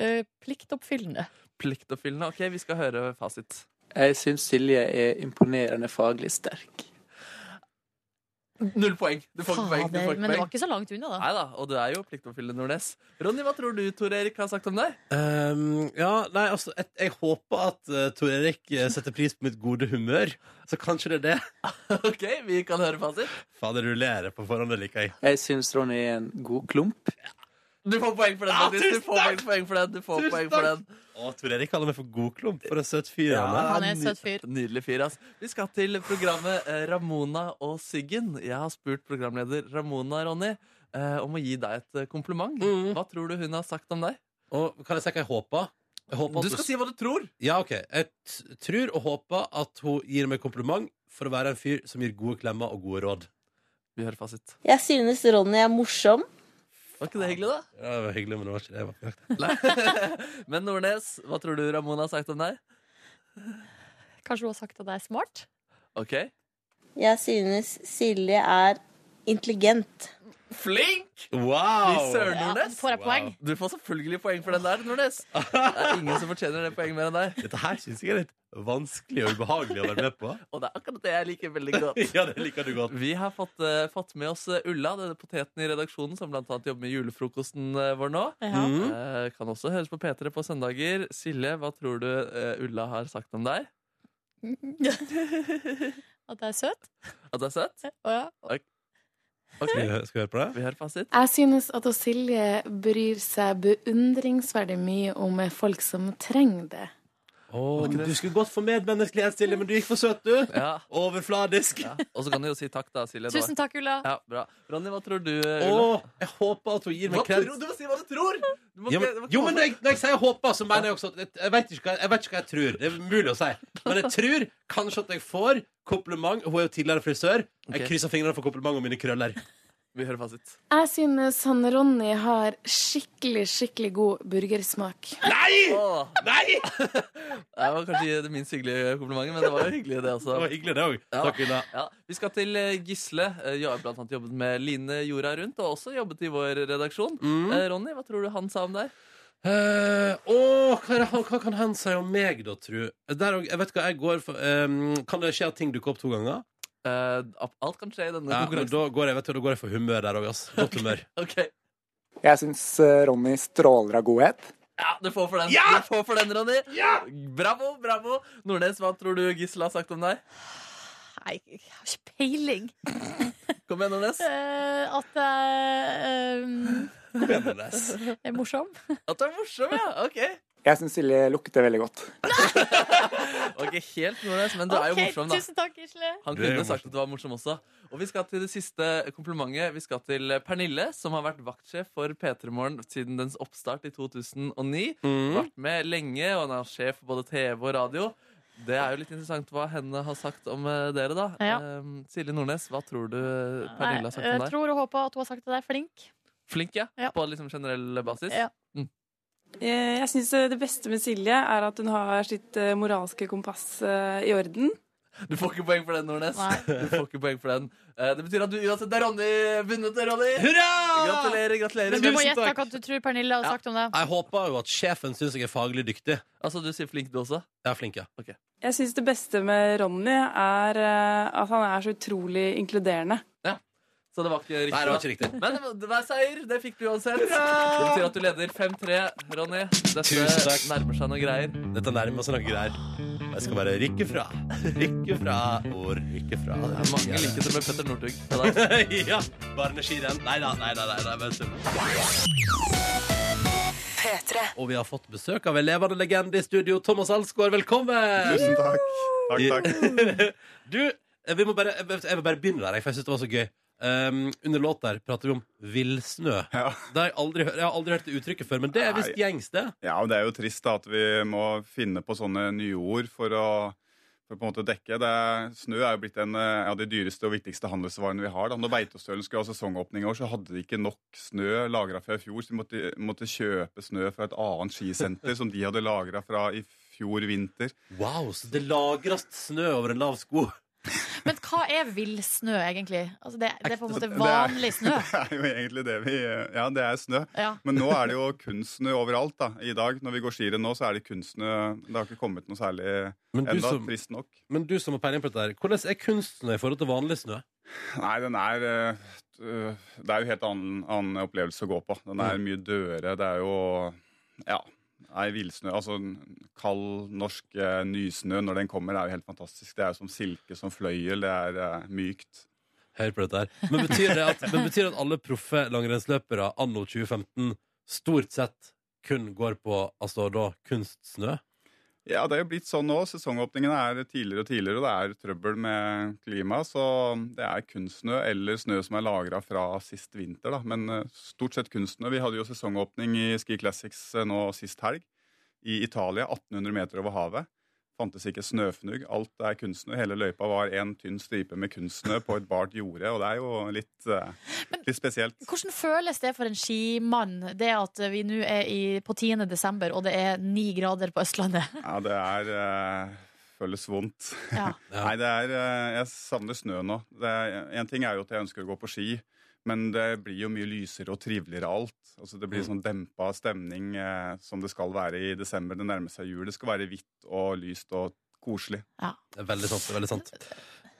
Speaker 5: eh, pliktoppfyllende.
Speaker 4: Pliktoppfyllende. Ok, vi skal høre fasit.
Speaker 7: Jeg syns Silje er imponerende faglig sterk.
Speaker 4: Null poeng. Du får ikke poeng. Du
Speaker 5: Fader,
Speaker 4: får
Speaker 5: men
Speaker 4: ikke
Speaker 5: det var
Speaker 4: poeng.
Speaker 5: ikke så langt unna, da.
Speaker 4: Nei da, og du er jo pliktoppfyllende, Nordnes. Ronny, hva tror du Tor Erik har sagt om deg?
Speaker 2: Um, ja, nei, altså, jeg, jeg håper at eh, Tor Erik eh, setter pris på mitt gode humør. Så kanskje det er det.
Speaker 4: Ok, vi kan høre fasit.
Speaker 2: Faen, det rullerer på forhånd, det liker jeg.
Speaker 7: Jeg syns Ronny er en god klump.
Speaker 4: Du får poeng for den,
Speaker 2: Ja,
Speaker 4: faktisk.
Speaker 2: tusen
Speaker 4: Du får poeng- poeng for den. Du får
Speaker 2: Tusen
Speaker 4: poeng for den.
Speaker 2: Å, Tor Erik kaller meg for godklump. For en søt fyr. han er.
Speaker 5: Han er en søt fyr.
Speaker 4: Nydelig fyr, ass. Vi skal til programmet eh, Ramona og Siggen. Jeg har spurt programleder Ramona, Ronny, eh, om å gi deg et eh, kompliment.
Speaker 2: Mm.
Speaker 4: Hva tror du hun har sagt om deg?
Speaker 2: Og kan jeg si hva jeg håper? Jeg håper at
Speaker 4: Du skal si hva du tror!
Speaker 2: Ja, ok. Jeg t tror og håper at hun gir meg kompliment for å være en fyr som gir gode klemmer og gode råd.
Speaker 4: Vi hører fasit.
Speaker 8: Jeg synes Ronny er morsom.
Speaker 4: Var ikke det hyggelig, da?
Speaker 2: Ja, det var hyggelig, men det var ikke det jeg var på jakt etter.
Speaker 4: Nei. Men Nordnes, hva tror du Ramona har sagt om deg?
Speaker 5: Kanskje hun har sagt at jeg er smart?
Speaker 4: Ok.
Speaker 8: Jeg synes Silje er intelligent.
Speaker 4: Flink! Fy
Speaker 2: Wow!
Speaker 4: søren,
Speaker 5: Ja,
Speaker 4: Nordnes.
Speaker 5: får jeg
Speaker 2: Wow.
Speaker 5: poeng?
Speaker 4: Du får selvfølgelig poeng for den der, Nordnes. Det er ingen som fortjener det poenget mer enn deg.
Speaker 2: Dette her syns jeg er litt vanskelig og ubehagelig å være med på.
Speaker 4: Og det er akkurat det jeg liker veldig godt.
Speaker 2: Ja, det liker du godt.
Speaker 4: Vi har fått, eh, fått med oss eh, Ulla, denne poteten i redaksjonen, som blant annet jobber med julefrokosten eh, vår nå.
Speaker 5: Ja.
Speaker 2: Mm.
Speaker 4: Eh, kan også høres på P3 på søndager. Silje, hva tror du eh, Ulla har sagt om deg?
Speaker 5: At jeg er søt?
Speaker 4: At du er søt?
Speaker 5: Å ja.
Speaker 4: Ok,
Speaker 2: Skal vi hø- skal vi høre på det?
Speaker 4: Vi hører fasit.
Speaker 9: Jeg synes at Silje bryr seg beundringsverdig mye om folk som trenger det.
Speaker 2: Å, men du skulle gått for medmenneskelighet, Silje, men du gikk for søt, du.
Speaker 4: Ja,
Speaker 2: Overfladisk.
Speaker 4: ja. Og så kan du jo si takk, da, Silje. Det var-
Speaker 5: Tusen takk, Ulla.
Speaker 4: Ja, bra. Ronny, hva tror du,
Speaker 2: Å,
Speaker 4: eh, Ulla?
Speaker 2: jeg håper at hun gir meg
Speaker 4: Hva tror,
Speaker 2: kreds.
Speaker 4: du må si hva du tror! Du må
Speaker 2: Ja,
Speaker 4: ikke- du
Speaker 2: men,
Speaker 4: må ikke
Speaker 2: jo, men
Speaker 4: holde-
Speaker 2: når jeg, når jeg sier håper, så mener jeg også at jeg, jeg, vet ikke hva, jeg vet ikke hva jeg tror. Det er umulig å si. Men jeg tror kanskje at jeg får kompliment. Hun er jo tidligere frisør. Jeg
Speaker 4: Ok.
Speaker 2: krysser fingrene for kompliment om mine krøller.
Speaker 4: Vi hører fasit.
Speaker 9: Jeg synes han Ronny har skikkelig, skikkelig god burgersmak.
Speaker 4: Åh,
Speaker 2: Nei!
Speaker 4: det var kanskje det minst hyggelige komplimentet, men det var jo hyggelig, det også.
Speaker 2: Det var hyggelig, det òg.
Speaker 4: Ja.
Speaker 2: Takk, Ulla.
Speaker 4: Ja, Vi skal til eh, Gisle. Eh, Jeg har blant annet jobbet med Line Jorda rundt, og også jobbet i vår redaksjon.
Speaker 2: Mm.
Speaker 4: Eh, Ronny, hva tror du han sa om deg?
Speaker 2: Eh, Å, hva, er det han- hva kan han si om meg, da, tru? Der, og- jeg vet hva jeg går for ehm, Kan det skje at ting dukker opp to ganger?
Speaker 4: Eh, alt kan skje i denne
Speaker 2: Ja, men
Speaker 4: konkurransen.
Speaker 2: da går jeg, vet du, da går jeg for humør der òg, ass. Godt humør.
Speaker 4: Ok.
Speaker 10: Jeg syns eh, Ronny stråler av godhet.
Speaker 4: Ja, du får for den, du får for den Ronny. Bravo, bravo. Nordnes, hva tror du Gisle har sagt om deg?
Speaker 5: Nei, jeg har ikke peiling.
Speaker 4: Kom igjen, Nordnes.
Speaker 5: Eh, at jeg
Speaker 2: Kom igjen, Nordnes.
Speaker 5: eh, er morsom.
Speaker 4: At du er morsom, ja. Ok.
Speaker 10: Jeg syns Silje lukter veldig godt.
Speaker 4: Ok, Helt Nordnes, men du er jo
Speaker 5: Ok,
Speaker 4: morsom, da.
Speaker 5: Tusen takk, Gisle.
Speaker 4: Han
Speaker 2: Du er jo
Speaker 4: kunne sagt at du var morsom også. Og vi skal til det siste komplimentet. Vi skal til Pernille, som har vært vaktsjef for P3 Morgen siden dens oppstart i 2009.
Speaker 2: Mm.
Speaker 4: Vært med lenge, og han er sjef for både TV og radio. Det er jo litt interessant hva henne har sagt om eh, dere, da.
Speaker 5: Ja.
Speaker 4: Eh, Silje Nordnes, hva tror du
Speaker 5: Nei,
Speaker 4: Pernille har sagt om
Speaker 5: jeg
Speaker 4: deg?
Speaker 5: tror og håper at hun har sagt at jeg er flink.
Speaker 4: Flink, ja?
Speaker 5: Ja.
Speaker 4: På liksom generell basis?
Speaker 5: Ja.
Speaker 9: Eh, Jeg synes det beste med Silje er at hun har sitt eh, moralske kompass eh, i orden.
Speaker 4: Du får ikke poeng for den, Nordnes.
Speaker 5: Nei.
Speaker 4: Du får ikke poeng for den. Eh, Det betyr at du uansett det er Ronny vunnet, det, Ronny!
Speaker 2: Hurra!
Speaker 4: Gratulerer, gratulerer.
Speaker 5: Men du må
Speaker 2: Tusen
Speaker 5: gjette
Speaker 2: takk.
Speaker 5: hva du tror Pernille har
Speaker 4: Ja.
Speaker 5: sagt om deg.
Speaker 2: Jeg håper jo at sjefen syns jeg er faglig dyktig.
Speaker 4: Altså, du sier flink, du også?
Speaker 2: Jeg er flink, ja.
Speaker 9: Jeg synes det beste med Ronny er eh, at han er så utrolig inkluderende.
Speaker 4: Så det var ikke riktig?
Speaker 2: Nei, det var
Speaker 4: da?
Speaker 2: ikke riktig.
Speaker 4: Men det var seier. Det fikk du uansett. Det betyr at du leder 5-3, Ronny.
Speaker 2: Tusen
Speaker 4: Dette
Speaker 2: takk.
Speaker 4: nærmer seg noen greier.
Speaker 2: Dette nærmer seg noen greier. Jeg skal bare rykke fra, rykke fra og rykke fra.
Speaker 4: Det er mange likheter med Petter Northug. til deg.
Speaker 2: ja, barneskirenn. Nei da, nei da. Nei, da, bare tull. Og vi har fått besøk av en levende legende i studio. Thomas Alsgaard, velkommen!
Speaker 11: Tusen takk. Takk, takk.
Speaker 2: Du, vi må bare, jeg vil bare begynne der, jeg, for jeg syns det var så gøy. Um, under låt der prater vi om villsnø.
Speaker 11: Ja.
Speaker 2: Det har jeg, aldri, hørt- jeg har aldri hørt det uttrykket før, men det er visst
Speaker 11: Nei.
Speaker 2: gjengs, det.
Speaker 11: ja, men det er jo trist da, at vi må finne på sånne nye ord for å for å på en måte å dekke. Det er, snø er jo blitt en eh, av de dyreste og viktigste handelsvarene vi har. Da når Beitostølen skulle ha sesongåpning i år, så hadde de ikke nok snø lagra fra i fjor, så de måtte, måtte kjøpe snø fra et annet skisenter som de hadde lagra fra i fjor vinter.
Speaker 2: Wow, så det lagres snø over en lav sko.
Speaker 5: Men hva er villsnø, egentlig? Altså det, det er på en måte
Speaker 11: Det er-
Speaker 5: vanlig snø.
Speaker 11: Det er jo egentlig det vi Ja, det er snø.
Speaker 5: Ja.
Speaker 11: Men nå er det jo kunstsnø overalt da, i dag. Når vi går skirenn nå, så er det kunstsnø. Det har ikke kommet noe særlig
Speaker 2: Men du
Speaker 11: enda,
Speaker 2: som-
Speaker 11: trist nok.
Speaker 2: Men du som har peiling på dette, her, hvordan er kunstsnø i forhold til vanlig snø?
Speaker 11: Nei, den er eh, øh, Det er jo helt annen, annen opplevelse å gå på. Den er mye dødere. Det er jo Ja. Nei, villsnø Altså n- kald norsk eh, nysnø når den kommer, er jo helt fantastisk. Det er som silke, som fløyel. Det er eh, mykt.
Speaker 2: Hør på dette her. Men betyr det at, men betyr det at alle proffe langrennsløpere anno 2015 stort sett kun går på altså da kunstsnø?
Speaker 11: Ja, det er jo blitt sånn nå. Sesongåpningene er tidligere og tidligere, og det er trøbbel med klimaet. Så det er kunstsnø eller snø som er lagra fra sist vinter, da. Men eh, stort sett kunstsnø. Vi hadde jo sesongåpning i Ski Classics eh, nå sist helg. I Italia, 1800 meter over havet. Fantes ikke snøfnugg. Alt er kunstsnø. Hele løypa var en tynn stripe med kunstsnø på et bart jorde, og det er jo litt, eh, litt spesielt.
Speaker 5: Hvordan føles det for en skimann, det at vi nå er i, på 10. desember, og det er ni grader på Østlandet?
Speaker 11: Ja, det er eh, Føles vondt. Nei, det er eh, Jeg savner snø nå. Det er- En ting er jo at jeg ønsker å gå på ski, men det blir jo mye lysere og triveligere alt. Altså Det blir sånn dempa stemning eh, som det skal være i desember. Det nærmer seg jul. Det skal være hvitt og lyst og koselig.
Speaker 2: Det er veldig sant. det er veldig sant.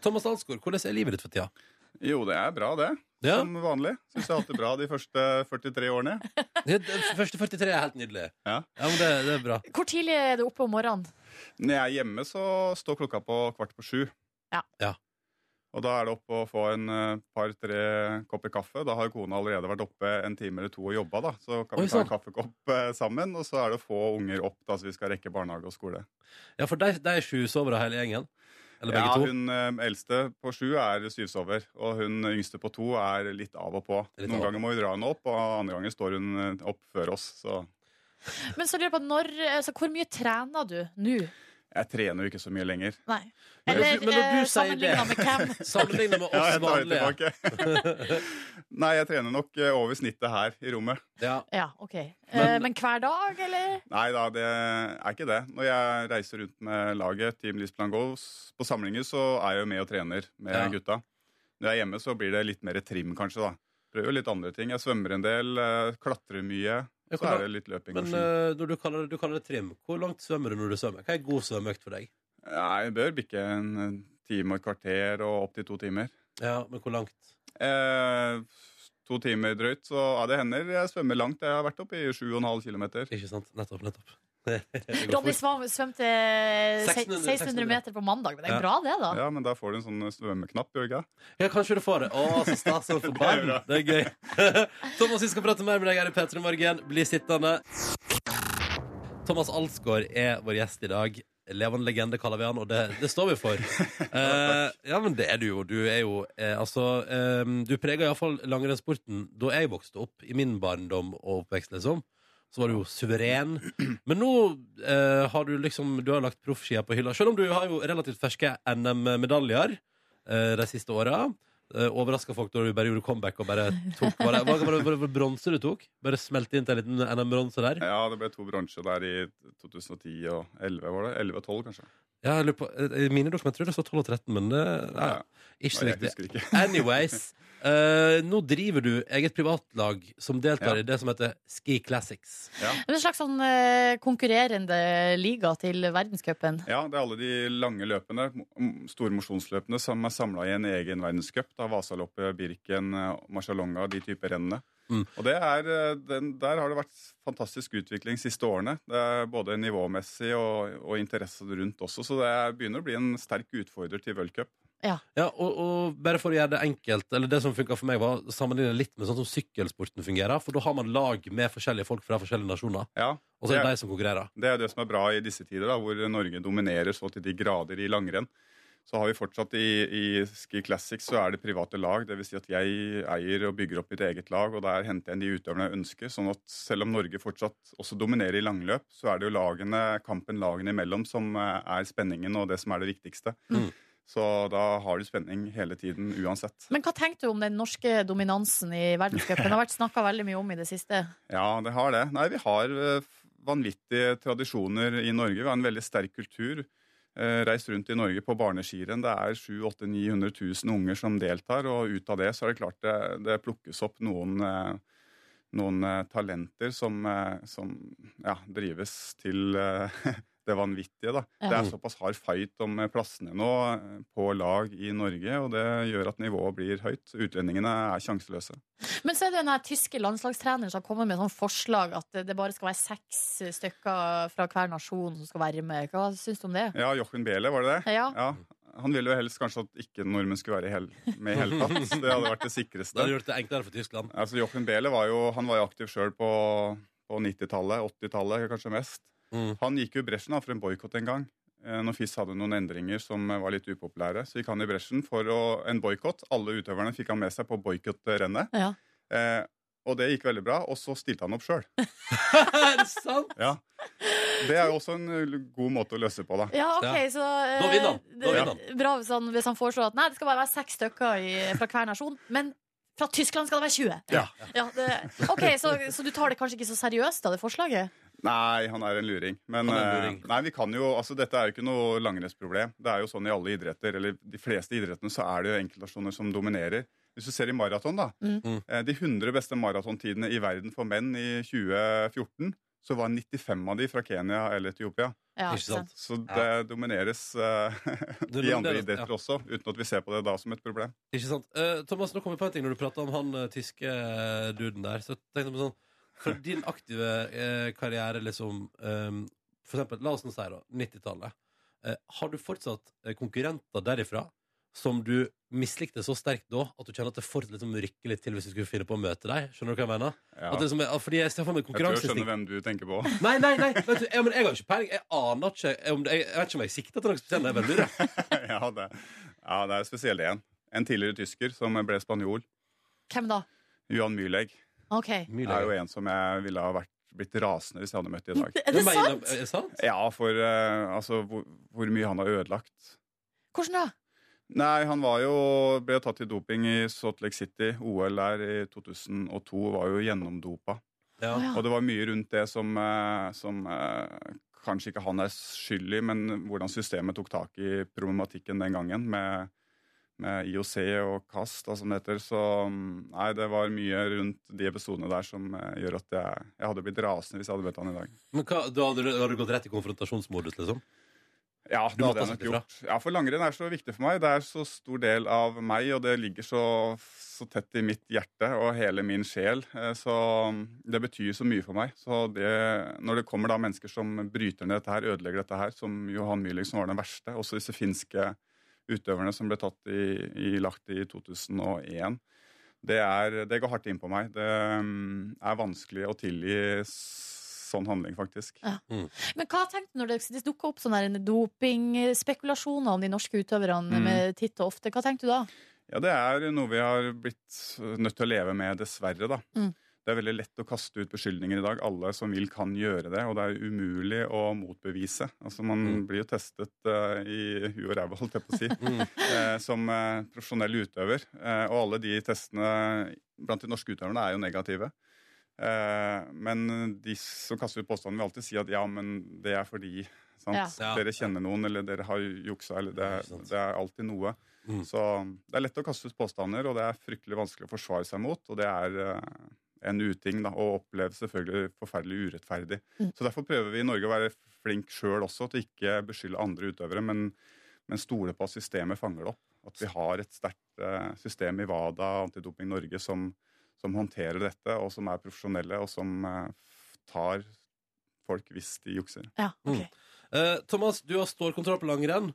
Speaker 2: Thomas Alsgaard, hvordan er livet ditt for tida?
Speaker 11: Jo, det er bra, det. Som vanlig. Syns jeg har hatt det bra de første 43 årene.
Speaker 2: De første 43 er helt nydelig.
Speaker 11: Ja,
Speaker 2: men det, det er bra.
Speaker 5: Hvor tidlig er du oppe om morgenen?
Speaker 11: Når jeg er hjemme, så står klokka på kvart på sju.
Speaker 5: Ja.
Speaker 2: Ja.
Speaker 11: Og da er det opp å få en eh, par-tre kopper kaffe. Da har kona allerede vært oppe en time eller to og jobba, da. Så kan
Speaker 2: Oi, sånn.
Speaker 11: vi ta en
Speaker 2: sant.
Speaker 11: kaffekopp eh, sammen. Og så er det å få unger opp, da, så vi skal rekke barnehage og skole.
Speaker 2: Ja, for de, de sju sover da hele gjengen? Eller begge
Speaker 11: ja,
Speaker 2: to?
Speaker 11: Hun eh, eldste på sju er syvsover, og hun yngste på to er litt av og på.
Speaker 2: Litt
Speaker 11: Noen
Speaker 2: av.
Speaker 11: ganger må vi dra henne opp, og andre ganger står hun eh, opp før oss. Så
Speaker 5: Men så lurer jeg på, når, altså, hvor mye trener du nå?
Speaker 11: jeg trener jo ikke så mye lenger.
Speaker 5: Nei.
Speaker 11: Men
Speaker 5: Eller
Speaker 11: når du- men når du
Speaker 5: eh,
Speaker 11: sier det-
Speaker 5: sammenlignet med hvem?
Speaker 2: Sammenlignet med
Speaker 11: Ja,
Speaker 2: oss
Speaker 11: jeg tar det
Speaker 2: vanlige.
Speaker 11: tilbake. Nei, jeg trener nok eh, over snittet her i rommet.
Speaker 5: Ja, ok. Eh,
Speaker 11: Men-
Speaker 5: Men hver dag, eller?
Speaker 11: Nei da, det er ikke det. Når jeg reiser rundt med laget, Team Lisplan Goals, på samlinger, så er jeg jo med og trener med
Speaker 2: Ja.
Speaker 11: gutta. Når jeg er hjemme, så blir det litt mer trim, kanskje, da. Prøver litt andre ting. Jeg svømmer en del, eh, klatrer mye.
Speaker 2: Ja,
Speaker 11: Så
Speaker 2: hvordan-
Speaker 11: er det litt løping
Speaker 2: Men
Speaker 11: og ski.
Speaker 2: eh, når du kaller, det, du kaller det trim, hvor langt svømmer du når du svømmer? Hva er god svømmeøkt for deg?
Speaker 11: Nei, jeg bør bikke en eh, time og et kvarter og opptil to timer.
Speaker 2: Ja, men hvor langt?
Speaker 11: Eh, to timer drøyt, så ja, det hender jeg svømmer langt. Jeg har vært oppe i 7,5 km.
Speaker 2: Ikke sant. Nettopp, nettopp.
Speaker 5: Ronny Svam svømte eh, se-
Speaker 11: 600,
Speaker 5: 1600 meter på mandag, men det er
Speaker 11: Ja.
Speaker 5: bra det, da.
Speaker 11: Ja, men da får du en sånn svømmeknapp, gjør du ikke?
Speaker 2: Ja, kanskje du får det. Å, så stas og for barn. Det er gøy. Thomas, vi skal prate mer med deg her i P3 Morgen. Bli sittende. Thomas Alsgaard er vår gjest i dag. Levende legende kaller vi han, og det, det står vi for. Eh, ja, men det er du jo. Du er jo eh, altså eh, Du prega iallfall langrennssporten da jeg vokste opp, i min barndom og oppvekst, liksom. Så var du jo suveren. Men nå eh, har du liksom Du har lagt proffskia på hylla. Selv om du har jo relativt ferske NM-medaljer eh, de siste åra. Uh, Overraska folk da du bare gjorde comeback og bare tok Var det, var det, var det, var det bronse du tok? Bare smelte inn til en liten NM-bronse der?
Speaker 11: Ja, det ble to bronser der i 2010 og 11, var det? 11 og 12, kanskje.
Speaker 2: Ja, jeg lurer på, eh, I mine dokumenter tror jeg det står 12 og 13, men det nei, ikke så
Speaker 11: Nei, jeg
Speaker 2: viktig.
Speaker 11: husker
Speaker 2: Anyways, eh, nå driver du eget privatlag som deltar
Speaker 11: Ja.
Speaker 2: i det som heter Ski Classics.
Speaker 5: Det er en slags sånn eh, konkurrerende liga til verdenscupen.
Speaker 11: Ja, det er alle de lange løpene, m- store mosjonsløpene, som er samla i en egen verdenscup. Da Vasaloppet, Birken, eh, Marcialonga, de typer rennene.
Speaker 2: Mm.
Speaker 11: Og det er, eh, den, Der har det vært fantastisk utvikling siste årene. Det er både nivåmessig og, og interesse rundt også, så det er, begynner å bli en sterk utfordrer til World Cup.
Speaker 5: Ja,
Speaker 2: og, og bare for å gjøre det enkelt, eller det som funka for meg, var å sammenligne litt med sånn som sykkelsporten fungerer. For da har man lag med forskjellige folk fra forskjellige nasjoner.
Speaker 11: Ja,
Speaker 2: Og så er
Speaker 11: det-
Speaker 2: det de som konkurrerer.
Speaker 11: Det er jo det som er bra i disse tider, da, hvor Norge dominerer så til de grader i langrenn. Så har vi fortsatt i, i Ski Classics så er det private lag. Dvs. Si at jeg eier og bygger opp mitt eget lag, og der henter jeg inn de utøverne jeg ønsker. Sånn at selv om Norge fortsatt også dominerer i langløp, så er det jo lagene, kampen lagene imellom som eh, er spenningen og det som er det viktigste. Så da har du spenning hele tiden uansett.
Speaker 5: Men hva tenkte du om den norske dominansen i verdenscupen? Det har vært snakka veldig mye om i det siste.
Speaker 11: Ja, det har det. Nei, vi har eh, vanvittige tradisjoner i Norge. Vi har en veldig sterk kultur. eh, reist rundt i Norge på barneskirenn. Det er 700 900 000 unger som deltar, og ut av det så er det klart det, det plukkes opp noen, eh, noen eh, talenter som, eh, som ja, drives til eh, det vanvittige. Da.
Speaker 12: Ja.
Speaker 11: Det er såpass hard fight om eh, plassene nå eh, på lag i Norge, og det gjør at nivået blir høyt. Utlendingene er sjanseløse.
Speaker 5: Men så er det den her tyske landslagstreneren som kommer med sånn forslag at det bare skal være seks stykker fra hver nasjon som skal være med. Hva syns du om det?
Speaker 11: Ja, Jochen Behle, var det det?
Speaker 5: Ja.
Speaker 11: Han ville jo helst kanskje at ikke nordmenn skulle være i hel, med i hele tatt. Det hadde vært det sikreste.
Speaker 2: Det hadde gjort det enklere for Tyskland.
Speaker 11: Altså, Jochen Behle var jo, han var jo aktiv sjøl på, på 90-tallet, 80-tallet kanskje mest. Han gikk jo i bresjen da, for en boikott en gang. Eh, Når FIS hadde noen endringer som eh, var litt upopulære, så gikk han i bresjen for å, en boikott. Alle utøverne fikk han med seg på boikottrennet.
Speaker 5: Ja.
Speaker 11: Eh, og det gikk veldig bra, og så stilte han opp sjøl.
Speaker 2: er det sant?
Speaker 11: Ja. Det er jo også en eh, god måte å løse på, da.
Speaker 5: Ja, ok, så eh,
Speaker 11: Da vinner han. Da
Speaker 5: det-
Speaker 11: vinner han.
Speaker 5: Bra hvis han, hvis han foreslår at nei, det skal bare være seks stykker i, fra hver nasjon, men fra Tyskland skal det være 20.
Speaker 11: Ja.
Speaker 5: Ja, det, ok, så, så du tar det kanskje ikke så seriøst, da, det forslaget?
Speaker 11: Nei, han er en luring. Men
Speaker 2: Han er en
Speaker 11: eh,
Speaker 2: luring.
Speaker 11: Nei, vi kan jo, altså, dette er jo ikke noe langrennsproblem. Det er jo sånn i alle idretter, eller de fleste idrettene, så er det jo enkeltnasjoner som dominerer. Hvis du ser i maraton, da.
Speaker 2: Mm.
Speaker 11: eh, De 100 beste maratontidene i verden for menn i 2014, så var 95 av de fra Kenya eller Etiopia.
Speaker 12: Ja, Ikke sant? sant.
Speaker 11: Så det domineres eh, i andre
Speaker 2: domineres,
Speaker 11: idretter også, uten at vi ser på det da som et problem.
Speaker 2: Ikke sant? Eh, Thomas, nå kom jeg på en ting når du pratet om han eh, tyske eh, duden der. Så jeg tenkte på sånn For din aktive eh, karriere, liksom eh, For eksempel, la oss nå si da, 90-tallet. Eh, har du fortsatt eh, konkurrenter derifra som du mislikte så sterkt da at du kjenner at det fortsatt liksom rykker litt til hvis du skulle finne på å møte deg? Skjønner du hva jeg mener?
Speaker 11: Ja.
Speaker 2: At det liksom, er- ah, fordi jeg ser for meg
Speaker 11: Jeg tror jeg skjønner
Speaker 2: konkurranseinstinkt.
Speaker 11: hvem du tenker på.
Speaker 2: Nei, nei, nei! Vet du, jeg, men jeg har ikke peiling. Jeg aner ikke om det, jeg, jeg vet ikke om jeg sikter til noe spesielt. Jeg bare lurer.
Speaker 11: ja, det, ja, det er spesielt én. En tidligere tysker som ble spanjol.
Speaker 5: Hvem da?
Speaker 11: Johan Mühlegg.
Speaker 5: Ok.
Speaker 11: Det er jo en som jeg ville ha vært, blitt rasende hvis jeg hadde møtt i dag.
Speaker 5: Er det sant? Er det
Speaker 11: Ja, for eh, altså, hvor, hvor mye han har ødelagt.
Speaker 5: Hvordan da?
Speaker 11: Nei, han var jo, ble tatt i doping i Salt Lake City. OL der i 2002 var jo gjennomdopa.
Speaker 2: Ja.
Speaker 11: Og det var mye rundt det som, eh, som eh, kanskje ikke han er skyld i, men hvordan systemet tok tak i problematikken den gangen med, med IOC og KAST og sånn heter. Så mm, nei, det var mye rundt de episodene der som eh, gjør at jeg, jeg hadde blitt rasende hvis jeg hadde møtt han i dag.
Speaker 2: Men hva, da hadde du, hadde du gått rett i konfrontasjonsmodus, liksom?
Speaker 11: Ja,
Speaker 2: Du
Speaker 11: det
Speaker 2: måtte
Speaker 11: hadde jeg
Speaker 2: ha
Speaker 11: nok
Speaker 2: sagt ifra.
Speaker 11: gjort. Ja, for langrenn er så viktig for meg. Det er så stor del av meg, og det ligger så, så tett i mitt hjerte og hele min sjel. Eh, Så det betyr så mye for meg. Så det, når det kommer da mennesker som bryter ned dette her, ødelegger dette her, som Johan Mühlig, som var den verste, også disse finske utøverne som ble tatt i, i lagt i 2001, det, er, det går hardt inn på meg. Det mm, er vanskelig å tilgi s- sånn handling, faktisk.
Speaker 5: Men hva tenkte du når det, det dukka opp sånn sånne her dopingspekulasjoner om de norske utøverne
Speaker 11: Mm.
Speaker 5: med titt og ofte? Hva tenkte du da?
Speaker 11: Ja, det er noe vi har blitt eh, nødt til å leve med, dessverre, da.
Speaker 5: Mm.
Speaker 11: Det er veldig lett å kaste ut beskyldninger i dag. Alle som vil, kan gjøre det. Og det er umulig å motbevise. Altså, Man blir jo testet eh, i huet og ræva, holdt jeg på å si, eh, som eh, profesjonell utøver. Eh, og alle de testene blant de norske utøverne er jo negative. Eh, men de som kaster ut påstanden, vil alltid si at ja, men det er fordi sant?
Speaker 12: Ja. Ja.
Speaker 11: Dere kjenner noen, eller dere har juksa, eller det, er- det er alltid noe. Så det er lett å kaste ut påstander, og det er fryktelig vanskelig å forsvare seg mot. Og det er eh, en uting, da, og oppleves selvfølgelig forferdelig urettferdig. Så derfor prøver vi i Norge å være flink sjøl også, til ikke å beskylde andre utøvere, men, men stole på at systemet fanger det opp. At vi har et sterkt eh, system i WADA, Antidoping Norge, som, som håndterer dette, og som er profesjonelle, og som eh, f- tar folk hvis de jukser.
Speaker 2: Mm. Eh, Thomas, du har stålkontroll på langrenn.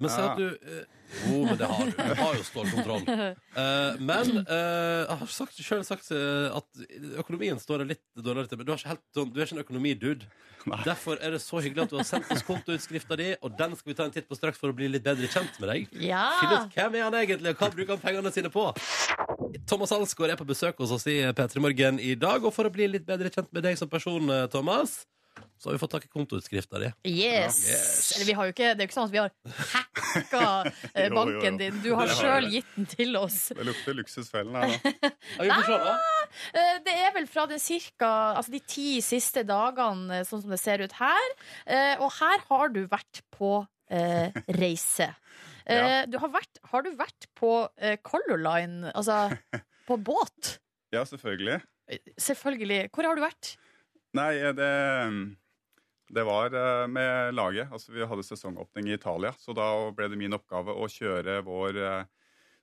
Speaker 2: Men si
Speaker 11: Ja.
Speaker 2: at du eh, Jo, men det har du. Du har jo stålkontroll. Eh, men eh, jeg har sagt, selv sagt eh, at økonomien står deg litt dårligere til. Men du, har ikke helt, sånn- du er ikke en økonomidude. Derfor er det så hyggelig at du har sendt oss kontoutskrifta di, og den skal vi ta en titt på straks for å bli litt bedre kjent med deg.
Speaker 12: Ja.
Speaker 5: Ah.
Speaker 2: Finne ut hvem er han egentlig, og hva bruker han pengene sine på? Thomas Alsgaard er på besøk hos oss i P3 Morgen i dag, og for å bli litt bedre kjent med deg som person, eh, Thomas, så har vi fått tak i kontoutskrifta di.
Speaker 5: Yes.
Speaker 2: Ja. Yes.
Speaker 5: Eller vi har jo ikke, det er jo ikke sånn at vi har hacka eh,
Speaker 11: Jo, jo, jo.
Speaker 5: banken din. Du har
Speaker 11: Det har
Speaker 5: sjøl
Speaker 11: vi.
Speaker 5: gitt den til oss.
Speaker 11: Det lukter luksusfellen her, da.
Speaker 5: Eh, Det er vel fra den cirka, altså de ti siste dagene, eh, sånn som det ser ut her. Eh, Og her har du vært på eh, eh, reise. Eh, du har, vært, har du vært på eh, Color Line, altså på båt?
Speaker 11: Ja, selvfølgelig.
Speaker 5: Selvfølgelig. Hvor har du vært?
Speaker 11: Nei, det, det var eh, med laget. Altså, vi hadde sesongåpning i Italia, så da ble det min oppgave å kjøre vår eh,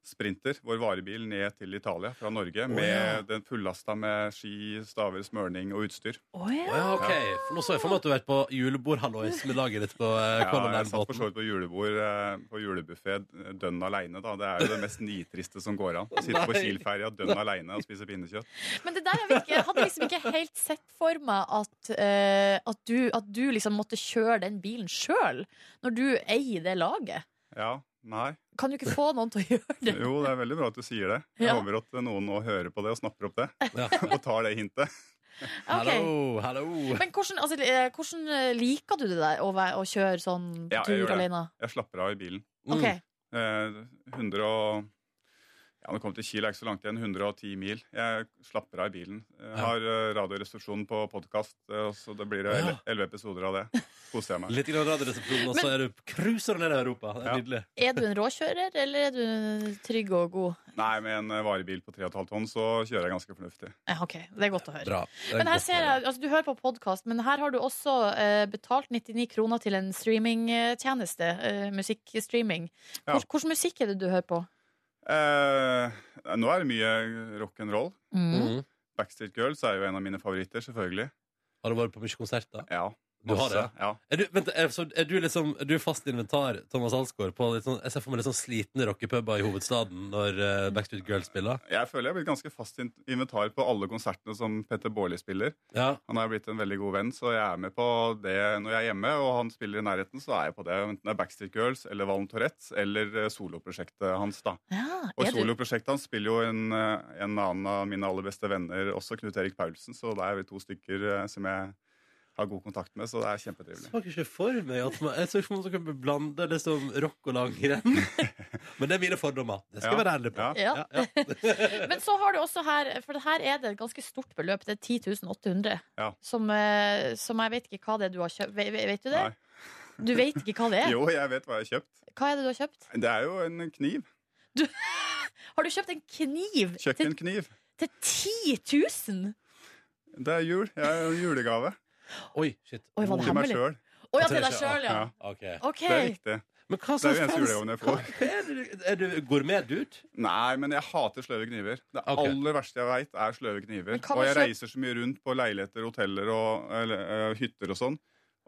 Speaker 11: sprinter, vår varebil, ned til Italia fra Norge
Speaker 2: Å,
Speaker 11: med
Speaker 2: ja.
Speaker 11: den fullasta med ski, staver, smørning og utstyr.
Speaker 2: Å ja, ok. For nå så jeg for meg at du har vært på julebordhallois med laget ditt på eh,
Speaker 11: Ja,
Speaker 2: Color
Speaker 11: jeg satt for
Speaker 2: Line-båten.
Speaker 11: så vidt på julebord eh, på julebuffé dønn aleine, da. Det er jo det mest nitriste som går an. Sitte på
Speaker 2: Nei.
Speaker 11: Kiel-ferja dønn aleine og spise pinnekjøtt.
Speaker 5: Men det der jeg, vet ikke, jeg hadde liksom ikke helt sett for meg at, eh, at, du, at du liksom måtte kjøre den bilen sjøl, når du eier det laget.
Speaker 11: Ja, nei.
Speaker 5: Kan du ikke få noen til å gjøre det?
Speaker 11: Jo, det er veldig bra at du sier det. Jeg
Speaker 5: Ja.
Speaker 11: håper at noen nå hører på det og snapper opp det. Og tar det hintet.
Speaker 5: Ok. Hallo, Men hvordan, altså, eh, hvordan eh, liker du det der, å, være, å kjøre sånn på
Speaker 11: Ja, jeg
Speaker 5: tur
Speaker 11: gjør det. Mm.
Speaker 5: alene?
Speaker 11: Jeg slapper av i bilen.
Speaker 5: Ok.
Speaker 2: Mm.
Speaker 11: Eh, 100 og ja, Nå kom til Kiel, det er ikke så langt igjen. 110 mil. Jeg slapper av i bilen. Jeg har eh, Radioresepsjonen på podkast, så det blir
Speaker 2: Ja.
Speaker 11: elleve episoder av det. Koser jeg meg.
Speaker 2: Litt grann radioresepsjon, og så er du cruiser ned i Europa. Det er nydelig.
Speaker 5: Er du en råkjører, eller er du trygg og god?
Speaker 11: Nei, med en eh, varebil på 3,5 tonn så kjører jeg ganske fornuftig.
Speaker 5: Ja, ok, Det er godt å høre.
Speaker 11: Bra.
Speaker 5: Men her ser jeg, altså Du hører på podkast, men her har du også eh, betalt 99 kroner til en streamingtjeneste. Eh, musikkstreaming.
Speaker 11: Ja.
Speaker 5: Hvor, Hvilken musikk er det du hører på?
Speaker 11: Eh, nå er det mye rock'n'roll. Mm.
Speaker 4: Mm.
Speaker 5: Mhm.
Speaker 11: Backstreet Girls er jo en av mine favoritter, selvfølgelig.
Speaker 2: Har du vært på mye konserter?
Speaker 11: Ja.
Speaker 2: Du har det?
Speaker 11: masse, Ja.
Speaker 2: Er du, vent, er, så er du liksom er du fast inventar, Thomas Alsgaard, på litt sånn, jeg ser for meg litt sånn slitne rockepuber i hovedstaden når eh, Backstreet Girls spiller?
Speaker 11: Jeg føler jeg har blitt ganske fast in- inventar på alle konsertene som Petter Baarli spiller. Han er blitt en veldig god venn, så jeg er med på det når jeg er hjemme. Og han spiller i nærheten, så er jeg på det. Enten det er Backstreet Girls eller Valen Tourettes eller eh, soloprosjektet hans, da. Og i
Speaker 5: er du-
Speaker 11: soloprosjektet hans spiller jo en, eh, en annen av mine aller beste venner også, Knut Erik Paulsen, så da er vi to stykker eh, som jeg har god kontakt med, så det er kjempetrivelig.
Speaker 2: Jeg har ikke for meg at man, Jeg så ikke om man kan blande liksom rock og langrenn. Men det er mine fordommer. Det skal jeg
Speaker 11: Ja.
Speaker 2: være ærlig på.
Speaker 5: Ja. Men så har du også her, for det her er det et ganske stort beløp. Det er 10.800
Speaker 11: Ja.
Speaker 5: Som, eh, som jeg vet ikke hva det er du har kjøpt. Vet, vet du det? Du vet ikke hva det er?
Speaker 11: Jo, jeg vet hva jeg har kjøpt.
Speaker 5: Hva er det du har kjøpt?
Speaker 11: Det er jo en kniv.
Speaker 5: Har du kjøpt en kniv
Speaker 11: Kjøkkenkniv.
Speaker 5: til 10 000?
Speaker 11: Det er jul. Jeg er en julegave.
Speaker 2: Oi, shit.
Speaker 5: Oi, var det
Speaker 11: Til meg
Speaker 5: hemmelig?
Speaker 11: sjøl.
Speaker 5: Å, ja, til deg selv, ja. Ok.
Speaker 11: Det er riktig.
Speaker 2: Men hva
Speaker 11: det er
Speaker 2: slags
Speaker 11: jo eneste
Speaker 2: fans-
Speaker 11: julegaven jeg får.
Speaker 2: Er du gourmet-dude?
Speaker 11: Nei, men jeg hater sløve kniver. Det aller verste jeg veit, er sløve kniver.
Speaker 2: Men kan
Speaker 11: Og
Speaker 2: man
Speaker 11: jeg
Speaker 2: kjøpe-
Speaker 11: reiser så mye rundt på leiligheter, hoteller og eller, eh, hytter og sånn.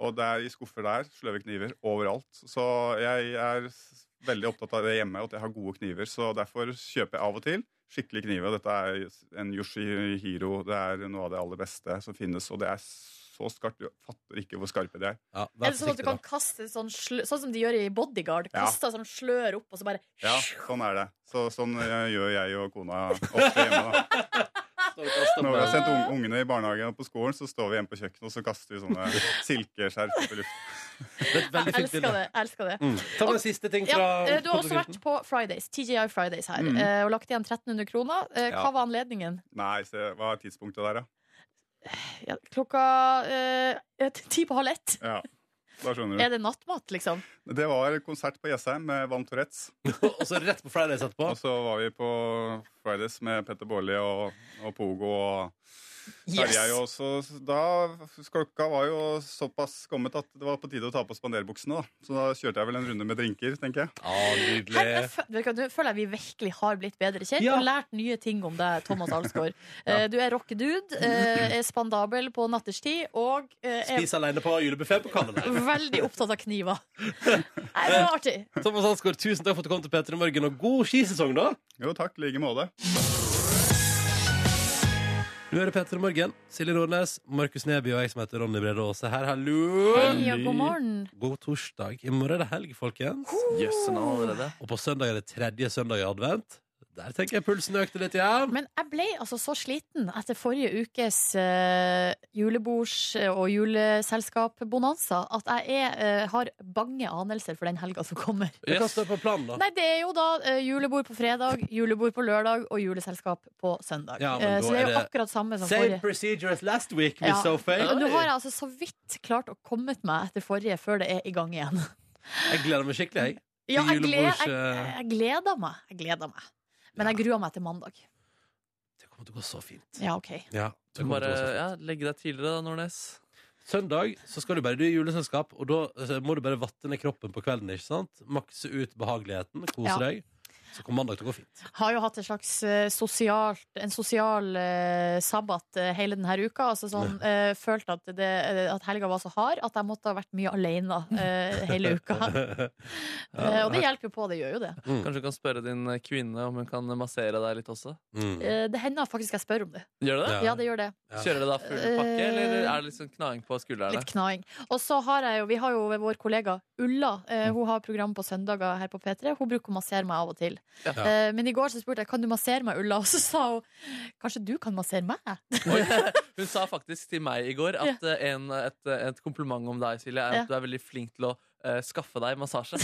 Speaker 11: Og det er i skuffer der sløve kniver overalt. Så jeg er s- veldig opptatt av det hjemme, og at jeg har gode kniver. Så derfor kjøper jeg av og til skikkelig kniv. Og dette er en Yoshihiro. Det er noe av det aller beste som finnes. Og det er så skarpt. Du fatter ikke hvor skarpe de er.
Speaker 5: Er det sånn at du kan kaste sånn slør, sånn som de gjør i Bodyguard?
Speaker 11: Ja.
Speaker 5: Kaster sånn slør opp, og så bare
Speaker 11: Ja, sånn er det. Så, sånn eh, gjør jeg og kona ofte hjemme. da. Når vi har sendt ung- ungene i barnehagen og på skolen, så står vi hjemme på kjøkkenet og så kaster vi sånne silkeskjerf opp i luften.
Speaker 5: Jeg elsker det. jeg elsker det
Speaker 11: Mm. Ta med
Speaker 5: Og-
Speaker 11: en siste ting
Speaker 5: ja,
Speaker 11: fra
Speaker 5: eh, Du har også vært
Speaker 11: fotokunsten.
Speaker 5: på Fridays, TGI Fridays her
Speaker 11: Mm.
Speaker 5: eh, og lagt igjen 1300 kroner. Eh, Hva
Speaker 11: Ja.
Speaker 5: var anledningen?
Speaker 11: Nei, se, hva er tidspunktet der, da?
Speaker 5: Klokka eh, ti på halv ett.
Speaker 11: Ja, da skjønner
Speaker 5: Er
Speaker 11: du.
Speaker 5: det nattmat, liksom?
Speaker 11: Det var konsert på Jessheim med Van Tourettes.
Speaker 2: og så rett på Fridays etterpå?
Speaker 11: Og så var vi på Fridays med Petter Baarli og, og Pogo og så er
Speaker 2: Yes!
Speaker 11: Jeg også, da, klokka var jo såpass kommet at det var på tide å ta på spanderbuksene. Da. Så da kjørte jeg vel en runde med drinker, tenker jeg.
Speaker 5: Her, jeg fø- vet du hva, nå føler jeg vi virkelig har blitt bedre kjent og lært nye ting om deg, Thomas Alsgaard. Eh, Du er rockedude, eh, er spandabel på natterstid og eh, er
Speaker 2: Spis alene på julebuffé på Canada.
Speaker 5: veldig opptatt av kniver. Nei, det var artig.
Speaker 2: Thomas Hansgaard, tusen takk for at du kom til P3 Morgen, og god skisesong, da!
Speaker 11: Jo, takk. I like måte.
Speaker 2: Du hører P3 Morgen. Silje Nordnes, Markus Neby og jeg som heter Ronny Brede Aase her. Hallo!
Speaker 5: Hei, og god morgen.
Speaker 2: God torsdag. I morgen er det helg, folkens.
Speaker 4: Jøsse navn allerede.
Speaker 2: Og på søndag er det tredje søndag i advent. Der tenker jeg pulsen økte litt, ja.
Speaker 5: Men jeg ble altså så sliten etter forrige ukes eh, julebords- eh, og juleselskap-bonanza at jeg er, eh, har bange anelser for den helga som kommer.
Speaker 2: Men Hva står på planen, da?
Speaker 5: Nei, det er jo da eh, julebord på fredag, julebord på lørdag og juleselskap på søndag.
Speaker 2: Ja, men
Speaker 5: Eh,
Speaker 2: da
Speaker 5: så det
Speaker 2: er
Speaker 5: er jo
Speaker 2: det-
Speaker 5: akkurat samme som
Speaker 2: Same eh?
Speaker 5: forrige.
Speaker 2: procedure as last week,
Speaker 5: Ja.
Speaker 2: Miss Sophie.
Speaker 5: Nå har jeg altså så vidt klart å komme meg etter forrige før det er i gang igjen.
Speaker 2: Jeg gleder meg skikkelig, jeg. Til
Speaker 5: Ja, jeg, gled,
Speaker 2: julebords,
Speaker 5: jeg,
Speaker 2: eh,
Speaker 5: jeg gleder meg. Jeg gleder meg. Men jeg gruer meg til mandag.
Speaker 2: kommer til å gå så fint.
Speaker 5: Ja, OK.
Speaker 2: Ja,
Speaker 4: Du må bare ja, legge deg tidligere, da, Nordnes.
Speaker 2: Søndag så skal du bare du er i juleselskap, og da eh, må du bare vatte ned kroppen på kvelden. ikke sant? Makse ut behageligheten, kose
Speaker 5: Ja.
Speaker 2: deg. Så kommer mandag til å gå fint.
Speaker 5: Har jo hatt et slags eh, sosialt, en sosial eh, sabbat eh, hele denne uka. Altså sånn, eh, følt at, det, eh, at helga var så hard at jeg måtte ha vært mye alene eh, hele uka. Eh, og det hjelper jo på, det gjør jo det.
Speaker 4: Kanskje du kan spørre din kvinne om hun kan massere deg litt også?
Speaker 2: Mm.
Speaker 5: Eh, det hender faktisk jeg spør om det.
Speaker 4: Gjør det det?
Speaker 5: Ja, det gjør det.
Speaker 4: Kjører du da full pakke,
Speaker 5: Eh,
Speaker 4: eller er det litt sånn knaing på skuldrene?
Speaker 5: Litt knaing. Og så har jeg jo, vi har jo vår kollega Ulla. Eh, hun har program på søndager her på P3. Hun bruker å massere meg av og til.
Speaker 4: Ja.
Speaker 5: Eh, men i går så spurte jeg kan du massere meg, Ulla, og så sa hun kanskje du kan massere meg?
Speaker 4: Hun sa faktisk til meg i går at eh, en, et, et kompliment om deg, Silje, er
Speaker 5: Ja.
Speaker 4: at du er veldig flink til å eh, skaffe deg massasje.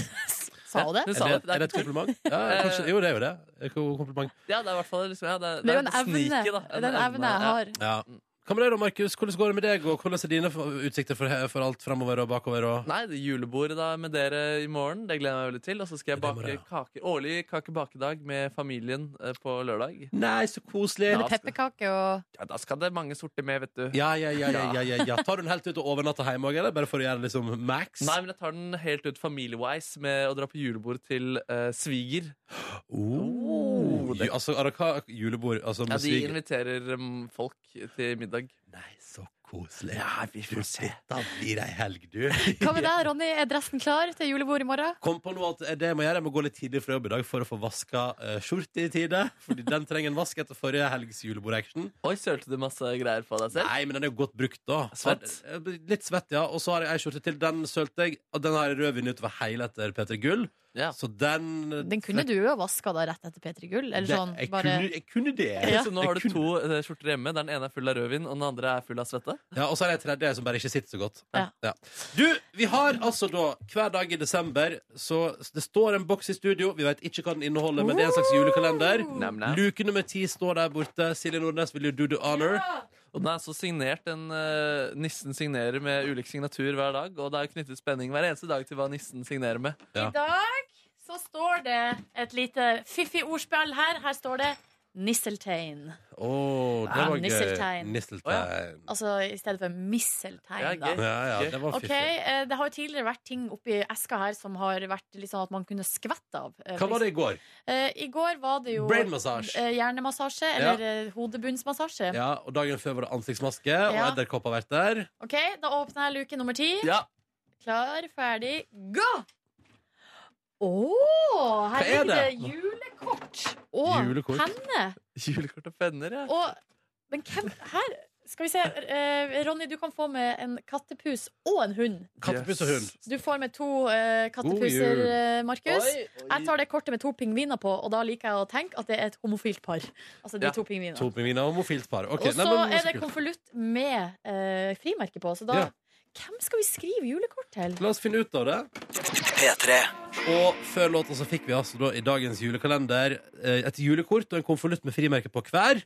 Speaker 5: Sa hun det?
Speaker 4: Ja, hun sa
Speaker 2: Er det,
Speaker 4: det.
Speaker 2: er det et kompliment? Ja, kanskje, jo, det er jo det. Det er jo et kompliment.
Speaker 4: Ja, det er i hvert fall liksom, ja, det,
Speaker 5: Det er jo en
Speaker 4: det
Speaker 5: evne.
Speaker 4: sneaky, da.
Speaker 5: Det er en evne jeg
Speaker 4: ja.
Speaker 5: har.
Speaker 2: Ja. Hva med deg da, Markus? Hvordan går det med deg, og hvordan er dine for- utsikter for, for alt fremover og bakover? Og...
Speaker 4: Nei, det er julebord da med dere i morgen. Det gleder jeg meg veldig til. Og så skal jeg
Speaker 2: Det må
Speaker 4: bake kaker. Årlig kakebakedag med familien eh, på lørdag.
Speaker 2: Nei, så koselig!
Speaker 5: Eller pepperkake og
Speaker 4: Ja, da skal det mange sorter med, vet du.
Speaker 2: Ja, ja, ja, ja, ja, ja, ja. Tar du den helt ut og overnatter hjemme òg, eller? Bare for å gjøre det liksom max?
Speaker 4: Nei, men jeg tar den helt ut familiewise med å dra på julebord til eh, sviger.
Speaker 2: Oh, ju, altså, araka, julebord altså,
Speaker 4: Ja,
Speaker 2: med
Speaker 4: de
Speaker 2: sviger.
Speaker 4: inviterer em, folk til middag.
Speaker 2: Nei, så koselig. Ja, vi får se. Da blir det helg, du.
Speaker 5: Hva med deg, Ronny? Er dressen klar til julebord i morgen?
Speaker 2: Kom på noe at eh, det jeg må gjøre, jeg må gå litt tidlig fra jobb i dag for å få vaska uh, skjorte i tide. Fordi den trenger en vask etter forrige helgs julebordaction.
Speaker 4: Oi, sølte du masse greier på deg selv?
Speaker 2: Nei, men den er jo godt brukt, da.
Speaker 4: Svett?
Speaker 2: Jeg blir Litt svett, ja. Og så har jeg ei skjorte til. Den sølte jeg. Og den har jeg rødvin utover hele etter Peter Gull. Så den eh,
Speaker 5: Den kunne du jo ha vaska da rett etter P3 Gull. Eller sånn,
Speaker 2: jeg,
Speaker 5: bare
Speaker 2: kunne, jeg kunne det.
Speaker 4: Så nå har du to eh, skjorter hjemme. Den ene er full av rødvin, og den andre er full av svette.
Speaker 2: Ja, Og så er det en tredje som bare ikke sitter så godt. Ja. Du, vi har altså da hver dag i desember Så det står en boks i studio. Vi vet ikke hva den inneholder, men det er en slags julekalender.
Speaker 4: Nam, nam.
Speaker 2: Luke nummer ti står der borte. Silje Nordnes, vil you do the honor?
Speaker 4: Og den er så signert, den eh, nissen signerer med ulik signatur hver dag, og det er knyttet spenning hver eneste dag til hva nissen signerer med.
Speaker 5: I dag så står det et lite fiffig ordspill her. Her står det Nisseltein.
Speaker 2: Å, det
Speaker 5: Ja,
Speaker 2: var gøy.
Speaker 5: Ah, nisseltegn.
Speaker 2: Nisseltegn.
Speaker 5: Altså i stedet for misseltein, da.
Speaker 2: Ja, ja, det var
Speaker 5: Ok,
Speaker 2: fiffig.
Speaker 5: eh, Det har jo tidligere vært ting oppi eska her som har vært litt sånn at man kunne skvette av. Eh,
Speaker 2: Hva var det i går?
Speaker 5: Eh, I går var det jo
Speaker 2: Brain massage.
Speaker 5: eh, Hjernemassasje,
Speaker 2: Ja.
Speaker 5: eller eh, hodebunnsmassasje.
Speaker 2: Ja, og Dagen før var det ansiktsmaske, og
Speaker 5: Ja.
Speaker 2: edderkopp har vært der.
Speaker 5: Ok, Da åpner jeg luke nummer ti.
Speaker 2: Ja.
Speaker 5: Klar, ferdig, gå! Å,
Speaker 4: Hva
Speaker 5: her
Speaker 4: er
Speaker 5: ligger det
Speaker 4: det?
Speaker 5: julekort og
Speaker 4: Julekort.
Speaker 5: penne.
Speaker 4: Julekort og penner, ja.
Speaker 5: Og, men hvem her Skal vi se. eh, Ronny, du kan få med en kattepus og en hund.
Speaker 2: Kattepus og hund.
Speaker 5: Du får med to eh,
Speaker 2: God
Speaker 5: kattepuser,
Speaker 2: jul.
Speaker 5: eh, Markus.
Speaker 2: Oi, oi.
Speaker 5: Jeg tar det kortet med to pingviner på, og da liker jeg å tenke at det er et homofilt par. Altså de
Speaker 2: Ja,
Speaker 5: to pingvinene.
Speaker 2: To pingviner og homofilt par. Ok,
Speaker 5: og
Speaker 2: nei,
Speaker 5: så
Speaker 2: men-
Speaker 5: er det konvolutt med eh, frimerke på, så da
Speaker 2: Ja.
Speaker 5: Hvem skal vi skrive julekort til?
Speaker 2: La oss finne ut av det. Og før låta så fikk vi altså da i dagens julekalender eh, et julekort og en konvolutt med frimerke på hver.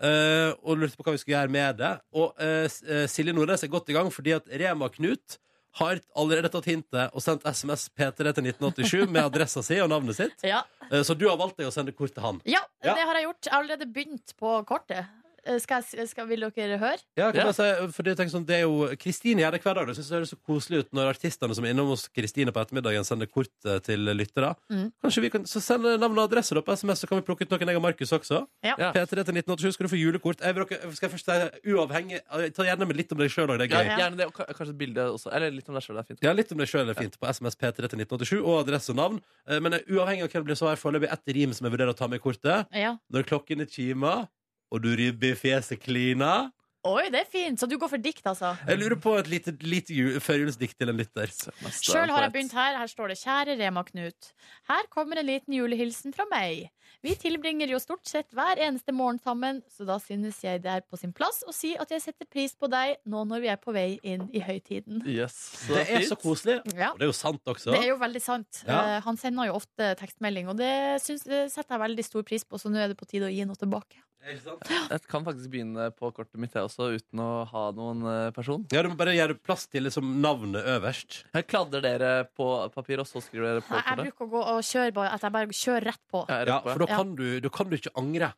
Speaker 2: eh, og lurte på hva vi skulle gjøre med det. Og eh, S- eh, Silje Nordnes er godt i gang fordi at Rema Knut har allerede tatt hintet og sendt SMS P3 til 1987 med adressa si og navnet sitt.
Speaker 5: Ja.
Speaker 2: Eh, så du har valgt deg å sende kort til han.
Speaker 5: Ja,
Speaker 2: Ja.
Speaker 5: det har jeg gjort. Jeg har allerede begynt på kortet. Eh, Skal jeg, skal, vil dere høre?
Speaker 2: Ja, kan jeg si, fordi jeg tenker sånn, det er jo Kristine gjør det hver dag. Det synes jeg høres så koselig ut når artistene som er innom hos Kristine på ettermiddagen sender kort eh, til lyttere.
Speaker 5: Mm.
Speaker 2: Kanskje vi kan, så Send navn og adresse da på SMS, så kan vi plukke ut noen jeg og Markus også.
Speaker 5: Ja. Ja.
Speaker 2: P3 til 1987 skal du få julekort. Jeg vil, dere- skal jeg først si uavhengig eh, Ta gjerne med litt om deg sjøl òg, det
Speaker 4: Ja,
Speaker 2: er gøy.
Speaker 4: gjerne det, og ka- kanskje et bilde også. Eller litt om deg sjøl, det er fint.
Speaker 2: Ja, litt om deg sjøl er fint på SMS P3 til 1987, og adresse og navn. Eh, Men eh, uavhengig av hvem det blir, så har jeg foreløpig ett rim som jeg vurderer å ta med i kortet.
Speaker 5: Ja.
Speaker 2: Når klokken er kimer, og du ribber i fjeset klina
Speaker 5: Oi, det er fint! Så du går for dikt, altså?
Speaker 2: Jeg lurer på et lite, lite ju- førjulsdikt til en lytter.
Speaker 5: Sjøl har jeg begynt her. Her står det 'Kjære Rema Knut'. Her kommer en liten julehilsen fra meg. Vi tilbringer jo stort sett hver eneste morgen sammen, så da synes jeg det er på sin plass å si at jeg setter pris på deg nå når vi er på vei inn i høytiden.
Speaker 4: Yes,
Speaker 2: det er
Speaker 4: fint.
Speaker 2: så koselig.
Speaker 5: Ja.
Speaker 2: Og det er jo sant også.
Speaker 5: Det er jo veldig sant.
Speaker 2: Ja.
Speaker 5: Eh, Han sender jo ofte tekstmelding, og det, syns- det setter jeg veldig stor pris på, så nå er det på tide å gi noe tilbake.
Speaker 4: Jeg kan faktisk begynne på kortet mitt jeg også, uten å ha noen eh, person.
Speaker 2: Ja, Du må bare gjøre plass til liksom, navnet øverst.
Speaker 4: Jeg kladder dere på papir, og så skriver dere på
Speaker 5: Nei, jeg
Speaker 4: kortet.
Speaker 5: bruker å gå og kjøre bare, at jeg bare kjører rett på.
Speaker 2: Ja, for da kan, du, da kan du ikke angre.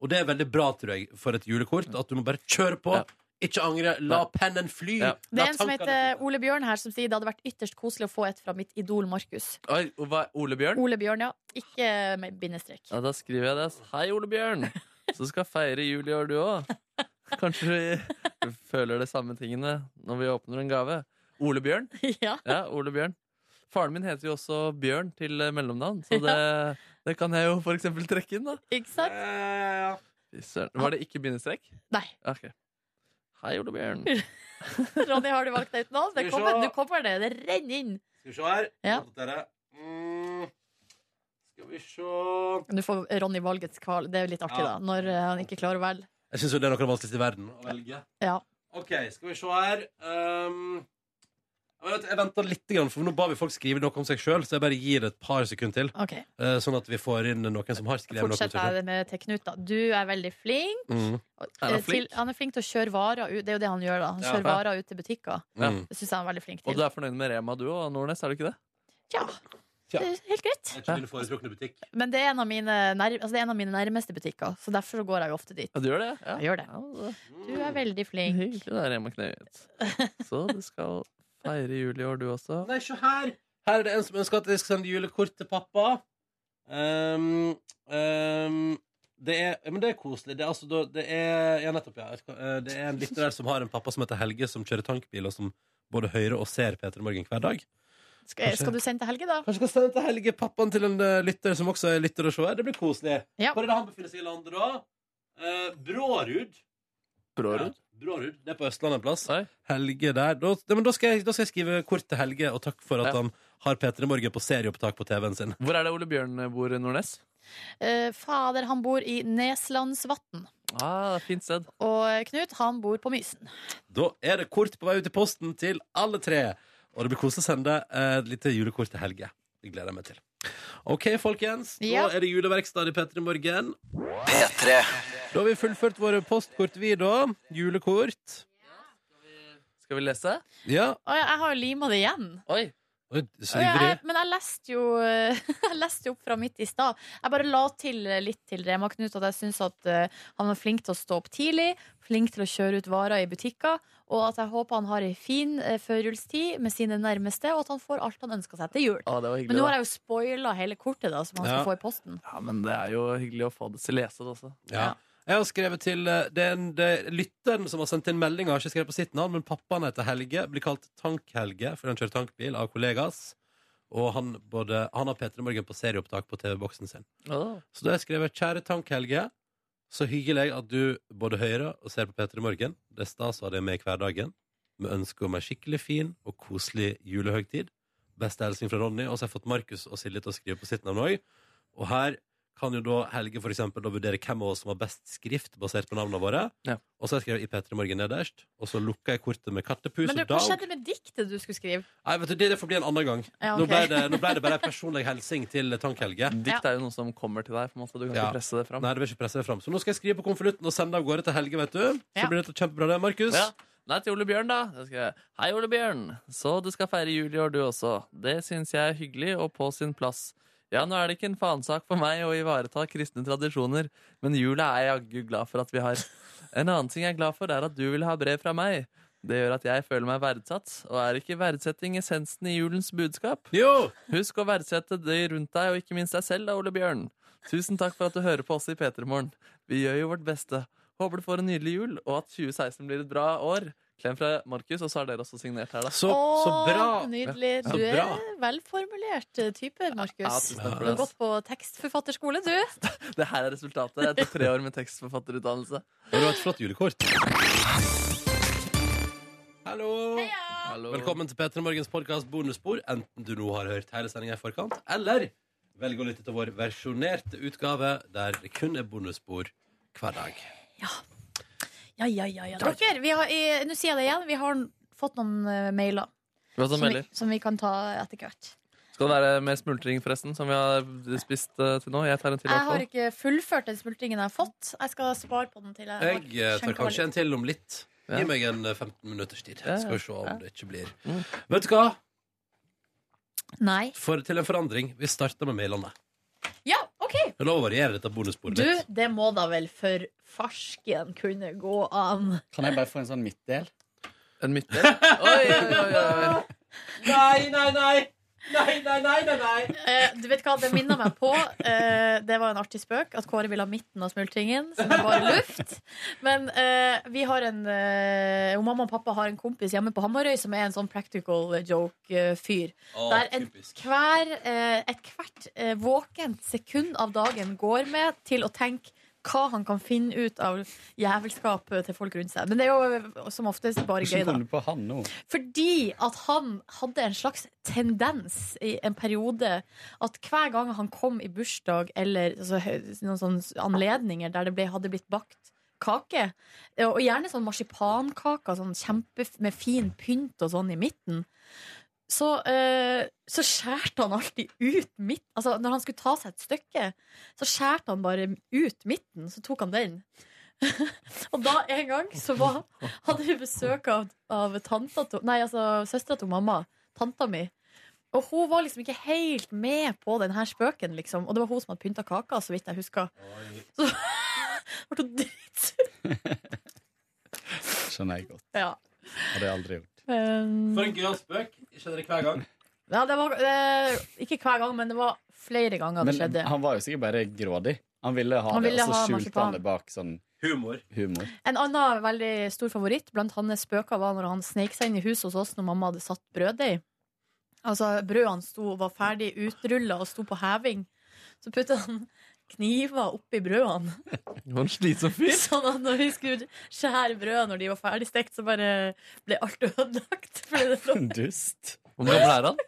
Speaker 2: Og det er veldig bra tror jeg, for et julekort at du må bare kjøre på. Ikke angre. La pennen fly.
Speaker 5: Det
Speaker 2: La
Speaker 5: er en som
Speaker 2: tankene-
Speaker 5: heter Ole Bjørn her, som sier det hadde vært ytterst koselig å få et fra mitt idol Markus.
Speaker 4: Oi, og hva, Ole Bjørn?
Speaker 5: Ole Bjørn, ja. Ikke med bindestrek.
Speaker 4: Ja, da skriver jeg det. Hei, Ole Bjørn! Så skal feire jul i år, du òg. Kanskje vi føler de samme tingene når vi åpner en gave. Ole Bjørn?
Speaker 5: Ja.
Speaker 4: Ole Bjørn. Faren min heter jo også Bjørn til eh, mellomnavn, så det, det kan jeg jo for eksempel trekke inn, da.
Speaker 5: Ikke sant?
Speaker 4: Fy søren. Var det ikke bindestrek?
Speaker 5: Nei.
Speaker 4: Ok. Hei, Ole Bjørn.
Speaker 5: Ronny, har du valgt deg ut nå? Det
Speaker 2: Skal vi
Speaker 5: kommer,
Speaker 2: se.
Speaker 5: nå kommer det. Det renner inn.
Speaker 2: Skal vi se her.
Speaker 5: Ja.
Speaker 2: Oppdatere. Mm. Skal vi se
Speaker 5: Du får Ronny valgets kval. Det er jo litt artig,
Speaker 2: Ja.
Speaker 5: da. Når eh, han ikke klarer å velge.
Speaker 2: Jeg syns det er noe av det vanskeligste i verden å velge.
Speaker 5: Ja.
Speaker 2: OK, skal vi se her. Um, jeg vet- jeg venter litt, grann, for nå ba vi folk skrive noe om seg sjøl, så jeg bare gir det et par sekunder til.
Speaker 5: Ok.
Speaker 2: eh, Sånn at vi får inn noen som har skrevet noe om seg
Speaker 5: Fortsett
Speaker 2: sjøl.
Speaker 5: jeg med til Knut, da. Du er veldig flink.
Speaker 2: Mm.
Speaker 5: Og,
Speaker 2: Er han
Speaker 5: eh,
Speaker 2: flink?
Speaker 5: Til, han er flink til å kjøre varer ut. Det er jo det han gjør, da. Han
Speaker 4: Ja.
Speaker 5: kjører varer ut til butikker.
Speaker 4: Ja.
Speaker 2: mm.
Speaker 5: Det syns jeg han er veldig flink
Speaker 4: Og du
Speaker 5: til.
Speaker 4: er fornøyd med Rema, du òg, Nordnes? Er du ikke det?
Speaker 5: Det er Helt greit.
Speaker 2: Det er ikke min foretrukne butikk.
Speaker 5: Men det er en av mine, nær, altså det er en av mine nærmeste butikker, så derfor så går jeg jo ofte dit.
Speaker 4: Ja, du gjør det? Ja.
Speaker 5: Jeg gjør det. Du er veldig flink.
Speaker 4: Hyggelig, det er Rema Knut. Så du skal feire jul i år, du også.
Speaker 2: Nei, se her! Her er det en som ønsker at jeg skal sende julekort til pappa. Um, um, det er, ja, men det er koselig. Det er, altså, da- det er, ja, nettopp, ja. Eh, Det er en litterær som har en pappa som heter Helge, som kjører tankbil, og som både hører og ser Peter Morgen hver dag.
Speaker 5: Skal, skal du sende til Helge, da?
Speaker 2: Kanskje jeg skal sende til Helge pappaen til en eh, lytter som også er lytter og seer. Det blir koselig.
Speaker 5: Ja.
Speaker 2: Hvor er det han befinner seg i landet, da? Eh, Brårud.
Speaker 4: Brårud?
Speaker 2: Ja, Brårud. Det er på Østlandet en plass. Helge der. Da, ja, men da, skal jeg, da skal jeg skrive kort til Helge, og takk for at han har P3 Morgen på serieopptak på TV-en sin.
Speaker 4: Hvor er det Ole Bjørn bor, Nordnes?
Speaker 5: Eh, fader, han bor i Neslandsvatn.
Speaker 4: Ah, fint sted.
Speaker 5: Og eh, Knut, han bor på Mysen.
Speaker 2: Da er det kort på vei ut i posten til alle tre. Og det blir koselig å sende eh, et lite julekort til Helge. Det gleder jeg meg til. OK, folkens. Nå
Speaker 5: Ja.
Speaker 2: er det juleverksted i P3 Morgen. P3. Da har vi fullført våre postkort, vi, da. Julekort.
Speaker 4: Skal vi lese?
Speaker 2: Ja.
Speaker 5: Og jeg, jeg har jo lima det igjen.
Speaker 4: Oi.
Speaker 2: Så
Speaker 5: Og jeg-
Speaker 2: ivrig.
Speaker 5: men jeg leste jo eh, Jeg leste jo opp fra midt i stad. Jeg bare la til eh, litt til Rema Knut at jeg syns at eh, han var flink til å stå opp tidlig, flink til å kjøre ut varer i butikker, og at jeg håper han har ei en fin eh, førjulstid med sine nærmeste, og at han får alt han ønsker seg til jul.
Speaker 4: Ah, det var
Speaker 5: Men
Speaker 4: hyggelig,
Speaker 5: nå har
Speaker 4: da.
Speaker 5: jeg jo spoila hele kortet da som han
Speaker 2: Ja.
Speaker 5: skal få i posten.
Speaker 4: Ja, men det er jo hyggelig å få det til lese, det også.
Speaker 2: Ja. Jeg har skrevet til eh, den, det- lytteren som har sendt inn melding. Har ikke skrevet på sitt navn, men pappaen heter Helge. Blir kalt Tank-Helge fordi han kjører tankbil av kollegas. Og han, både, han har P3 Morgen på serieopptak på TV-boksen sin.
Speaker 4: Ah.
Speaker 2: Så da har jeg skrevet 'Kjære Tank-Helge'. Så hyggelig at du både hører og ser på P3 Morgen. Det er stas å ha deg med i hverdagen. Med ønske om ei skikkelig fin og koselig julehøgtid. Beste hilsen fra Ronny. Og så har jeg fått Markus og Silje til å skrive på sitt navn òg. Og her kan jo da Helge for eksempel, da vurdere hvem av oss som har best skrift basert på navnene våre. Og så har jeg skrevet i P3 Morgen nederst, og så lukka jeg kortet med kattepus
Speaker 5: Men du,
Speaker 2: og
Speaker 5: hva
Speaker 2: dag.
Speaker 5: skjedde med diktet du skulle skrive?
Speaker 2: Nei, vet du, det, det får bli en annen gang.
Speaker 5: Ja,
Speaker 2: nå, ble
Speaker 5: ok.
Speaker 2: det, nå ble det bare en personlig hilsing til Tank-Helge.
Speaker 4: Dikt er jo noe som kommer til deg. på en måte. Du kan
Speaker 2: Ja.
Speaker 4: ikke presse det fram.
Speaker 2: Nei, du vil ikke presse det fram. Så nå skal jeg skrive på konvolutten og sende av gårde til Helge, vet du. Så blir det kjempebra, det, Markus.
Speaker 4: Ja. Nei, til Ole Bjørn, da. Jeg Skal... Hei, Ole Bjørn. Så du skal feire jul i år, du også. Det syns jeg er hyggelig og på sin plass. Ja, nå er det ikke en faensak for meg å ivareta kristne tradisjoner, men jula er jeg jaggu glad for at vi har. En annen ting jeg er glad for, er at du vil ha brev fra meg. Det gjør at jeg føler meg verdsatt, og er ikke verdsetting essensen i julens budskap?
Speaker 2: Jo!
Speaker 4: Husk å verdsette de rundt deg, og ikke minst deg selv, da, Ole Bjørn. Tusen takk for at du hører på oss i P3morgen. Vi gjør jo vårt beste. Håper du får en nydelig jul, og at 2016 blir et bra år. Klem fra Markus, og så har dere også signert her, da.
Speaker 5: Å, Nydelig.
Speaker 4: Ja,
Speaker 5: Du
Speaker 4: så bra.
Speaker 5: er velformulert eh, type,
Speaker 4: Ja,
Speaker 5: Markus.
Speaker 4: tusen
Speaker 5: du
Speaker 4: takk for
Speaker 5: har
Speaker 4: det.
Speaker 5: gått på tekstforfatterskole, du.
Speaker 4: Det her er resultatet etter tre år med tekstforfatterutdannelse.
Speaker 2: Det var et flott julekort. Hallo! Velkommen til P3 Morgens podkast bonusspor, enten du nå har hørt hele sendinga i forkant, eller velg å lytte til vår versjonerte utgave, der det kun er bonusspor hver dag.
Speaker 5: Ja, ja, ja, ja. Dere, vi har, i- nå sier jeg det igjen, vi har fått noen eh, mailer
Speaker 4: Hva som
Speaker 5: som vi,
Speaker 4: melder?
Speaker 5: som vi kan ta etter hvert.
Speaker 4: Skal det være mer smultring, forresten, som vi har spist eh, til nå? Jeg tar en til.
Speaker 5: Jeg
Speaker 4: i hvert fall.
Speaker 5: har ikke fullført den smultringen jeg har fått. Jeg skal spare på den til jeg har
Speaker 2: Jeg eh, tar
Speaker 5: skjenket meg
Speaker 2: kanskje
Speaker 5: litt.
Speaker 2: en til om litt.
Speaker 4: Ja.
Speaker 2: Gi meg en eh, 15 minutters tid.
Speaker 4: Ja, ja.
Speaker 2: Skal vi se om
Speaker 4: Ja. Mm.
Speaker 2: det ikke blir Vet du hva?
Speaker 5: Nei.
Speaker 2: For, til en forandring. Vi starter med mailene.
Speaker 5: Ja, OK!
Speaker 2: Det er lov å variere dette bonusbordet
Speaker 5: Du,
Speaker 2: litt.
Speaker 5: det må da vel for farsken kunne gå an.
Speaker 11: Kan jeg bare få en sånn midtdel?
Speaker 4: En midtdel? Oi, oi, oi, oi.
Speaker 11: Nei, nei, nei! Nei, nei, nei, nei, nei.
Speaker 5: Eh, du vet hva, Det minner meg på eh, Det var en artig spøk at Kåre ville ha midten av smultringen, som er bare luft. Men eh, vi har en eh, jo, Mamma og pappa har en kompis hjemme på Hamarøy som er en sånn practical joke-fyr.
Speaker 13: Å,
Speaker 5: Der en, hver, eh, et hvert eh, våkent sekund av dagen går med til å tenke hva han kan finne ut av jævelskap til folk rundt seg. Men det er jo eh, som oftest bare gøy,
Speaker 11: Hvordan
Speaker 5: da.
Speaker 11: kom du på han nå?
Speaker 5: Fordi at han hadde en slags tendens i en periode at hver gang han kom i bursdag eller altså, hø- noen sånne anledninger der det ble, hadde blitt bakt kake, eh, og gjerne sånn marsipankaker sånn kjempe, med fin pynt og sånn i midten, så, eh, så skjærte han alltid ut midt Altså når han skulle ta seg et stykke, så skjærte han bare ut midten, så tok han den. og da en gang så var, hadde vi besøk av, av tanta til Nei, altså søstera til mamma. Tanta mi. Og hun var liksom ikke helt med på den her spøken, liksom. Og det var hun som hadde pynta kaka, så vidt jeg husker. Så ble hun dritsur.
Speaker 11: Skjønner jeg godt.
Speaker 5: Ja.
Speaker 11: Hadde jeg aldri gjort.
Speaker 5: Um,
Speaker 2: For en gøyal spøk. Ikke dere hver gang.
Speaker 5: ja, det var eh, Ikke hver gang, men det var flere ganger det
Speaker 11: Men
Speaker 5: skjedde.
Speaker 11: han var jo sikkert bare grådig. Han ville ha
Speaker 5: Han ville
Speaker 11: det, og
Speaker 5: ha
Speaker 11: så skjulte
Speaker 5: marsipan.
Speaker 11: han det bak sånn
Speaker 2: humor.
Speaker 5: En annen veldig stor favoritt blant hans spøker var når han sneik seg inn i huset hos oss når mamma hadde satt brøddeig. Altså, brødene sto, var ferdig utrulla og sto på heving. Så putta han kniver oppi brødene.
Speaker 4: Det var en slitsom fyr.
Speaker 5: Sånn at når vi skulle skjære brød når de var ferdig stekt, så bare ble alt ødelagt. Fordi det lå
Speaker 11: Dust.
Speaker 4: Hvor gammel er han?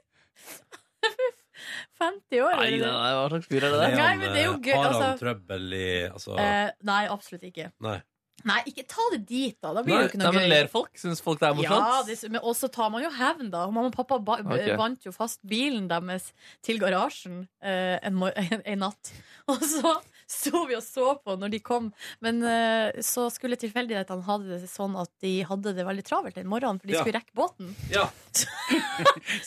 Speaker 5: 50 år.
Speaker 4: Nei,
Speaker 5: eller?
Speaker 4: nei, nei, hva slags fyr er det der?
Speaker 5: Nei, men det er jo gøy,
Speaker 2: Har han
Speaker 5: altså.
Speaker 2: trøbbel i altså,
Speaker 5: Eh, nei, absolutt ikke.
Speaker 2: Nei.
Speaker 5: Nei, ikke ta det dit, da. Da blir
Speaker 4: Nei,
Speaker 5: det jo ikke
Speaker 4: nei,
Speaker 5: noe
Speaker 4: men
Speaker 5: gøy.
Speaker 4: ler folk? Syns folk det er
Speaker 5: Ja,
Speaker 4: morsomt?
Speaker 5: det, men også tar man jo hevn, da. Mamma og pappa ba, b-
Speaker 4: Ok.
Speaker 5: vant jo fast bilen deres til garasjen eh, en, mor- en, en natt. Og så sto vi og så på når de kom, men eh, så skulle tilfeldighetene ha det sånn at de hadde det veldig travelt den morgenen, for de
Speaker 11: Ja.
Speaker 5: skulle rekke båten.
Speaker 2: Ja.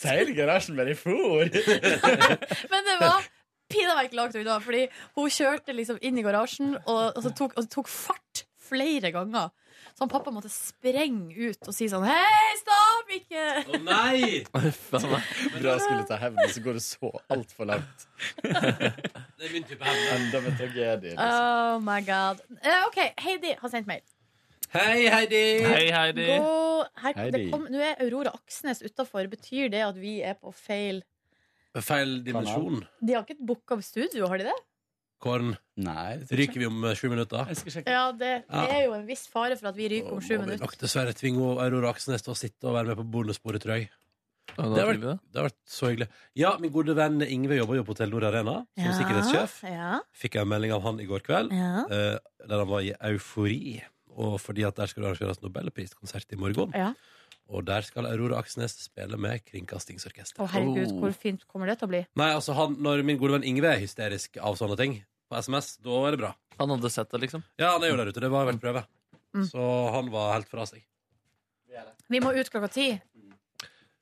Speaker 11: Så hele garasjen bare for.
Speaker 5: Men det var pinadø ikke langt unna, fordi hun kjørte liksom inn i garasjen, og, og, så tok, og tok fart flere ganger. Så han pappa måtte sprenge ut og si sånn Hei, stopp ikke!
Speaker 2: Nei!
Speaker 11: Bra skulle ta hevn, og så går det så altfor langt.
Speaker 2: Det er min type hevn.
Speaker 11: Enda med tragedie. Liksom.
Speaker 5: Oh my god. Eh, OK, Heidi har sendt mail.
Speaker 2: Hei, Heidi!
Speaker 11: Hei, Heidi.
Speaker 5: God, her,
Speaker 2: Heidi.
Speaker 5: Det kom, nå er Aurora Aksnes utafor. Betyr det at vi er på feil
Speaker 2: Feil dimensjon.
Speaker 5: De har ikke booka studio, har de det?
Speaker 2: Kåren.
Speaker 11: Nei,
Speaker 2: Ryker vi om eh, sju minutter?
Speaker 5: Ja, det
Speaker 2: Ja.
Speaker 5: er jo en viss fare for at vi ryker om sju
Speaker 2: Må vi
Speaker 5: minutter.
Speaker 2: nok dessverre tvinge Aurora Aksnes til å sitte og være med på bonusbordet, tror jeg. det, har vært, det har vært så hyggelig. Ja, min gode venn Ingve jobber jo på Telenor Arena som
Speaker 5: Ja,
Speaker 2: sikkerhetssjef.
Speaker 5: Ja.
Speaker 2: Fikk jeg en melding av han i går kveld,
Speaker 5: Ja.
Speaker 2: eh, der han var i eufori. Og fordi at der skal det arrangeres nobelpriskonsert i morgen.
Speaker 5: Ja.
Speaker 2: Og der skal Aurora Aksnes spille med Kringkastingsorkester.
Speaker 5: Å, herregud,
Speaker 2: Oh.
Speaker 5: hvor fint kommer det til å bli?
Speaker 2: Nei, altså han, Når min gode venn Ingve er hysterisk av sånne ting på SMS, da er det bra.
Speaker 4: Han hadde sett det, liksom?
Speaker 2: Ja, han er jo der ute. Det var verdt prøve.
Speaker 5: Mm.
Speaker 2: Så han var helt fra seg.
Speaker 5: Vi må ut klokka ti.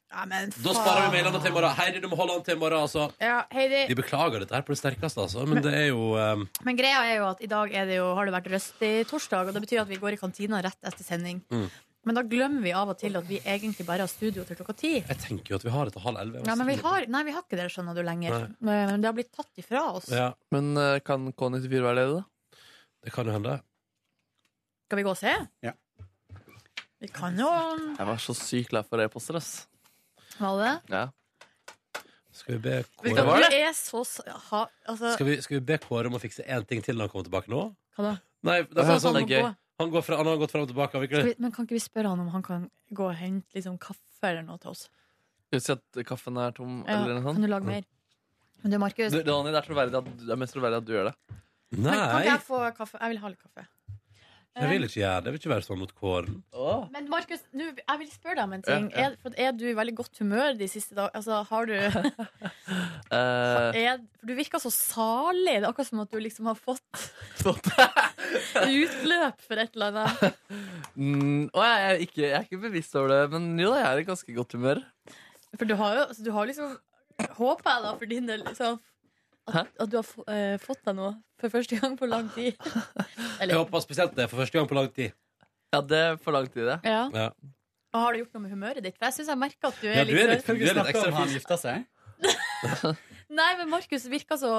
Speaker 5: Ja, men
Speaker 2: Da sparer vi mailene til i morgen. Heidi, du må holde an til i morgen, altså.
Speaker 5: Ja,
Speaker 2: Vi
Speaker 5: Heidi.
Speaker 2: beklager dette her på det sterkeste, altså, men det er jo eh,
Speaker 5: Men greia er jo at i dag er det jo, har det vært røstig torsdag, og det betyr at vi går i kantina rett etter sending.
Speaker 2: mm.
Speaker 5: Men da glemmer vi av og til at vi egentlig bare har studio til klokka ti.
Speaker 2: Jeg tenker jo at vi har det til halv elleve. altså.
Speaker 5: Ja, men vi har, nei, vi har ikke det, skjønner du, lenger. Men Det har blitt tatt ifra oss.
Speaker 4: Men eh, kan K94 være ledig, da?
Speaker 2: Det kan jo hende.
Speaker 5: Skal vi gå og se?
Speaker 11: Ja.
Speaker 5: Vi kan jo
Speaker 4: Jeg var så sykt glad for e-poster, ass.
Speaker 5: Hva er det?
Speaker 4: Ja.
Speaker 2: Skal vi be
Speaker 5: Du
Speaker 2: Kåre,
Speaker 5: er så s- ha, altså,
Speaker 2: skal vi, skal vi be Kåre om å fikse én ting til når han kommer tilbake nå?
Speaker 5: Hva da?
Speaker 2: Nei, det er
Speaker 5: Altså,
Speaker 2: bare sånn,
Speaker 5: han må gå.
Speaker 2: han, går fra, han har gått fram og tilbake.
Speaker 5: Skal
Speaker 2: Virkelig.
Speaker 5: vi, Men kan ikke vi spørre han om han kan gå og hente liksom, kaffe eller noe til oss?
Speaker 4: Skal vi si at kaffen er tom,
Speaker 5: Ja,
Speaker 4: eller noe sånt?
Speaker 5: kan du lage mer? Men du, Markus,
Speaker 4: Du, Ronny, det er troverdig at, det er mest troverdig at du gjør det.
Speaker 5: men kan ikke jeg få kaffe? Jeg vil ha litt kaffe.
Speaker 2: Jeg vil ikke gjøre det. Jeg vil ikke være sånn mot kåren.
Speaker 5: Men Markus, nå, jeg vil spørre deg om en
Speaker 2: Ja,
Speaker 5: ting.
Speaker 2: ja.
Speaker 5: Er, for er du i veldig godt humør de siste dagene? Altså, har du
Speaker 4: Eh,
Speaker 5: er, For du virker så salig. Det er akkurat som at du liksom har fått utløp for et eller annet.
Speaker 4: mm, å, jeg, er ikke, jeg er ikke bevisst over det, men jo da, jeg er i ganske godt humør.
Speaker 5: For du har jo altså, du har liksom Håper jeg, da, for din del, liksom, at, at du har få- eh, fått deg noe for første gang på lang tid.
Speaker 2: Jeg håper spesielt det for første gang på lang tid.
Speaker 4: Ja, det er for lang tid, det.
Speaker 5: Ja.
Speaker 2: Ja.
Speaker 5: Og har det gjort noe med humøret ditt? For jeg syns jeg merker at du er
Speaker 12: Ja, du er litt,
Speaker 5: sånn-
Speaker 12: du er litt ekstra Han gifta seg?
Speaker 5: Nei, men Markus virker så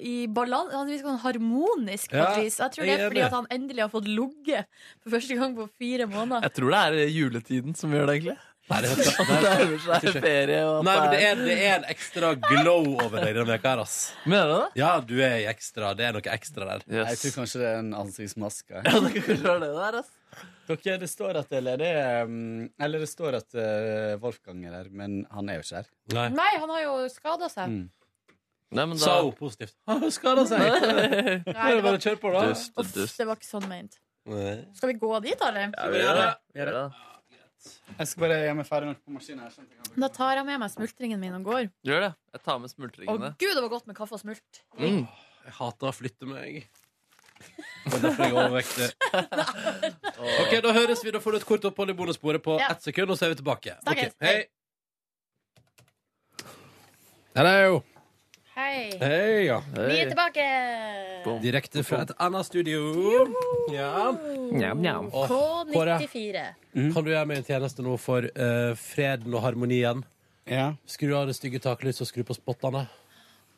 Speaker 5: i balan Han virker sånn harmonisk på
Speaker 4: Ja,
Speaker 5: et vis. Jeg tror det
Speaker 4: jeg
Speaker 5: er
Speaker 4: er
Speaker 5: fordi
Speaker 4: enig.
Speaker 5: at han endelig har fått ligge for første gang på fire måneder.
Speaker 4: Jeg tror det er juletiden som gjør det, egentlig.
Speaker 2: Nei, det
Speaker 4: er, det er, det er ferie og
Speaker 2: Nei, men det er, det er en ekstra glow over deg denne veka her, ass.
Speaker 4: Mener du det?
Speaker 2: Ja, du er i ekstra. Det er noe ekstra der.
Speaker 12: Nei, Jeg tror kanskje det er en ansiktsmaske.
Speaker 4: Hva er det der, ass?
Speaker 12: Dere, det står at det er ledig um, Eller det står at eh, Wolfgang er her, men han er jo ikke her.
Speaker 5: Nei, han har jo skada seg.
Speaker 12: Mm.
Speaker 4: men
Speaker 2: da- Sa hun positivt.
Speaker 12: Han skada seg!
Speaker 5: Nei, det, var,
Speaker 2: kjør på,
Speaker 12: da.
Speaker 5: Uff, det var ikke sånn ment. Skal vi gå dit, eller?
Speaker 12: Jeg skal bare gjøre meg ferdig med maskinen. her, sånn at jeg kan-
Speaker 5: Da tar jeg med meg smultringen min og går.
Speaker 4: Gjør det. Jeg tar med
Speaker 5: Å
Speaker 4: smultringene.
Speaker 5: gud, det var godt med kaffe og smult.
Speaker 4: Mm.
Speaker 2: Jeg hater å flytte meg. Det er derfor jeg er overvektig. Ok, Da høres vi. Da får du et kort opphold i bonussporet på ett sekund, og så er vi tilbake. Ok,
Speaker 5: Snakkes.
Speaker 2: hei Hello.
Speaker 5: Hei.
Speaker 2: Hei, ja.
Speaker 5: Vi er tilbake.
Speaker 2: Direkte fra et annet studio. Ja. Åh, Kåre,
Speaker 5: K94.
Speaker 12: Mm.
Speaker 2: Kan du gjøre meg en tjeneste nå for eh, freden og harmonien?
Speaker 12: Ja.
Speaker 2: Skru av det stygge taklyset og skru på spottene.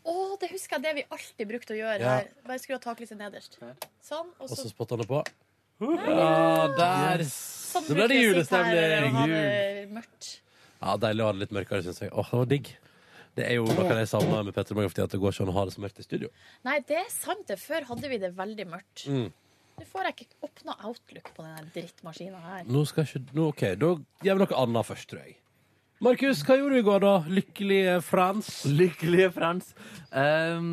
Speaker 5: Å, det husker jeg det vi alltid brukte å gjøre
Speaker 2: Ja.
Speaker 5: her. Bare skru av taklyset nederst. Sånn, og
Speaker 2: Og så
Speaker 5: så
Speaker 2: spottene på. Ja, der.
Speaker 5: Sånn
Speaker 2: Nå ble det
Speaker 5: bruker vi å sitte her og
Speaker 2: julestemning.
Speaker 5: ha det mørkt.
Speaker 2: Ja, Deilig å ha det litt mørkere, syns jeg. Åh, det var digg. Det er jo noe av det jeg savner med Petter Morgen, fordi at det går ikke an å ha det så mørkt i studio.
Speaker 5: Nei, det er sant. det. Før hadde vi det veldig mørkt.
Speaker 2: Mm.
Speaker 5: Nå får jeg ikke åpna outlook på den drittmaskina her.
Speaker 2: Nå skal ikke nå, OK, da gjør vi noe annet først, tror jeg. Markus, hva gjorde du i går, da? Lykkelige Frans.
Speaker 4: Lykkelige Frans. Ehm,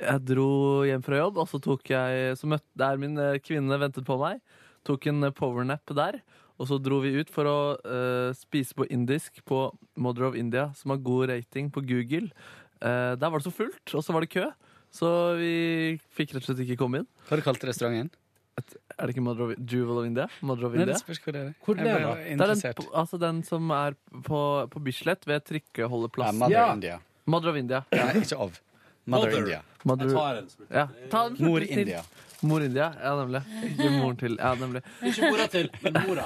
Speaker 4: jeg dro hjem fra jobb, og så tok jeg Så møtte der min eh, kvinne ventet på meg. Tok en eh, powernap der. Og så dro vi ut for å eh, spise på indisk på Mother of India, som har god rating på Google. Eh, der var det så fullt, og så var det kø, så vi fikk rett og slett ikke komme inn.
Speaker 12: Hva har du kalt restauranten?
Speaker 4: Er det ikke Mother of, Jewel of India? Mother of
Speaker 12: Nei,
Speaker 4: India?
Speaker 12: det spørs hvor det er.
Speaker 4: Hvor
Speaker 12: Jeg
Speaker 4: det er,
Speaker 12: ble
Speaker 4: da? Det er den,
Speaker 12: interessert.
Speaker 4: på- altså den som er på, på Bislett, ved trikkeholdeplassen.
Speaker 12: Ja, Mother Ja. India.
Speaker 4: Mother of India.
Speaker 12: Nei, ikke av. Mother Mother. India.
Speaker 4: Mother-
Speaker 12: Jeg tar en smultring.
Speaker 4: Ja, ta en smultring
Speaker 12: Mor
Speaker 4: til.
Speaker 12: India.
Speaker 4: Mor India, ja nemlig. Ikke moren til, ja nemlig.
Speaker 2: Ikke mora til, men mora.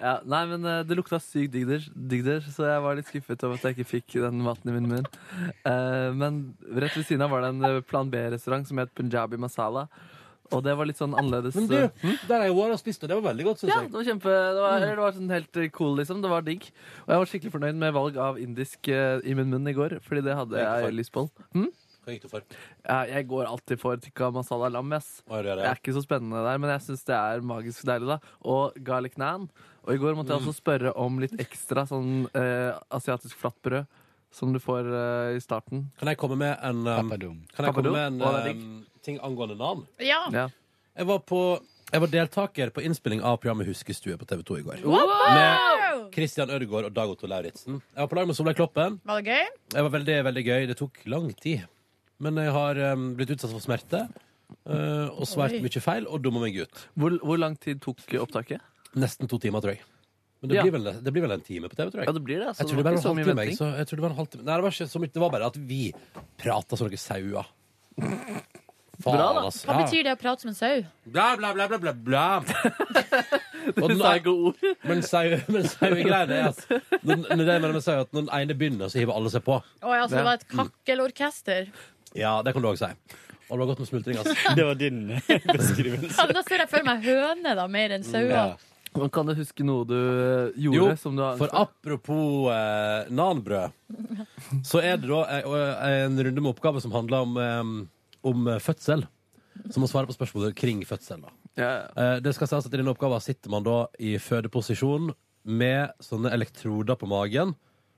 Speaker 4: ja, nei, men eh, det lukta sykt digg der, digg der, så jeg var litt skuffet over at jeg ikke fikk den maten i min munn. Eh, men rett ved siden av var det en eh, Plan B-restaurant som het Punjabi Masala. Og det var litt sånn annerledes.
Speaker 2: Men du,
Speaker 4: eh,
Speaker 2: der har jeg vært og spist, og det var veldig godt, syns
Speaker 4: ja,
Speaker 2: jeg.
Speaker 4: det var kjempe det var, det var sånn helt eh, cool, liksom. Det var digg. Og jeg var skikkelig fornøyd med valg av indisk eh, i min munn i går, fordi det hadde
Speaker 2: Hva gikk du
Speaker 4: jeg
Speaker 2: for?
Speaker 4: lyst på. Hm?
Speaker 2: Hva gikk du for?
Speaker 4: Ja, Jeg går alltid for tikka masala lam. ass.
Speaker 2: Hva gjør du, ja?
Speaker 4: Det er ikke så spennende der, men jeg syns det er magisk deilig. da Og garlic nan. Og i går måtte jeg
Speaker 2: Mm.
Speaker 4: også spørre om litt ekstra sånn eh, asiatisk flatbrød som du får eh, i starten.
Speaker 2: Kan jeg komme med en um, Kan jeg komme med en um, ting angående navn?
Speaker 5: Ja.
Speaker 4: Ja.
Speaker 2: Jeg var, på, jeg var deltaker på innspilling av programmet Huskestue på TV2 i går.
Speaker 5: Wow!
Speaker 2: Med Christian Ødegaard og Dag Otto Lauritzen. Jeg var på lag med Solveig Kloppen.
Speaker 5: Var det gøy?
Speaker 2: Det var veldig, veldig gøy. Det tok lang tid. Men jeg har um, blitt utsatt for smerte eh, og svært
Speaker 4: Oi.
Speaker 2: mye feil, og dumma meg ut.
Speaker 4: Hvor, hvor lang tid tok opptaket?
Speaker 2: Nesten to timer, tror jeg. Men det,
Speaker 4: Ja.
Speaker 2: blir vel, det blir vel en time på TV, tror jeg.
Speaker 4: Ja, det blir det, altså.
Speaker 2: jeg tror
Speaker 4: Det
Speaker 2: det,
Speaker 4: var
Speaker 2: bare
Speaker 4: ikke så
Speaker 2: var en
Speaker 4: mye
Speaker 2: halvtime, jeg,
Speaker 4: venting.
Speaker 2: så jeg tror det var en halvtime. Nei, det var ikke så mye. Det var bare at vi prata som noen sauer. Faen,
Speaker 5: Bra, da.
Speaker 2: altså.
Speaker 5: Hva
Speaker 2: Ja.
Speaker 5: betyr det å prate som en sau?
Speaker 2: Bla, bla, bla, bla, bla, bla.
Speaker 4: Du sa ikke ord.
Speaker 2: Men sau- men sauegreiene er at når, når, altså. det mener med sau, at når den ene begynner, så hiver alle seg på.
Speaker 5: Å ja, så det var et
Speaker 2: Mm.
Speaker 5: kakkelorkester.
Speaker 2: Ja, det kan du òg si. Og det var godt med smultring, altså.
Speaker 12: Det var din beskrivelse.
Speaker 2: Mm.
Speaker 5: Ja, men da ser jeg for meg høne, da, mer enn sauer.
Speaker 4: Men Kan du huske noe du eh,
Speaker 2: Jo,
Speaker 4: gjorde? som du har
Speaker 2: for apropos eh, nanbrød, så er det da eh, en runde med oppgave som handler om, eh, om fødsel. Som må svare på spørsmål kring fødsel. da. Eh, det skal sies at I denne oppgaven sitter man da i fødeposisjon med sånne elektroder på magen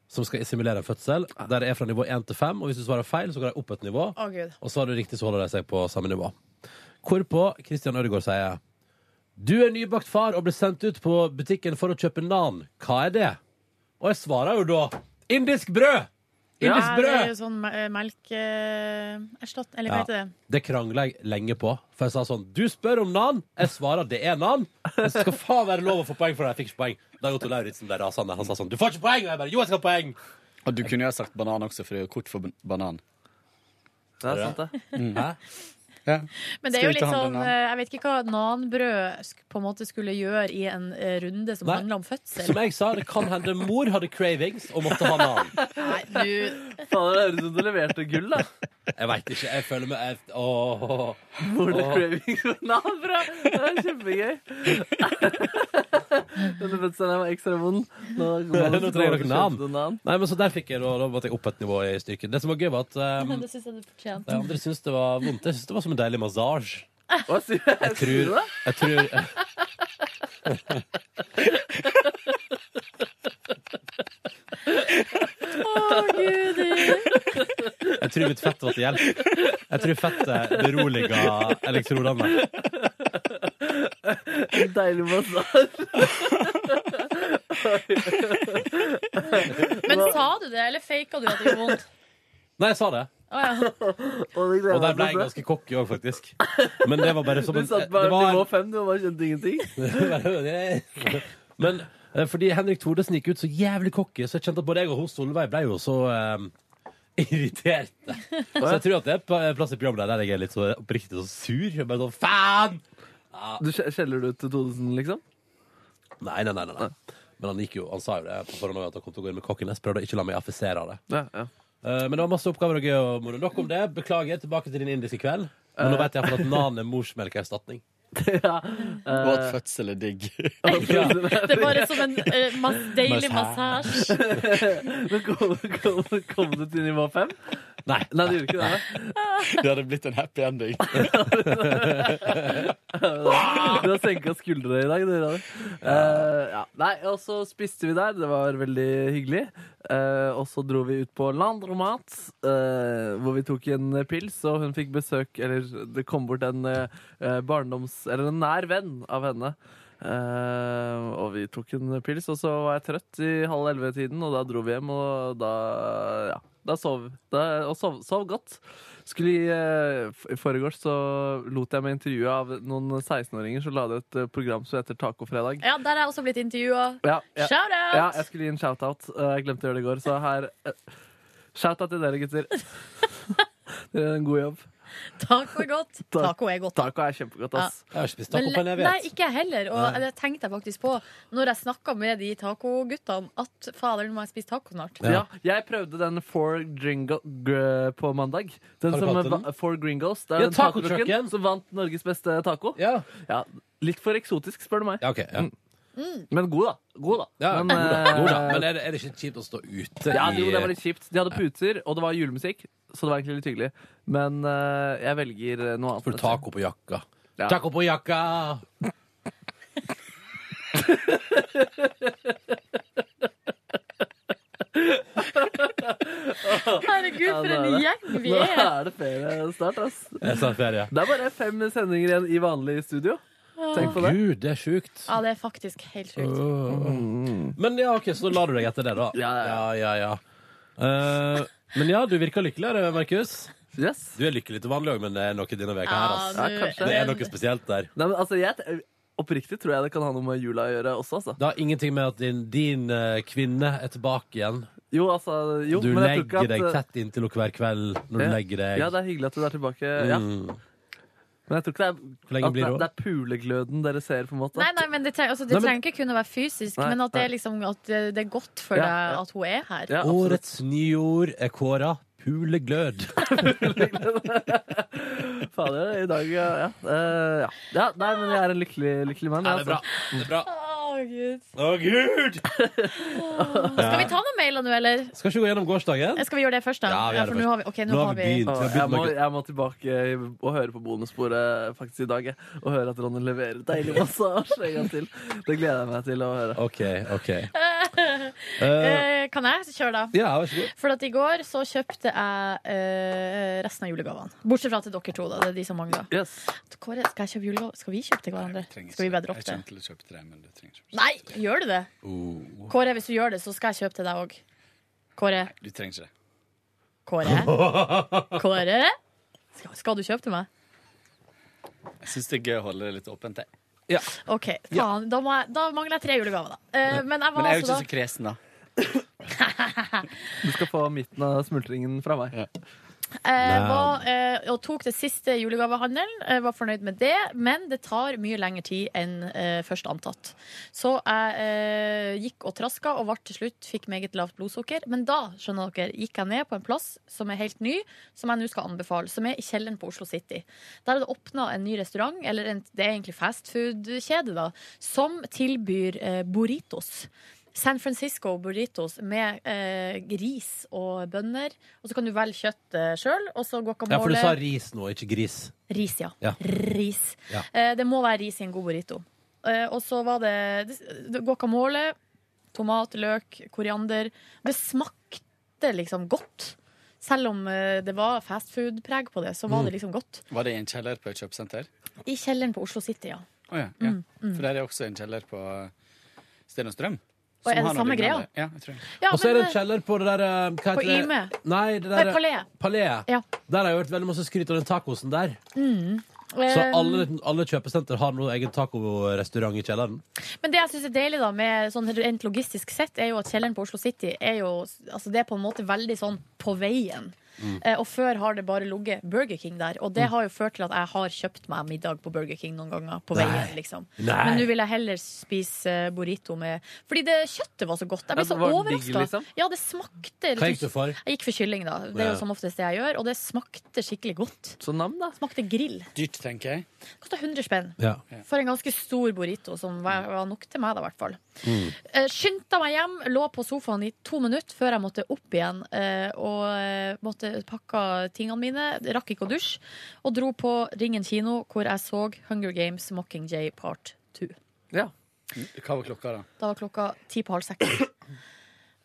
Speaker 2: som skal simulere en fødsel, der det er fra nivå 1 til 5. Og hvis du svarer feil, så går de opp et nivå.
Speaker 5: Å, Gud.
Speaker 2: Og svarer du riktig, så holder de seg på samme nivå. Hvorpå Christian Ødegaard sier Du er nybakt far og ble sendt ut på butikken for å kjøpe nan. Hva er det? Og jeg svarer jo da indisk brød! Indisk
Speaker 5: det er
Speaker 2: brød!
Speaker 5: jo sånn me- melk eh, erstatt, Eller hva
Speaker 2: Ja.
Speaker 5: heter det?
Speaker 2: Det krangla jeg lenge på. For jeg sa sånn Du spør om nan, jeg svarer det er nan. Det skal faen være lov å få poeng for det. Jeg fikk ikke poeng. Dag Otto Lauritzen ble rasende. Han sa sånn Du får ikke poeng! Og jeg bare Jo, jeg skal ha poeng!
Speaker 11: Og du kunne jo ha sagt banan også, for det er jo kort for ban- banan.
Speaker 4: Det er sant, det.
Speaker 11: Mm.
Speaker 2: Hæ?
Speaker 11: Ja.
Speaker 5: Men det
Speaker 11: Skal
Speaker 5: er jo
Speaker 11: ut
Speaker 5: litt
Speaker 11: og handle
Speaker 5: sånn
Speaker 11: nan.
Speaker 5: eh, Jeg vet ikke hva nanbrød sk- på en måte skulle gjøre i en eh, runde som
Speaker 2: Nei.
Speaker 5: handler om fødsel.
Speaker 2: Som jeg sa, det kan hende mor hadde cravings og måtte ha nan.
Speaker 5: Nei, du
Speaker 4: Faen, det høres ut som du leverte gull, da.
Speaker 2: Jeg veit ikke. Jeg føler meg jeg, Åh.
Speaker 4: Hvor det
Speaker 2: Åh.
Speaker 4: cravings for navn fra. Det er kjempegøy. Denne fødselen var ekstra vond. Nå, går det-
Speaker 2: Nå trenger dere
Speaker 4: Kjøpte du
Speaker 2: nan. Nei, men så der fikk jeg da, da måtte jeg opp et nivå i styrken. Det som var gøy, var at eh,
Speaker 5: Det syns jeg du
Speaker 2: de
Speaker 5: fortjente.
Speaker 2: andre syntes det var vondt. Jeg syntes det var som en deilig massasje.
Speaker 4: Hva sier du?
Speaker 2: Jeg tror, jeg tror
Speaker 5: Å, gudi!
Speaker 2: Jeg tror mitt fett var til hjelp. Jeg tror fettet beroliga elektrodene.
Speaker 4: En deilig massasje.
Speaker 5: Men sa du det, eller faka du at det gjorde vondt?
Speaker 2: Nei, jeg sa det.
Speaker 5: Å, ja.
Speaker 2: Og der ble jeg ganske cocky òg, faktisk. Men det var bare som
Speaker 4: Du
Speaker 2: en eh,
Speaker 4: satt
Speaker 2: det
Speaker 4: på
Speaker 2: var-
Speaker 4: nivå fem, du og bare kjente ingenting.
Speaker 2: Men eh, fordi Henrik Thodesen gikk ut så jævlig cocky, så jeg kjente at både jeg og hun Solveig ble jo så eh, irriterte. Så jeg tror at det er pla- plass i programmet der jeg er litt så oppriktig så sur. Jeg bare sånn, faen!
Speaker 4: Du skje- Skjeller du ut til Thodesen, liksom?
Speaker 2: Nei, nei, nei, nei, nei. Men han, gikk jo, han sa jo det på forhånd også, at han kom til å gå inn med kokken. Jeg prøvde å ikke la meg affisere av det. Eh, Men det var masse oppgaver og gøy og moro. Nok om det. Beklager. Tilbake til din indiske kveld. Men
Speaker 4: Eh.
Speaker 2: nå vet jeg iallfall at nan er morsmelkerstatning.
Speaker 11: Og at fødsel er digg.
Speaker 5: Det er bare som en eh, mas deilig massasje.
Speaker 4: Men kom, kom, kom du til nivå fem?
Speaker 2: Nei.
Speaker 4: du gjorde ikke det?
Speaker 11: Det hadde blitt en happy ending.
Speaker 4: Du har senka skuldrene i dag. Du, Rani. Eh, ja. Nei, og så spiste vi der. Det var veldig hyggelig. Eh, og så dro vi ut på Landromat, eh, hvor vi tok en pils, og hun fikk besøk Eller det kom bort en eh, eh, barndoms... Eller en nær venn av henne. Eh, og vi tok en pils, og så var jeg trøtt i halv elleve-tiden, og da dro vi hjem, og da Ja. Da sov da, Og sov, sov godt. Skulle i, eh, f- I forgårs så lot jeg meg intervjue av noen 16-åringer som lagde et eh, program som heter Tacofredag.
Speaker 5: Ja, der er jeg også blitt intervjua.
Speaker 4: Ja, ja.
Speaker 5: Shout-out!
Speaker 4: Ja, jeg skulle gi en shout-out. Eh, Jeg glemte å gjøre det i går, så her eh, Shout-out til dere, gutter. Dere gjør en god jobb.
Speaker 5: Taco er godt. Taco er godt.
Speaker 4: Taco er kjempegodt, ass.
Speaker 2: Jeg har ikke spist
Speaker 5: Men- Nei, ikke jeg heller. Og
Speaker 4: Nei.
Speaker 5: det tenkte jeg faktisk på når jeg snakka med de tacoguttene, at fader, nå må jeg spise taco snart.
Speaker 4: Ja. jeg prøvde den Four Gringo gr- på mandag. Den
Speaker 2: Har du
Speaker 4: som
Speaker 2: kalt den
Speaker 4: va- Four Gringos. Det er
Speaker 2: Ja,
Speaker 4: den
Speaker 2: Taco
Speaker 4: tacotrucken
Speaker 2: Trucken.
Speaker 4: som vant Norges beste taco.
Speaker 2: Ja.
Speaker 4: litt for eksotisk, spør du meg.
Speaker 2: Ja, ok, ja.
Speaker 4: Mm. Men god, da. God, da.
Speaker 2: Ja,
Speaker 4: Men,
Speaker 2: god da, god da.
Speaker 4: eh,
Speaker 2: Men er det, er det ikke kjipt å stå ute
Speaker 4: ja,
Speaker 2: i
Speaker 4: jo, det var litt kjipt. De hadde puter, og det var julemusikk, så det var egentlig litt hyggelig. Men eh, jeg velger eh, noe annet.
Speaker 2: Får du taco på jakka?
Speaker 4: Ja.
Speaker 2: Taco på jakka!
Speaker 5: Herregud, for en gjeng vi er.
Speaker 4: Nå er det ferie snart, ass.
Speaker 2: Jeg sa ferie.
Speaker 4: Det er bare fem sendinger igjen i vanlig studio. Tenk på det.
Speaker 2: Gud, det er sjukt. Mm.
Speaker 5: Ja, det er faktisk helt sjukt.
Speaker 2: Men ja, ok, så la du deg etter det, da. Ja, ja, ja. Eh, men ja, du virker lykkeligere, Markus.
Speaker 4: Yes.
Speaker 2: Du er lykkelig til vanlig òg, men det er noe denne veka her,
Speaker 4: Ja,
Speaker 2: ass.
Speaker 4: du- altså. Ja, kanskje.
Speaker 2: det er noe spesielt der.
Speaker 4: Nei, men altså, jeg, t- oppriktig tror jeg det kan ha noe med jula å gjøre også, altså.
Speaker 2: Det har ingenting med at din, din eh, kvinne er tilbake igjen.
Speaker 4: Jo, altså, jo,
Speaker 2: du
Speaker 4: men jeg tror ikke
Speaker 2: legger
Speaker 4: at-
Speaker 2: deg tett inntil henne hver kveld når
Speaker 4: Ja.
Speaker 2: du legger deg.
Speaker 4: Ja, det er hyggelig at du er tilbake. Ja.
Speaker 2: Mm.
Speaker 4: Men jeg tror ikke det er,
Speaker 2: lenge
Speaker 4: at
Speaker 2: blir
Speaker 4: det,
Speaker 2: det,
Speaker 4: det er pulegløden dere ser, på en måte.
Speaker 5: Nei, nei, men Det, treng, altså, det
Speaker 4: Nei, men-
Speaker 5: trenger ikke kunne være fysisk,
Speaker 4: Nei,
Speaker 5: men at det, er
Speaker 4: nei.
Speaker 5: liksom, at det det er godt for
Speaker 4: Ja,
Speaker 5: deg
Speaker 4: ja.
Speaker 5: at hun er her.
Speaker 2: Årets nyord er kåra puleglød.
Speaker 4: Fader, i dag, ja. Ja, Eh, ja. ja nei, men jeg er en lykkelig, lykkelig mann.
Speaker 2: Ja, det er bra.
Speaker 4: altså.
Speaker 2: Det er bra.
Speaker 5: Å, gud.
Speaker 2: Å, gud!
Speaker 5: Skal vi ta noen mailer nå, eller?
Speaker 2: Skal ikke vi gå gjennom gårsdagen?
Speaker 5: Eh, Skal vi gjøre det først, da?
Speaker 2: Ja, vi gjør det
Speaker 5: for nå
Speaker 2: først.
Speaker 5: har vi, ok, nå har vi,
Speaker 2: begynt. Vi har
Speaker 4: Jeg,
Speaker 2: begynt
Speaker 4: må,
Speaker 2: med-
Speaker 4: jeg må tilbake og høre på bonussporet faktisk i dag. jeg. Og høre at Ronny leverer deilig massasje en gang til. Det gleder jeg meg til å høre.
Speaker 2: Ok, ok
Speaker 5: Eh, Kan jeg kjøre, da?
Speaker 2: Ja, vær så god.
Speaker 5: For at i går så kjøpte jeg eh, resten av julegavene. Bortsett fra til dere to, da. Det er de som mangler. Kåre, skal, jeg kjøpe julegave? skal vi kjøpe til hverandre? Skal vi bare droppe det?
Speaker 12: kommer til å kjøpe tre, men du trenger ikke.
Speaker 5: Nei, gjør du det?
Speaker 12: Oh,
Speaker 5: Kåre, hvis du gjør det, så skal jeg kjøpe til deg òg. Kåre.
Speaker 12: du trenger ikke det.
Speaker 5: Kåre. Kåre. Skal, skal du kjøpe til meg?
Speaker 12: Jeg syns det er gøy å holde det litt åpent. Jeg.
Speaker 5: OK. Faen, da, må jeg, da mangler jeg tre julegaver, da. Eh, men jeg var
Speaker 12: Men jeg er jo ikke
Speaker 5: altså da
Speaker 12: så kresen, da.
Speaker 4: Du skal få midten av smultringen fra meg.
Speaker 5: Eh, var, eh, og tok det siste julegavehandelen. Eh, var fornøyd med det, men det tar mye lengre tid enn eh, først antatt. Så jeg eh, gikk og traska og var til slutt fikk meget lavt blodsukker. Men da skjønner dere, gikk jeg ned på en plass som er helt ny, som jeg nå skal anbefale. Som er i kjelleren på Oslo City. Der er det åpna en ny restaurant, eller en, det er egentlig fastfood-kjede, da, som tilbyr eh, burritos. San Francisco burritos med eh, ris og bønner. Og så kan du velge kjøtt eh, sjøl, og så
Speaker 2: Ja,
Speaker 5: guacamole.
Speaker 2: for du sa ris nå, ikke gris.
Speaker 5: Ris, ja.
Speaker 2: Ja.
Speaker 5: Ris.
Speaker 2: Ja.
Speaker 5: Eh, det må være ris i en god burrito. Eh, og så var det det- guacamole, tomat, løk, koriander. Det smakte liksom godt. Selv om eh, det var fastfood-preg på det, så var
Speaker 12: Mm.
Speaker 5: det liksom godt.
Speaker 12: Var det i en kjeller på et kjøpesenter?
Speaker 5: I kjelleren på Oslo City, ja.
Speaker 12: Å ja, ja.
Speaker 5: Mm, mm.
Speaker 12: For der er også en kjeller på Sten og Strøm.
Speaker 5: Og er det
Speaker 12: som har noe
Speaker 5: samme
Speaker 12: lignende.
Speaker 5: greia?
Speaker 12: Ja, jeg tror det.
Speaker 5: Ja,
Speaker 2: og så
Speaker 5: men,
Speaker 2: er det en
Speaker 5: eh,
Speaker 2: kjeller på det der eh, hva
Speaker 5: på
Speaker 2: heter det?
Speaker 5: Yme.
Speaker 2: Nei, det der,
Speaker 5: Nei, Palais.
Speaker 2: Palais.
Speaker 5: Ja.
Speaker 2: Der har jeg hørt veldig masse skryt av den tacosen der.
Speaker 5: Mm.
Speaker 2: Så
Speaker 5: Eh,
Speaker 2: alle, alle kjøpesenter har nå egen tacorestaurant i kjelleren.
Speaker 5: Men det jeg synes er deilig da med sånn rent logistisk sett, er jo at kjelleren på Oslo City er jo altså det er på en måte veldig sånn på veien.
Speaker 14: Mm.
Speaker 5: Eh, og før har det bare ligget Burger King der, og det har jo ført til at jeg har kjøpt meg middag på Burger King noen ganger. på
Speaker 14: Nei.
Speaker 5: veien liksom
Speaker 14: Nei.
Speaker 5: Men nå vil jeg heller spise eh, burrito med Fordi det kjøttet var så godt.
Speaker 14: Ja,
Speaker 5: Jeg ble så
Speaker 14: det var digg,
Speaker 5: overraska.
Speaker 14: liksom?
Speaker 5: Ja, det smakte
Speaker 14: Hva gikk du for?
Speaker 5: Jeg gikk for kylling, da. Det er
Speaker 12: Ja.
Speaker 5: jo som oftest det jeg gjør. Og det smakte skikkelig godt.
Speaker 4: Så nam da
Speaker 5: Smakte grill.
Speaker 12: Dyrt, tenker jeg.
Speaker 5: Kosta 100 spenn.
Speaker 12: Ja.
Speaker 5: For en ganske stor burrito, som var, var nok til meg, da, i hvert fall. Eh, Skyndte meg hjem, lå på sofaen i to minutter før jeg måtte opp igjen. eh, Og eh, måtte pakke tingene mine. Rakk ikke å dusje. Og dro på Ringen kino, hvor jeg så Hunger Games Mockingjay Part 2.
Speaker 12: Hva var klokka, da?
Speaker 5: Da var klokka ti på halv seks.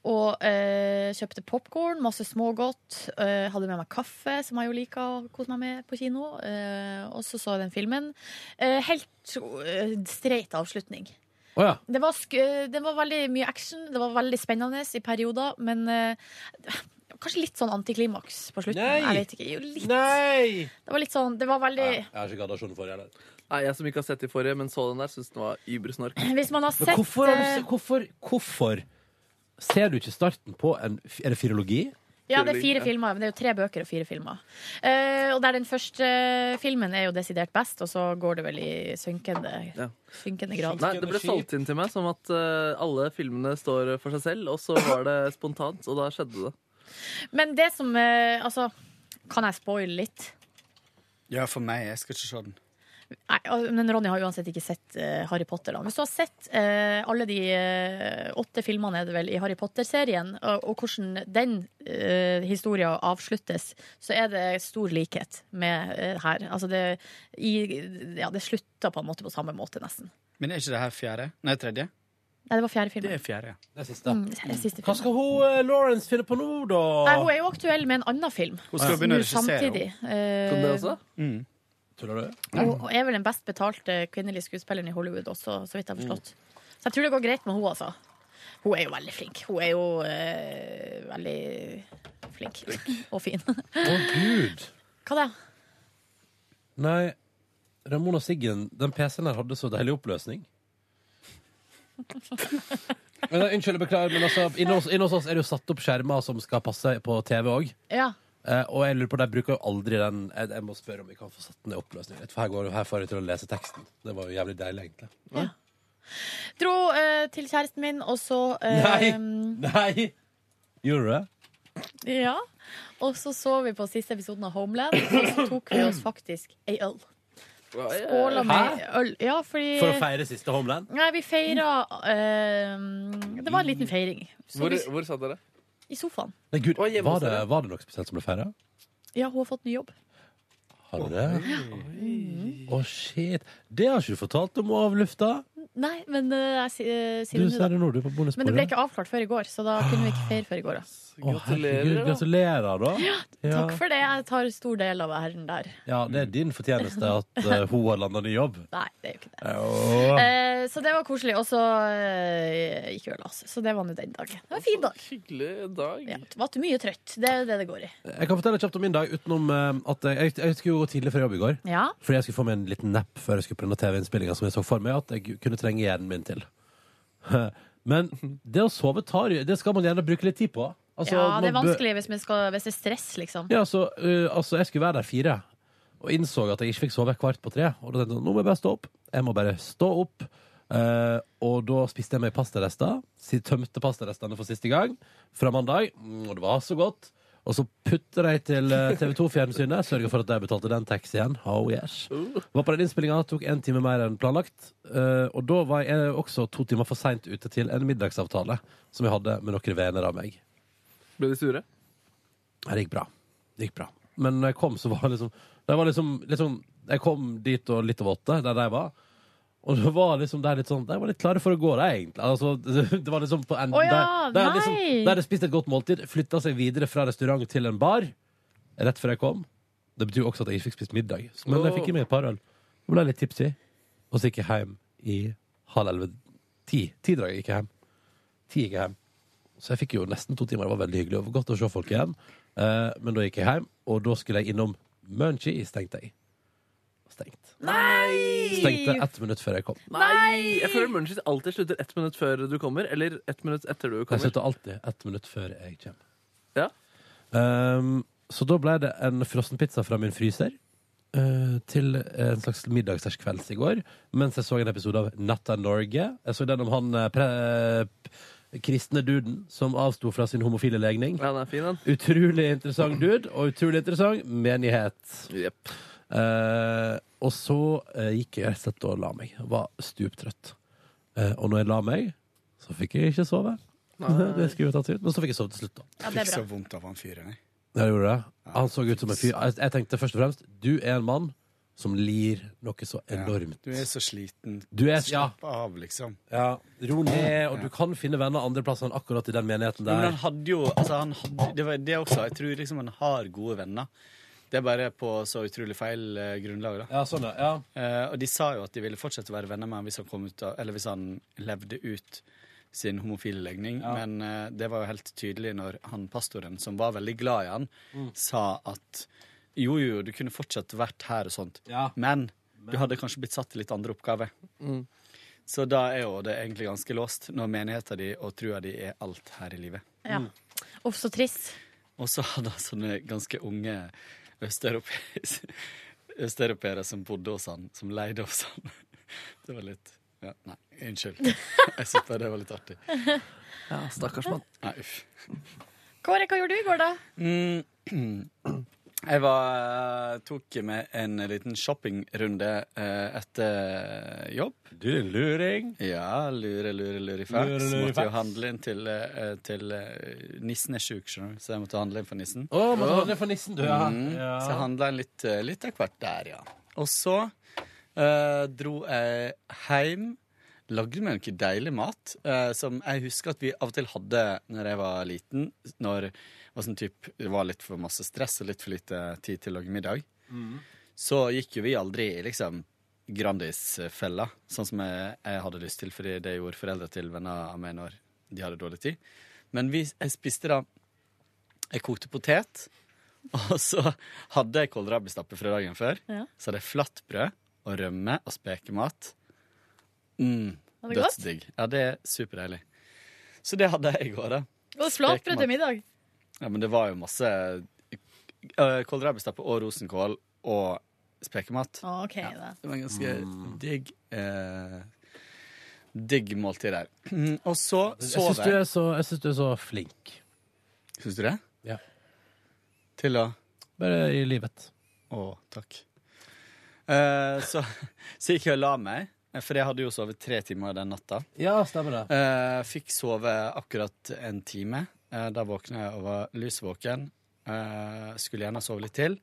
Speaker 5: Og eh, kjøpte popkorn, masse smågodt. Eh, hadde med meg kaffe, som jeg jo liker å kose meg med på kino. Eh, og så så jeg den filmen. Eh, helt eh, streit avslutning.
Speaker 2: Å ja.
Speaker 5: Det var, sk eh, det var veldig mye action, det var veldig spennende i perioder, men eh, kanskje litt sånn antiklimaks på slutten.
Speaker 2: Nei!
Speaker 5: Jeg vet ikke. Jo, litt.
Speaker 2: Nei!
Speaker 5: Det var litt sånn Det var veldig
Speaker 2: Jeg har ikke gadd å se den forrige heller.
Speaker 4: Nei, Jeg som ikke har sett de forrige, men så den der, syns den var übersnork.
Speaker 5: Hvis man har
Speaker 2: Men
Speaker 5: sett
Speaker 2: hvorfor, har du,
Speaker 5: eh,
Speaker 2: se- hvorfor, hvorfor ser du ikke starten på en Er det firologi?
Speaker 5: Ja, det er fire
Speaker 2: Ja.
Speaker 5: filmer, men det er jo tre bøker og fire filmer. Eh, og der den første filmen er jo desidert best, og så går det vel i synkende,
Speaker 4: Ja.
Speaker 5: synkende grad.
Speaker 4: Nei, Det ble solgt inn til meg som at eh, alle filmene står for seg selv, og så var det spontant, og da skjedde det.
Speaker 5: Men det som eh, Altså, kan jeg spoile litt?
Speaker 12: Ja, for meg. Jeg skal ikke se den.
Speaker 5: Nei, al- men Ronny har uansett ikke sett eh, Harry Potter. da Hvis du har sett eh, alle de eh, åtte filmene er det vel i Harry Potter-serien, og, og hvordan den uh, historien avsluttes, så er det stor likhet med eh, her. Altså det, i, ja, det slutter på en måte på samme måte, nesten.
Speaker 12: Men er ikke det her fjerde? Nei, tredje?
Speaker 5: Nei, det var fjerde filmen.
Speaker 12: Det er fjerde, ja.
Speaker 2: Det er siste.
Speaker 5: Mm, det er siste
Speaker 2: Hva skal hun eh, Lawrence finne på nå, da?
Speaker 5: Nei, hun er jo aktuell med en annen film.
Speaker 2: Hun skal begynne å
Speaker 5: Nå
Speaker 2: regissere,
Speaker 5: Samtidig. Eh,
Speaker 2: Kan det også? Tuller du?
Speaker 5: hun hun er vel den best betalte kvinnelige skuespilleren i Hollywood også, så vidt
Speaker 2: Mm.
Speaker 5: jeg har forstått. Så jeg tror det går greit med hun altså. Hun er jo veldig flink. Hun er jo eh, veldig flink og fin.
Speaker 2: Å, gud.
Speaker 5: Hva da?
Speaker 2: Nei, Ramona Siggen, den PC-en her hadde så deilig oppløsning. Men, eh, unnskyld, jeg beklager, men altså, inne hos, inne hos oss er det jo satt opp skjermer som skal passe på TV òg.
Speaker 5: Ja.
Speaker 2: Eh, og jeg lurer på, de bruker jo aldri den jeg, jeg må spørre om vi kan få satt ned oppløsningen litt, For her, går, her får jeg til å lese teksten. Det var jo jævlig deilig, egentlig.
Speaker 5: Dro eh, til kjæresten min, og så eh,
Speaker 2: Nei! Nei! Gjorde du det?
Speaker 5: Ja. Og så så vi på siste episoden av Homeland, og så tok vi oss faktisk ei øl. Skåla med
Speaker 2: Hæ?
Speaker 5: øl. Ja, fordi
Speaker 2: For å feire siste homeland?
Speaker 5: Nei, vi feira eh, Det var en liten feiring. Så
Speaker 4: Hvor,
Speaker 5: vi-
Speaker 4: hvor satt dere?
Speaker 5: I sofaen.
Speaker 2: Nei, Gud,
Speaker 4: Å, hjemme
Speaker 2: var,
Speaker 4: hos
Speaker 2: det,
Speaker 4: dere.
Speaker 2: var det noe spesielt som ble feira?
Speaker 5: Ja, hun har fått ny jobb.
Speaker 2: Har du det? Å, shit. Det har ikke du fortalt om av lufta.
Speaker 5: Nei, men eh, jeg si- eh, sier
Speaker 2: Du
Speaker 5: det nå,
Speaker 2: sier
Speaker 5: da.
Speaker 2: det nå, du er på bonusbordet.
Speaker 5: Men det ble ikke avklart før i går, så da kunne vi ikke feire før i går. Da.
Speaker 2: Å, herregud, gratulerer, da. Ja.
Speaker 5: Takk for det. Jeg tar stor del av æren der.
Speaker 2: Ja, det er din fortjeneste at eh, hun har landa ny jobb.
Speaker 5: Nei, det er jo ikke det.
Speaker 2: Åh.
Speaker 5: Eh, så det var koselig. Og så eh, gikk øla oss. Så det var nå den dagen. Det var en fin dag.
Speaker 4: Hyggelig dag.
Speaker 5: Ja, var mye trøtt. Det er det det går i.
Speaker 2: Jeg kan fortelle kjapt om min dag utenom eh, at jeg, jeg, jeg skulle jo gå tidlig fra jobb i går.
Speaker 5: Ja.
Speaker 2: Fordi jeg skulle få meg en liten napp før jeg skulle på denne TV-innspillinga som jeg så for meg at jeg kunne trenge hjernen min til. Men det å sove tar jo Det skal man gjerne bruke litt tid på. Altså,
Speaker 5: ja, det er
Speaker 2: man bø-
Speaker 5: vanskelig hvis, man skal, hvis det er stress, liksom.
Speaker 2: Ja, så, eh, altså, jeg skulle være der fire, og innså at jeg ikke fikk sove kvart på tre. Og da tenkte jeg nå må jeg bare stå opp. Jeg må bare stå opp. Eh, og da spiste jeg meg pastarester. Si- Tømte pastarestene for siste gang fra mandag. Mm, og det var så godt. Og så putter jeg til eh, TV 2-fjernsynet. Sørger for at de betalte den taxien. Oh yes. Var på den innspillinga, tok en time mer enn planlagt. Eh, og da var jeg også to timer for seint ute til en middagsavtale som jeg hadde med noen venner av meg.
Speaker 4: Ble de sure?
Speaker 2: Nei, det gikk bra. Det gikk bra. Men når jeg kom, så var det liksom Det var liksom, liksom Jeg kom dit og litt over åtte, der de var. Og det var liksom der litt sånn De var litt klare for å gå, de, egentlig. Altså, det var liksom på enden
Speaker 5: Å ja,
Speaker 2: der, der,
Speaker 5: nei!
Speaker 2: liksom, der hadde spist et godt måltid, flytta seg videre fra restaurant til en bar rett før jeg kom. Det betyr jo også at jeg ikke fikk spist middag. Men jeg fikk i meg et par øl. Så ble jeg litt tipsy, og så gikk jeg hjem i halv elleve. Ti. Ti-draget gikk jeg hjem. Ti gikk jeg hjem. Så jeg fikk jo nesten to timer. Det var veldig hyggelig og godt å se folk igjen. Eh, men da gikk jeg hjem, og da skulle jeg innom Munchies, tenkte jeg.
Speaker 4: Nei!
Speaker 2: Stengte ett minutt før jeg kom.
Speaker 4: Nei! Jeg føler Munchies alltid slutter ett minutt før du kommer, eller ett minutt etter du
Speaker 2: Jeg
Speaker 4: kommer.
Speaker 2: slutter alltid ett minutt før jeg kommer.
Speaker 4: Ja.
Speaker 2: Ehm, så da ble det en frossenpizza fra min fryser eh, til en slags middagskvelds i går, mens jeg så en episode av Natta Norge. Jeg så den om han eh, pre p- kristne duden som avsto fra sin homofile legning.
Speaker 4: Ja, den er fin, den.
Speaker 2: Utrolig interessant dude, og utrolig interessant menighet. Eh, og så eh, gikk jeg rett og slett og la meg. Jeg var stuptrøtt. Eh, og når jeg la meg, så fikk jeg ikke sove.
Speaker 12: Nei.
Speaker 2: det skulle jo tatt ut, Men så fikk jeg sove til slutt, da.
Speaker 12: Ja, Fikk så vondt av han fyren. jeg.
Speaker 2: Ja, det gjorde det. Han så ut som en fyr. Jeg- Jeg tenkte først og fremst du er en mann som lir noe så enormt.
Speaker 12: Du er så sliten.
Speaker 2: Du er- ja.
Speaker 12: Slapp av, liksom.
Speaker 2: Ja, Ro ned, og du kan finne venner andre plasser enn akkurat i den menigheten
Speaker 12: Men han
Speaker 2: der.
Speaker 12: hadde jo altså han hadde, det, var, det også. Jeg tror liksom han har gode venner. Det er bare på så utrolig feil eh, grunnlag. da.
Speaker 2: Ja, sånn, ja.
Speaker 12: Eh, og de sa jo at de ville fortsette å være venner med ham hvis han, kom ut av, eller hvis han levde ut sin homofile legning, men eh, det var jo helt tydelig når han pastoren, som var veldig glad i han,
Speaker 2: Mm.
Speaker 12: sa at jo, jo, du kunne fortsatt vært her og sånt,
Speaker 2: Ja.
Speaker 12: men du hadde kanskje blitt satt til litt andre oppgaver.
Speaker 4: Mm.
Speaker 12: Så da er jo det egentlig ganske låst, når menigheten din og trua di er alt her i livet.
Speaker 5: Ja. Uff, så trist.
Speaker 12: Og så hadde han sånne ganske unge østeuropeere østeuropeere som bodde hos han, som leide hos han. Det var litt ja, Nei, unnskyld. Jeg synes bare det var litt artig.
Speaker 4: Ja, stakkars mann.
Speaker 12: Nei, uff.
Speaker 5: Kåre, hva gjorde du i går, da?
Speaker 12: Mm. Jeg var, tok med en liten shoppingrunde eh, etter jobb.
Speaker 2: Du er luring.
Speaker 12: Ja, lure, lure,
Speaker 2: Lure,
Speaker 12: lurifax.
Speaker 2: lure,
Speaker 12: Måtte
Speaker 2: fax.
Speaker 12: jo handle inn til, eh, til eh, Nissen er sjuk, skjønner du, så jeg måtte handle inn for nissen.
Speaker 2: Å, måtte handle inn for nissen, du, ja.
Speaker 12: Mm.
Speaker 2: Ja.
Speaker 12: Så jeg handla inn litt, eh, litt av hvert der, ja. Og så eh, dro jeg hjem. Lagde meg noe deilig mat eh, som jeg husker at vi av og til hadde når jeg var liten. Når det var sånn typ, det var litt for masse stress og litt for lite tid til å lage middag.
Speaker 2: Mm.
Speaker 12: Så gikk jo vi aldri i liksom Grandis-fella, sånn som jeg, jeg hadde lyst til, fordi det gjorde foreldre til venner av meg når de hadde dårlig tid. Men vi, jeg spiste da Jeg kokte potet, og så hadde jeg kålrabistappe fra dagen før.
Speaker 5: Ja.
Speaker 12: Så hadde jeg flatbrød og rømme og spekemat. Mm,
Speaker 5: Var det godt?
Speaker 12: Dødsdigg. Ja, det er superdeilig. Så det hadde jeg i går, da.
Speaker 5: Og flatbrød til middag.
Speaker 12: Ja, men det var jo masse øh, kålrabistappe og rosenkål og spekemat.
Speaker 5: Å, ok, da.
Speaker 12: det var en ganske
Speaker 2: Mm.
Speaker 12: digg eh, Digg måltid der. Mm, Og så
Speaker 2: Jeg
Speaker 12: sov
Speaker 2: syns du, er så- jeg synes du er så flink.
Speaker 12: Syns du det?
Speaker 2: Ja.
Speaker 12: Til å
Speaker 2: Bare i livet.
Speaker 12: Å, takk. Eh, så, så gikk jeg og la meg, eh, for jeg hadde jo sovet tre timer den natta.
Speaker 2: Ja, stemmer det.
Speaker 12: Eh, fikk sove akkurat en time. Eh, da våkna jeg og var lysvåken. Eh, skulle gjerne sove litt til.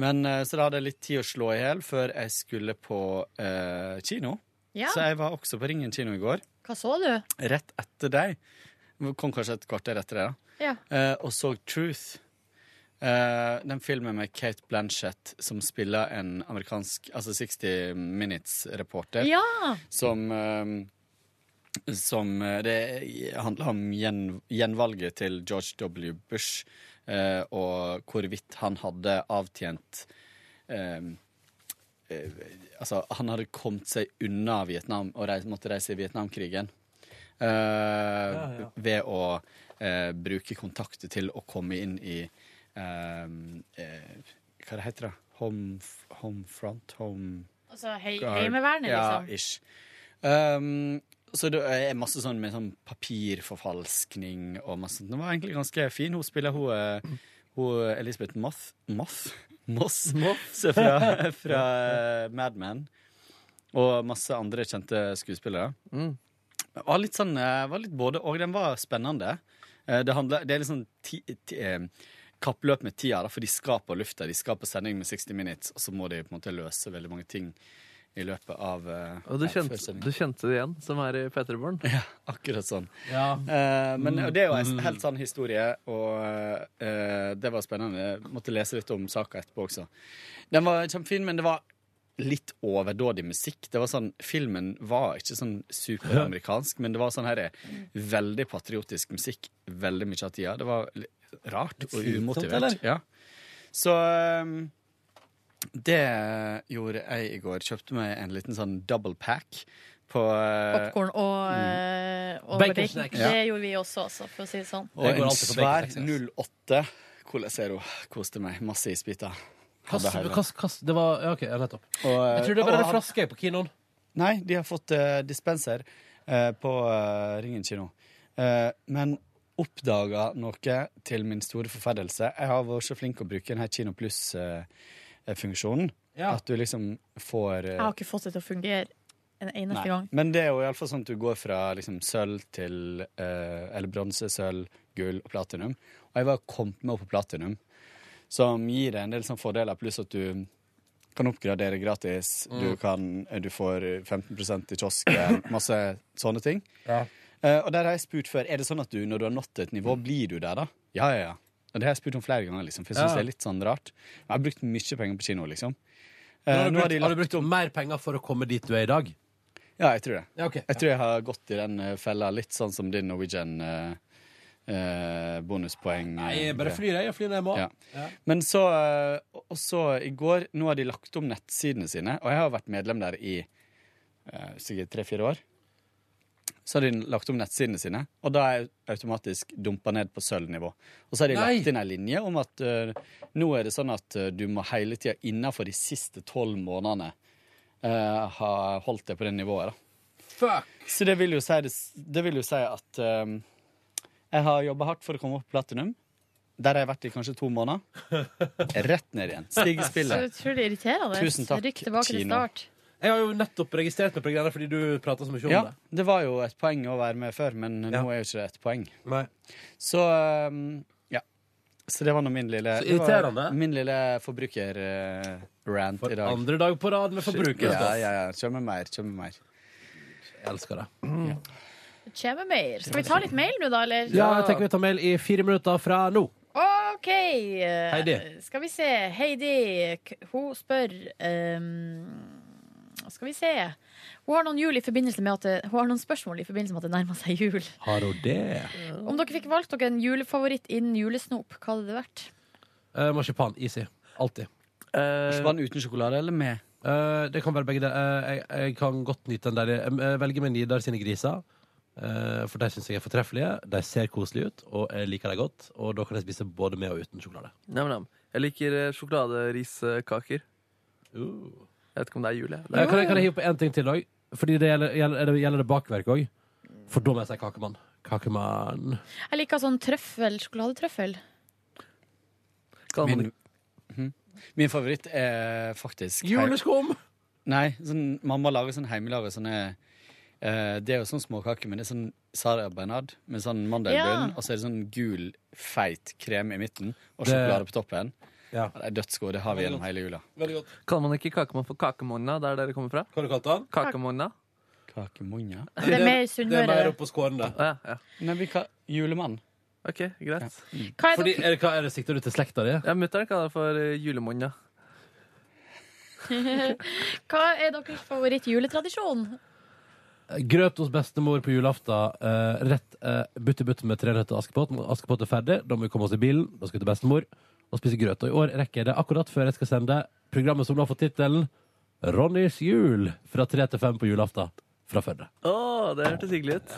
Speaker 12: Men, eh, så da hadde jeg litt tid å slå i hjel før jeg skulle på eh, kino.
Speaker 5: Ja.
Speaker 12: Så jeg var også på Ringen kino i går.
Speaker 5: Hva så du?
Speaker 12: Rett etter deg. Kom kanskje et kvarter etter det, da.
Speaker 5: Ja.
Speaker 12: Eh, og så Truth. Eh, den filmen med Kate Blanchett som spiller en amerikansk Altså 60 Minutes-reporter.
Speaker 5: Ja.
Speaker 12: Som, eh, som eh, Det handler om gjen, gjenvalget til George W. Bush eh, og hvorvidt han hadde avtjent eh, eh, Altså, han hadde kommet seg unna Vietnam og reis, måtte reise i Vietnamkrigen. Eh,
Speaker 15: ja.
Speaker 12: Ved å eh, bruke kontakter til å komme inn i eh, eh, Hva det heter det? Home, home front? Home
Speaker 5: Altså, hei-
Speaker 12: guard?
Speaker 5: heimevernet, liksom.
Speaker 12: Ja, ish. Um, så det er masse sånn med sånn papirforfalskning og masse sånt. Den var egentlig ganske fin. Hun spiller hun, eh, hun Elisabeth Moth Moth? Moss? Så fra, fra eh, Mad Men. Og masse andre kjente skuespillere.
Speaker 4: Mm.
Speaker 12: Det var litt sånn, eh, var litt både og. Den var spennende. Eh, Det, handler, det er litt sånn ti, ti, eh, kappløp med tida, da, for de skal på lufta. De skal på sending med 60 Minutes, og så må de på en måte løse veldig mange ting i løpet av eh,
Speaker 4: Og du
Speaker 12: ja, før
Speaker 4: kjente,
Speaker 12: sending.
Speaker 4: du kjente det igjen, som er i P3 Morgen?
Speaker 12: Ja, akkurat sånn. Eh, men og det er jo en helt sann historie, og eh, det var spennende. Jeg måtte lese litt om saka etterpå også. Den var kjempefin, men det var litt overdådig musikk. Det var sånn, Filmen var ikke sånn superamerikansk, men det var sånn her veldig patriotisk musikk veldig mye av tida. Det var li- rart og
Speaker 15: slitsomt,
Speaker 12: umotivert.
Speaker 15: eller?
Speaker 12: Ja. Så eh, det gjorde jeg i går. Kjøpte meg en liten sånn double pack på eh,
Speaker 5: Popkorn og, eh,
Speaker 12: Mm.
Speaker 5: og
Speaker 12: Bacon
Speaker 5: bacon.
Speaker 12: snacks.
Speaker 5: Det gjorde vi også, altså, for å si det sånn.
Speaker 12: Og en svær 08 Cola Zero koste meg masse isbiter. Hadde hele.
Speaker 2: det var ja, OK, ja, nettopp.
Speaker 12: Og, eh,
Speaker 2: Jeg tror det bare
Speaker 12: og-
Speaker 2: er flasker på kinoen.
Speaker 12: Nei, de har fått eh, dispenser eh, på eh, Ringen kino. Eh, men oppdaga noe til min store forferdelse. Jeg har vært så flink å bruke denne Kino Pluss-funksjonen.
Speaker 3: Ja.
Speaker 12: At du liksom får eh,
Speaker 3: Jeg har ikke fått det til å fungere en eneste
Speaker 12: Nei.
Speaker 3: gang.
Speaker 12: Men det er jo iallfall sånn at du går fra liksom, sølv til eh, Eller bronse, sølv, gull og platinum. Og jeg var kommet meg opp på platinum, som gir deg en del sånn fordeler, pluss at du kan oppgradere gratis,
Speaker 15: Mm.
Speaker 12: du, kan, eh, du får 15 i kiosken, masse sånne ting.
Speaker 15: Ja.
Speaker 12: Eh, og der har jeg spurt før, er det sånn at du, når du har nådd et nivå, blir du der da? Ja, ja, ja. Og det har jeg spurt om flere ganger, liksom, for jeg synes
Speaker 2: Ja.
Speaker 12: det er litt sånn rart. Jeg har brukt mye penger på kino, liksom. Eh,
Speaker 2: Har du,
Speaker 12: nå har
Speaker 2: brukt,
Speaker 12: de
Speaker 2: har du brukt mer penger for å komme dit du er i dag?
Speaker 12: ja, jeg tror det.
Speaker 2: Ja, ok.
Speaker 12: Jeg tror jeg har gått i den eh, fella litt sånn som din Norwegian eh, eh, bonuspoeng.
Speaker 2: Nei,
Speaker 12: eh,
Speaker 2: jeg bare flyr jeg. Jeg flyr når jeg må.
Speaker 12: Ja. Men så, eh, og så i går, nå har de lagt om nettsidene sine, og jeg har vært medlem der i eh, sikkert tre-fire år. Så har de lagt om nettsidene sine, og da er jeg automatisk dumpa ned på sølvnivå. Og så har de
Speaker 15: Nei.
Speaker 12: lagt inn ei linje om at eh, nå er det sånn at eh, du må hele tida innafor de siste tolv månedene eh, ha holdt deg på det nivået, da. Så det vil jo si, det, det vil jo si at ehm, jeg har jobba hardt for å komme opp på platinum. Der har jeg vært i kanskje to måneder. Rett ned igjen. Stig i
Speaker 5: Så
Speaker 12: spillet.
Speaker 5: utrolig irriterende.
Speaker 12: Tusen takk,
Speaker 5: Rykk tilbake til
Speaker 12: Kino.
Speaker 5: start.
Speaker 2: Jeg har jo nettopp registrert meg på greiene fordi du prata så mye om
Speaker 12: Ja,
Speaker 2: det.
Speaker 12: det var jo et poeng å være med før, men nå er jo ikke det et poeng. Så ehm, ja. Så det var nå min lille
Speaker 2: Så
Speaker 12: det var
Speaker 2: irriterende.
Speaker 12: Min lille forbruker-rant i dag.
Speaker 2: Andre dag på rad med forbruker. altså.
Speaker 12: Ja, ja, ja. Kjør med mer, kjør med mer.
Speaker 2: Jeg elsker det.
Speaker 5: Det Kommer mer. Skal vi ta litt mail nå, da, eller?
Speaker 2: Ja, jeg tenker vi tar mail i fire minutter fra nå.
Speaker 5: OK.
Speaker 2: Heidi.
Speaker 5: Skal vi se. Heidi, k- hun spør ehm, Skal vi se. Hun har noen, jul i forbindelse med at det, hun har noen spørsmål i forbindelse med at det nærmer seg jul.
Speaker 2: Har hun det?
Speaker 5: Om dere fikk valgt dere en julefavoritt innen julesnop, hva hadde det vært?
Speaker 2: Eh, marsipan. Easy. Alltid.
Speaker 4: Eh,
Speaker 12: Marsipan uten sjokolade eller med?
Speaker 2: det kan være begge deler. Eh, jeg, jeg kan godt nyte den der. eh, Jeg, jeg velger meg Nidar sine griser. eh, for de syns jeg er fortreffelige. De ser koselige ut, og jeg liker dem godt. Og da kan jeg spise både med og uten sjokolade.
Speaker 4: Nam, nam. Jeg liker eh, sjokoladeriskaker.
Speaker 2: Uh.
Speaker 4: Jeg vet ikke om det er jul, jeg.
Speaker 2: Eh, kan, jeg, kan jeg hive på én ting til òg? Fordi det gjelder, gjelder, det gjelder det bakverk òg. For da må jeg si kakemann. Kakemann.
Speaker 5: Jeg liker sånn trøffel, sjokoladetrøffel.
Speaker 12: Min, Mhm. Min favoritt er faktisk
Speaker 2: Juleskum!
Speaker 12: Nei, sånn, mamma lager sånn hjemmelaga sånne eh, Det er jo sånn småkake, men det er sånn Sara Bernard med sånn mandelbunn,
Speaker 16: Ja.
Speaker 12: og så er det sånn gul, feit krem i midten, og
Speaker 2: Det-
Speaker 12: sjokolade på toppen.
Speaker 2: Ja.
Speaker 12: Det er dødsgod. Det har vi
Speaker 4: Veldig
Speaker 12: gjennom
Speaker 4: godt.
Speaker 12: hele jula.
Speaker 2: Veldig godt.
Speaker 4: Kaller man ikke kakemann for kakemonna der dere kommer fra?
Speaker 2: Hva har du kalt den?
Speaker 4: Kakemonna.
Speaker 12: Kakemonna?
Speaker 2: Det er mer Sunnmøre. det er mer oppå skåren, det.
Speaker 4: Ja, ja.
Speaker 12: Nei, vi ka Julemann.
Speaker 4: Ok, greit.
Speaker 2: Hva er Fordi- det- hva er det sikter du til slekta di?
Speaker 4: Ja, mutter'n kaller det for eh, julemonna.
Speaker 5: Hva er deres favoritt-juletradisjon?
Speaker 2: Grøt hos bestemor på julaften. eh, rett uh, butte butte med tre nøtter og Askepott. Når Askepott er ferdig, da må vi komme oss i bilen. Da skal vi til bestemor og spise grøt. Og i år rekker jeg det akkurat før jeg skal sende programmet som nå har fått tittelen Ronnys jul fra tre til fem på julaften fra Førde.
Speaker 4: Å, det hørtes hyggelig ut.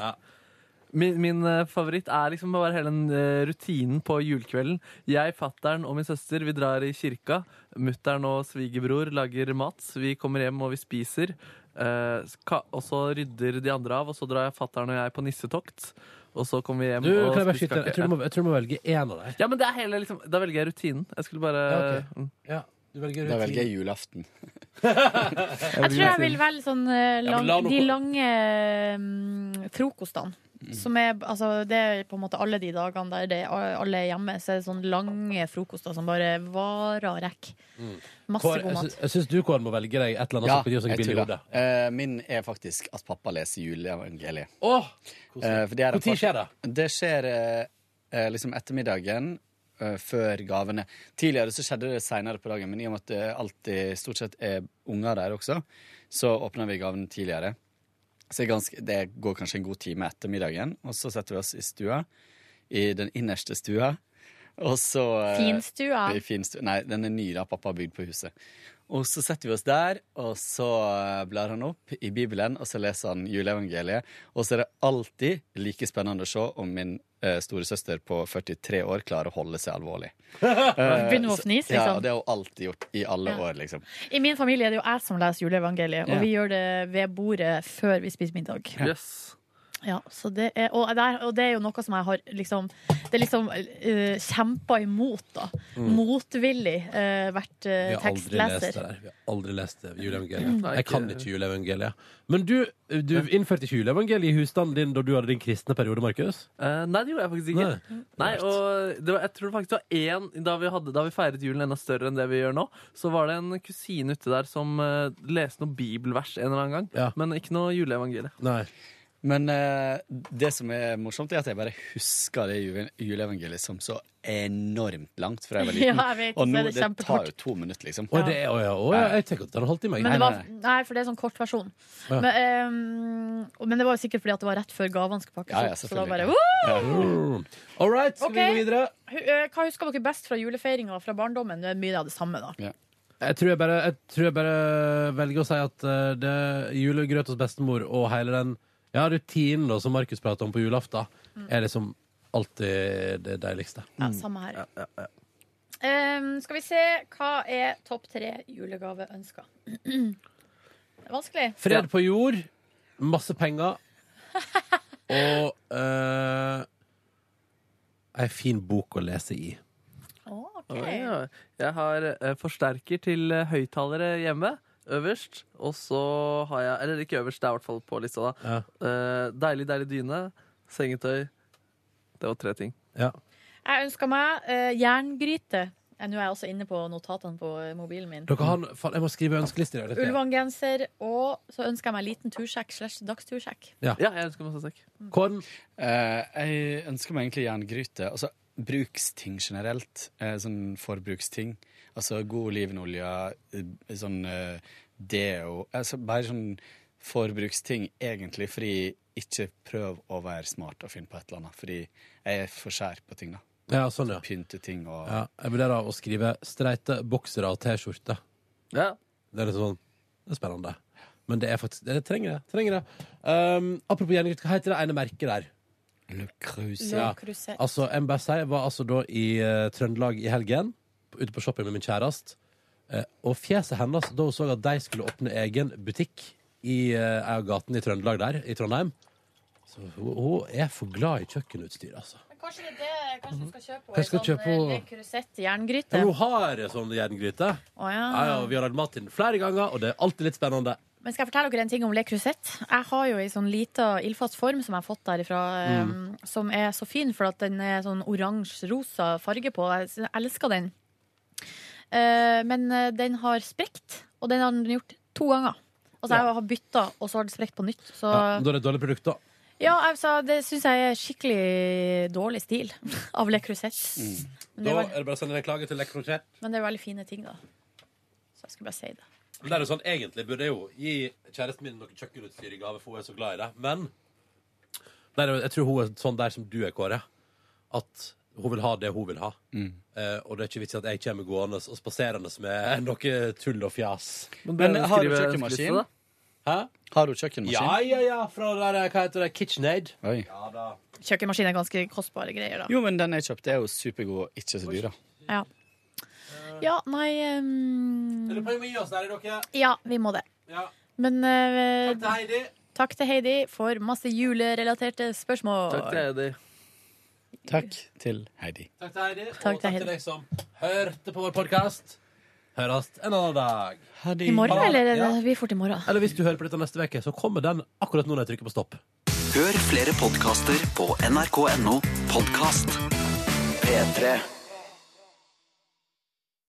Speaker 4: Min, min eh, favoritt er liksom bare hele den eh, rutinen på julekvelden. Jeg, fattern og min søster vi drar i kirka. Mutter'n og svigerbror lager mat. Vi kommer hjem og vi spiser. Eh, ka- og så rydder de andre av, og så drar fattern og jeg på nissetokt. Og så kommer vi hjem
Speaker 2: Du,
Speaker 4: og
Speaker 2: kan jeg bare
Speaker 4: spiser
Speaker 2: skyte? Jeg
Speaker 4: kake.
Speaker 2: tror du må, jeg tror du må velge én av dem.
Speaker 4: Ja, men det er hele, liksom, Da velger jeg rutinen. Jeg skulle bare
Speaker 2: Ja, ok.
Speaker 4: Mm.
Speaker 2: Ja, du velger
Speaker 12: Da
Speaker 2: rutin.
Speaker 12: velger jeg julaften.
Speaker 5: Jeg tror jeg vil velge sånn, eh,
Speaker 12: Ja, men
Speaker 5: lang,
Speaker 12: la nå
Speaker 5: de
Speaker 12: gå.
Speaker 5: lange mm, frokostene. Som er, altså, det er på en måte alle de dagene der det, alle er hjemme, så er det sånne lange frokoster som bare varer og rekker. Masse
Speaker 2: Kåre, Mm.
Speaker 5: god
Speaker 2: jeg
Speaker 5: mat.
Speaker 2: sy- Jeg syns du, Kåren, må velge deg et eller annet.
Speaker 12: Ja,
Speaker 2: som kan gi oss noe
Speaker 12: jeg
Speaker 2: billig
Speaker 12: tuller.
Speaker 2: hode.
Speaker 12: Eh, min er faktisk at pappa leser juleevangeliet.
Speaker 2: Åh,
Speaker 12: Eh, for det er
Speaker 2: Hvor
Speaker 12: en
Speaker 2: tid
Speaker 12: fakt-
Speaker 2: skjer det?
Speaker 12: Det skjer eh, eh, liksom ettermiddagen eh, før gavene. Tidligere så skjedde det seinere på dagen, men i og med at det alltid stort sett er unger der også, så åpner vi gavene tidligere. Så det, er ganske, det går kanskje en god time etter middagen, og så setter vi oss i stua. I den innerste stua. Og så eh,
Speaker 5: Finstua.
Speaker 12: i finstua. Nei, den er ny, da. Pappa har bygd på huset. Og så setter vi oss der, og så eh, blar han opp i Bibelen, og så leser han juleevangeliet. Og så er det alltid like spennende å se om min eh, storesøster på 43 år klarer å holde seg alvorlig. Eh,
Speaker 5: Begynner hun å
Speaker 12: så-
Speaker 5: fnise,
Speaker 12: Ja,
Speaker 5: liksom?
Speaker 12: og det har hun alltid gjort. I alle
Speaker 5: Ja.
Speaker 12: år, liksom.
Speaker 5: I min familie er det jo jeg som leser juleevangeliet, og
Speaker 12: Ja.
Speaker 5: vi gjør det ved bordet før vi spiser middag. Ja, så det er, og, der, og det er jo noe som jeg har liksom, det er liksom eh, kjempa imot, da.
Speaker 2: Mm.
Speaker 5: Motvillig eh, vært eh,
Speaker 2: Vi har aldri lest det
Speaker 5: tekstleser.
Speaker 2: der. Vi har aldri lest det
Speaker 5: Mm.
Speaker 2: juleevangeliet.
Speaker 5: Nei,
Speaker 2: Jeg kan
Speaker 5: ikke-
Speaker 2: ikke juleevangeliet. Men du, du innførte ikke juleevangeliet i husstanden din da du hadde din kristne periode, Markus?
Speaker 4: Eh, nei, det gjorde jeg faktisk ikke. Nei, og det var, Jeg tror faktisk det var én da vi, hadde, da vi feiret julen enda større enn det vi gjør nå, så var det en kusine ute der som eh, leste noen bibelvers en eller annen gang. Men ikke noe juleevangelie.
Speaker 12: Men eh, det som er morsomt, er at jeg bare husker det jule- juleevangeliet som så enormt langt fra jeg var liten.
Speaker 5: Ja, jeg vet,
Speaker 12: og
Speaker 5: så
Speaker 12: nå
Speaker 5: er det
Speaker 12: det tar
Speaker 5: kjempekort.
Speaker 12: jo to minutter, liksom.
Speaker 2: Å, det er- å, ja, å, ja, jeg tenker at det har holdt i meg.
Speaker 5: Men det var, nei, for det er sånn kort versjon.
Speaker 2: Ja.
Speaker 5: Men, ehm, og- men det var jo sikkert fordi at det var rett før gavene skulle pakkes
Speaker 2: Ja, ja,
Speaker 5: opp. Så da bare,
Speaker 2: selvfølgelig.
Speaker 5: Woo!
Speaker 2: All right, skal
Speaker 5: Ok.
Speaker 2: vi gå videre?
Speaker 5: Hu- eh, Hva husker dere best fra julefeiringa fra barndommen? Det er mye av det samme, da.
Speaker 2: Jeg tror jeg, bare, jeg tror jeg bare velger å si at eh, det er julegrøt hos bestemor og hele den ja, rutinen da, som Markus prater om på julaften,
Speaker 5: Mm.
Speaker 2: er liksom alltid det deiligste.
Speaker 5: Ja, samme her. Ehm, skal vi se, hva er topp tre julegaveønsker? Det er vanskelig.
Speaker 2: Fred på jord, masse penger og eh, ei fin bok å lese i.
Speaker 4: Oi, ja. Jeg har eh, forsterker til eh, høyttalere hjemme. Øverst. Og så har jeg Eller ikke øverst, det er i hvert fall på lista. da Eh, Deilig, deilig dyne. Sengetøy. Det var tre ting.
Speaker 5: Jeg ønsker meg eh, jerngryte. Eh, Nå er jeg også inne på notatene på eh, mobilen min.
Speaker 2: Dere har, faen, jeg må skrive ønskeliste i dag. dette.
Speaker 5: Ulvangenser, og så ønsker jeg meg liten tursjekk slash dagstursjekk.
Speaker 2: Ja.
Speaker 4: jeg ønsker meg sossekk.
Speaker 2: Kåren?
Speaker 12: Eh, jeg ønsker meg egentlig jerngryte. Altså bruksting generelt. eh, sånn forbruksting. Altså god olivenolje, eh, sånn eh, deo altså, Bare sånn forbruksting, egentlig, fordi ikke prøv å være smart og finne på et eller annet. Fordi jeg er for skjær på ting, da.
Speaker 2: Ja, sånn, ja.
Speaker 12: Pynte ting og
Speaker 2: Ja, jeg vurderer å skrive streite boksere og T-skjorte.
Speaker 4: Ja.
Speaker 2: Det er litt sånn Det er spennende. Men det er faktisk Det trenger det. Trenger det. Um, apropos jerngryte, hva heter det ene merket der?
Speaker 12: Le Creuset.
Speaker 2: Ja.
Speaker 12: Le Creuset.
Speaker 2: Altså, jeg må bare si, jeg var altså da i eh, Trøndelag i helgen, på- ute på shopping med min kjæreste, eh, og fjeset hennes da hun så at de skulle åpne egen butikk i eh, ei av gatene i Trøndelag der, i Trondheim Så hun, hun er for glad i kjøkkenutstyr, altså.
Speaker 5: kanskje det er det kanskje du skal kjøpe
Speaker 2: Kanskje Mhm. skal kjøpe
Speaker 5: eh,
Speaker 2: henne-
Speaker 5: Le Creuset
Speaker 2: Ja,
Speaker 5: jerngryte.
Speaker 2: men hun har sånn jerngryte.
Speaker 5: Å, ja.
Speaker 2: Ja, ja, vi har lagd mat til den flere ganger, og det er alltid litt spennende.
Speaker 5: Men skal jeg fortelle dere en ting om Le Creuset? Jeg har jo ei sånn lita ildfast form som jeg har fått derifra, eh,
Speaker 2: Mm.
Speaker 5: som er så fin, for at den er sånn oransje-rosa farge på. Jeg s- elsker den. Eh, men eh, den har sprekt, og den har den gjort to ganger. Altså
Speaker 2: Ja.
Speaker 5: jeg har bytta, og så har den sprekt på nytt. Så
Speaker 2: Ja, men da er det et dårlig produkt, da.
Speaker 5: Ja, altså, det syns jeg er skikkelig dårlig stil av Le Creuset. Men det
Speaker 2: Mm. Da
Speaker 5: er
Speaker 2: er det bare å sende en klage til Le Crochet.
Speaker 5: Men det er veldig fine ting, da. Så jeg skulle bare si det.
Speaker 2: Men det er jo sånn, Egentlig burde jeg jo gi kjæresten min noe kjøkkenutstyr i gave, for hun er så glad i det. Men Nei, det er- jeg tror hun er sånn der som du er, Kåre. At hun vil ha det hun vil ha. Eh, og det er ikke vits i at jeg kommer gående og spaserende med noe tull og fjas.
Speaker 12: Men det er Men jo har du skrive- kjøkkenmaskin? skrive, da.
Speaker 2: Hæ?
Speaker 12: Har hun kjøkkenmaskin?
Speaker 2: Ja, ja, ja. Fra det der, hva heter det, KitchenAid?
Speaker 12: Oi.
Speaker 2: Ja, da.
Speaker 5: Kjøkkenmaskin er ganske kostbare greier, da.
Speaker 12: Jo, men den jeg kjøpte, er jo supergod og ikke så dyr, da.
Speaker 5: Ja, ja nei ehm,
Speaker 2: Eller prøv å gi oss der, er dere.
Speaker 5: Ja, vi må det.
Speaker 2: Ja.
Speaker 5: Men eh,
Speaker 2: Takk til Heidi.
Speaker 5: Takk til Heidi for masse julerelaterte spørsmål.
Speaker 4: Takk til Heidi.
Speaker 12: Takk til Heidi.
Speaker 2: Takk til Heidi.
Speaker 5: Takk
Speaker 2: og
Speaker 5: til
Speaker 2: takk
Speaker 5: Heidi.
Speaker 2: til deg som hørte på vår podkast. Høres en annen dag.
Speaker 5: I morgen, eller? er det-
Speaker 2: Ja.
Speaker 5: Vi får til i morgen.
Speaker 2: Eller hvis du hører på dette neste uke, så kommer den akkurat nå når jeg trykker på stopp.
Speaker 15: Hør flere podkaster på nrk.no podkast. P3.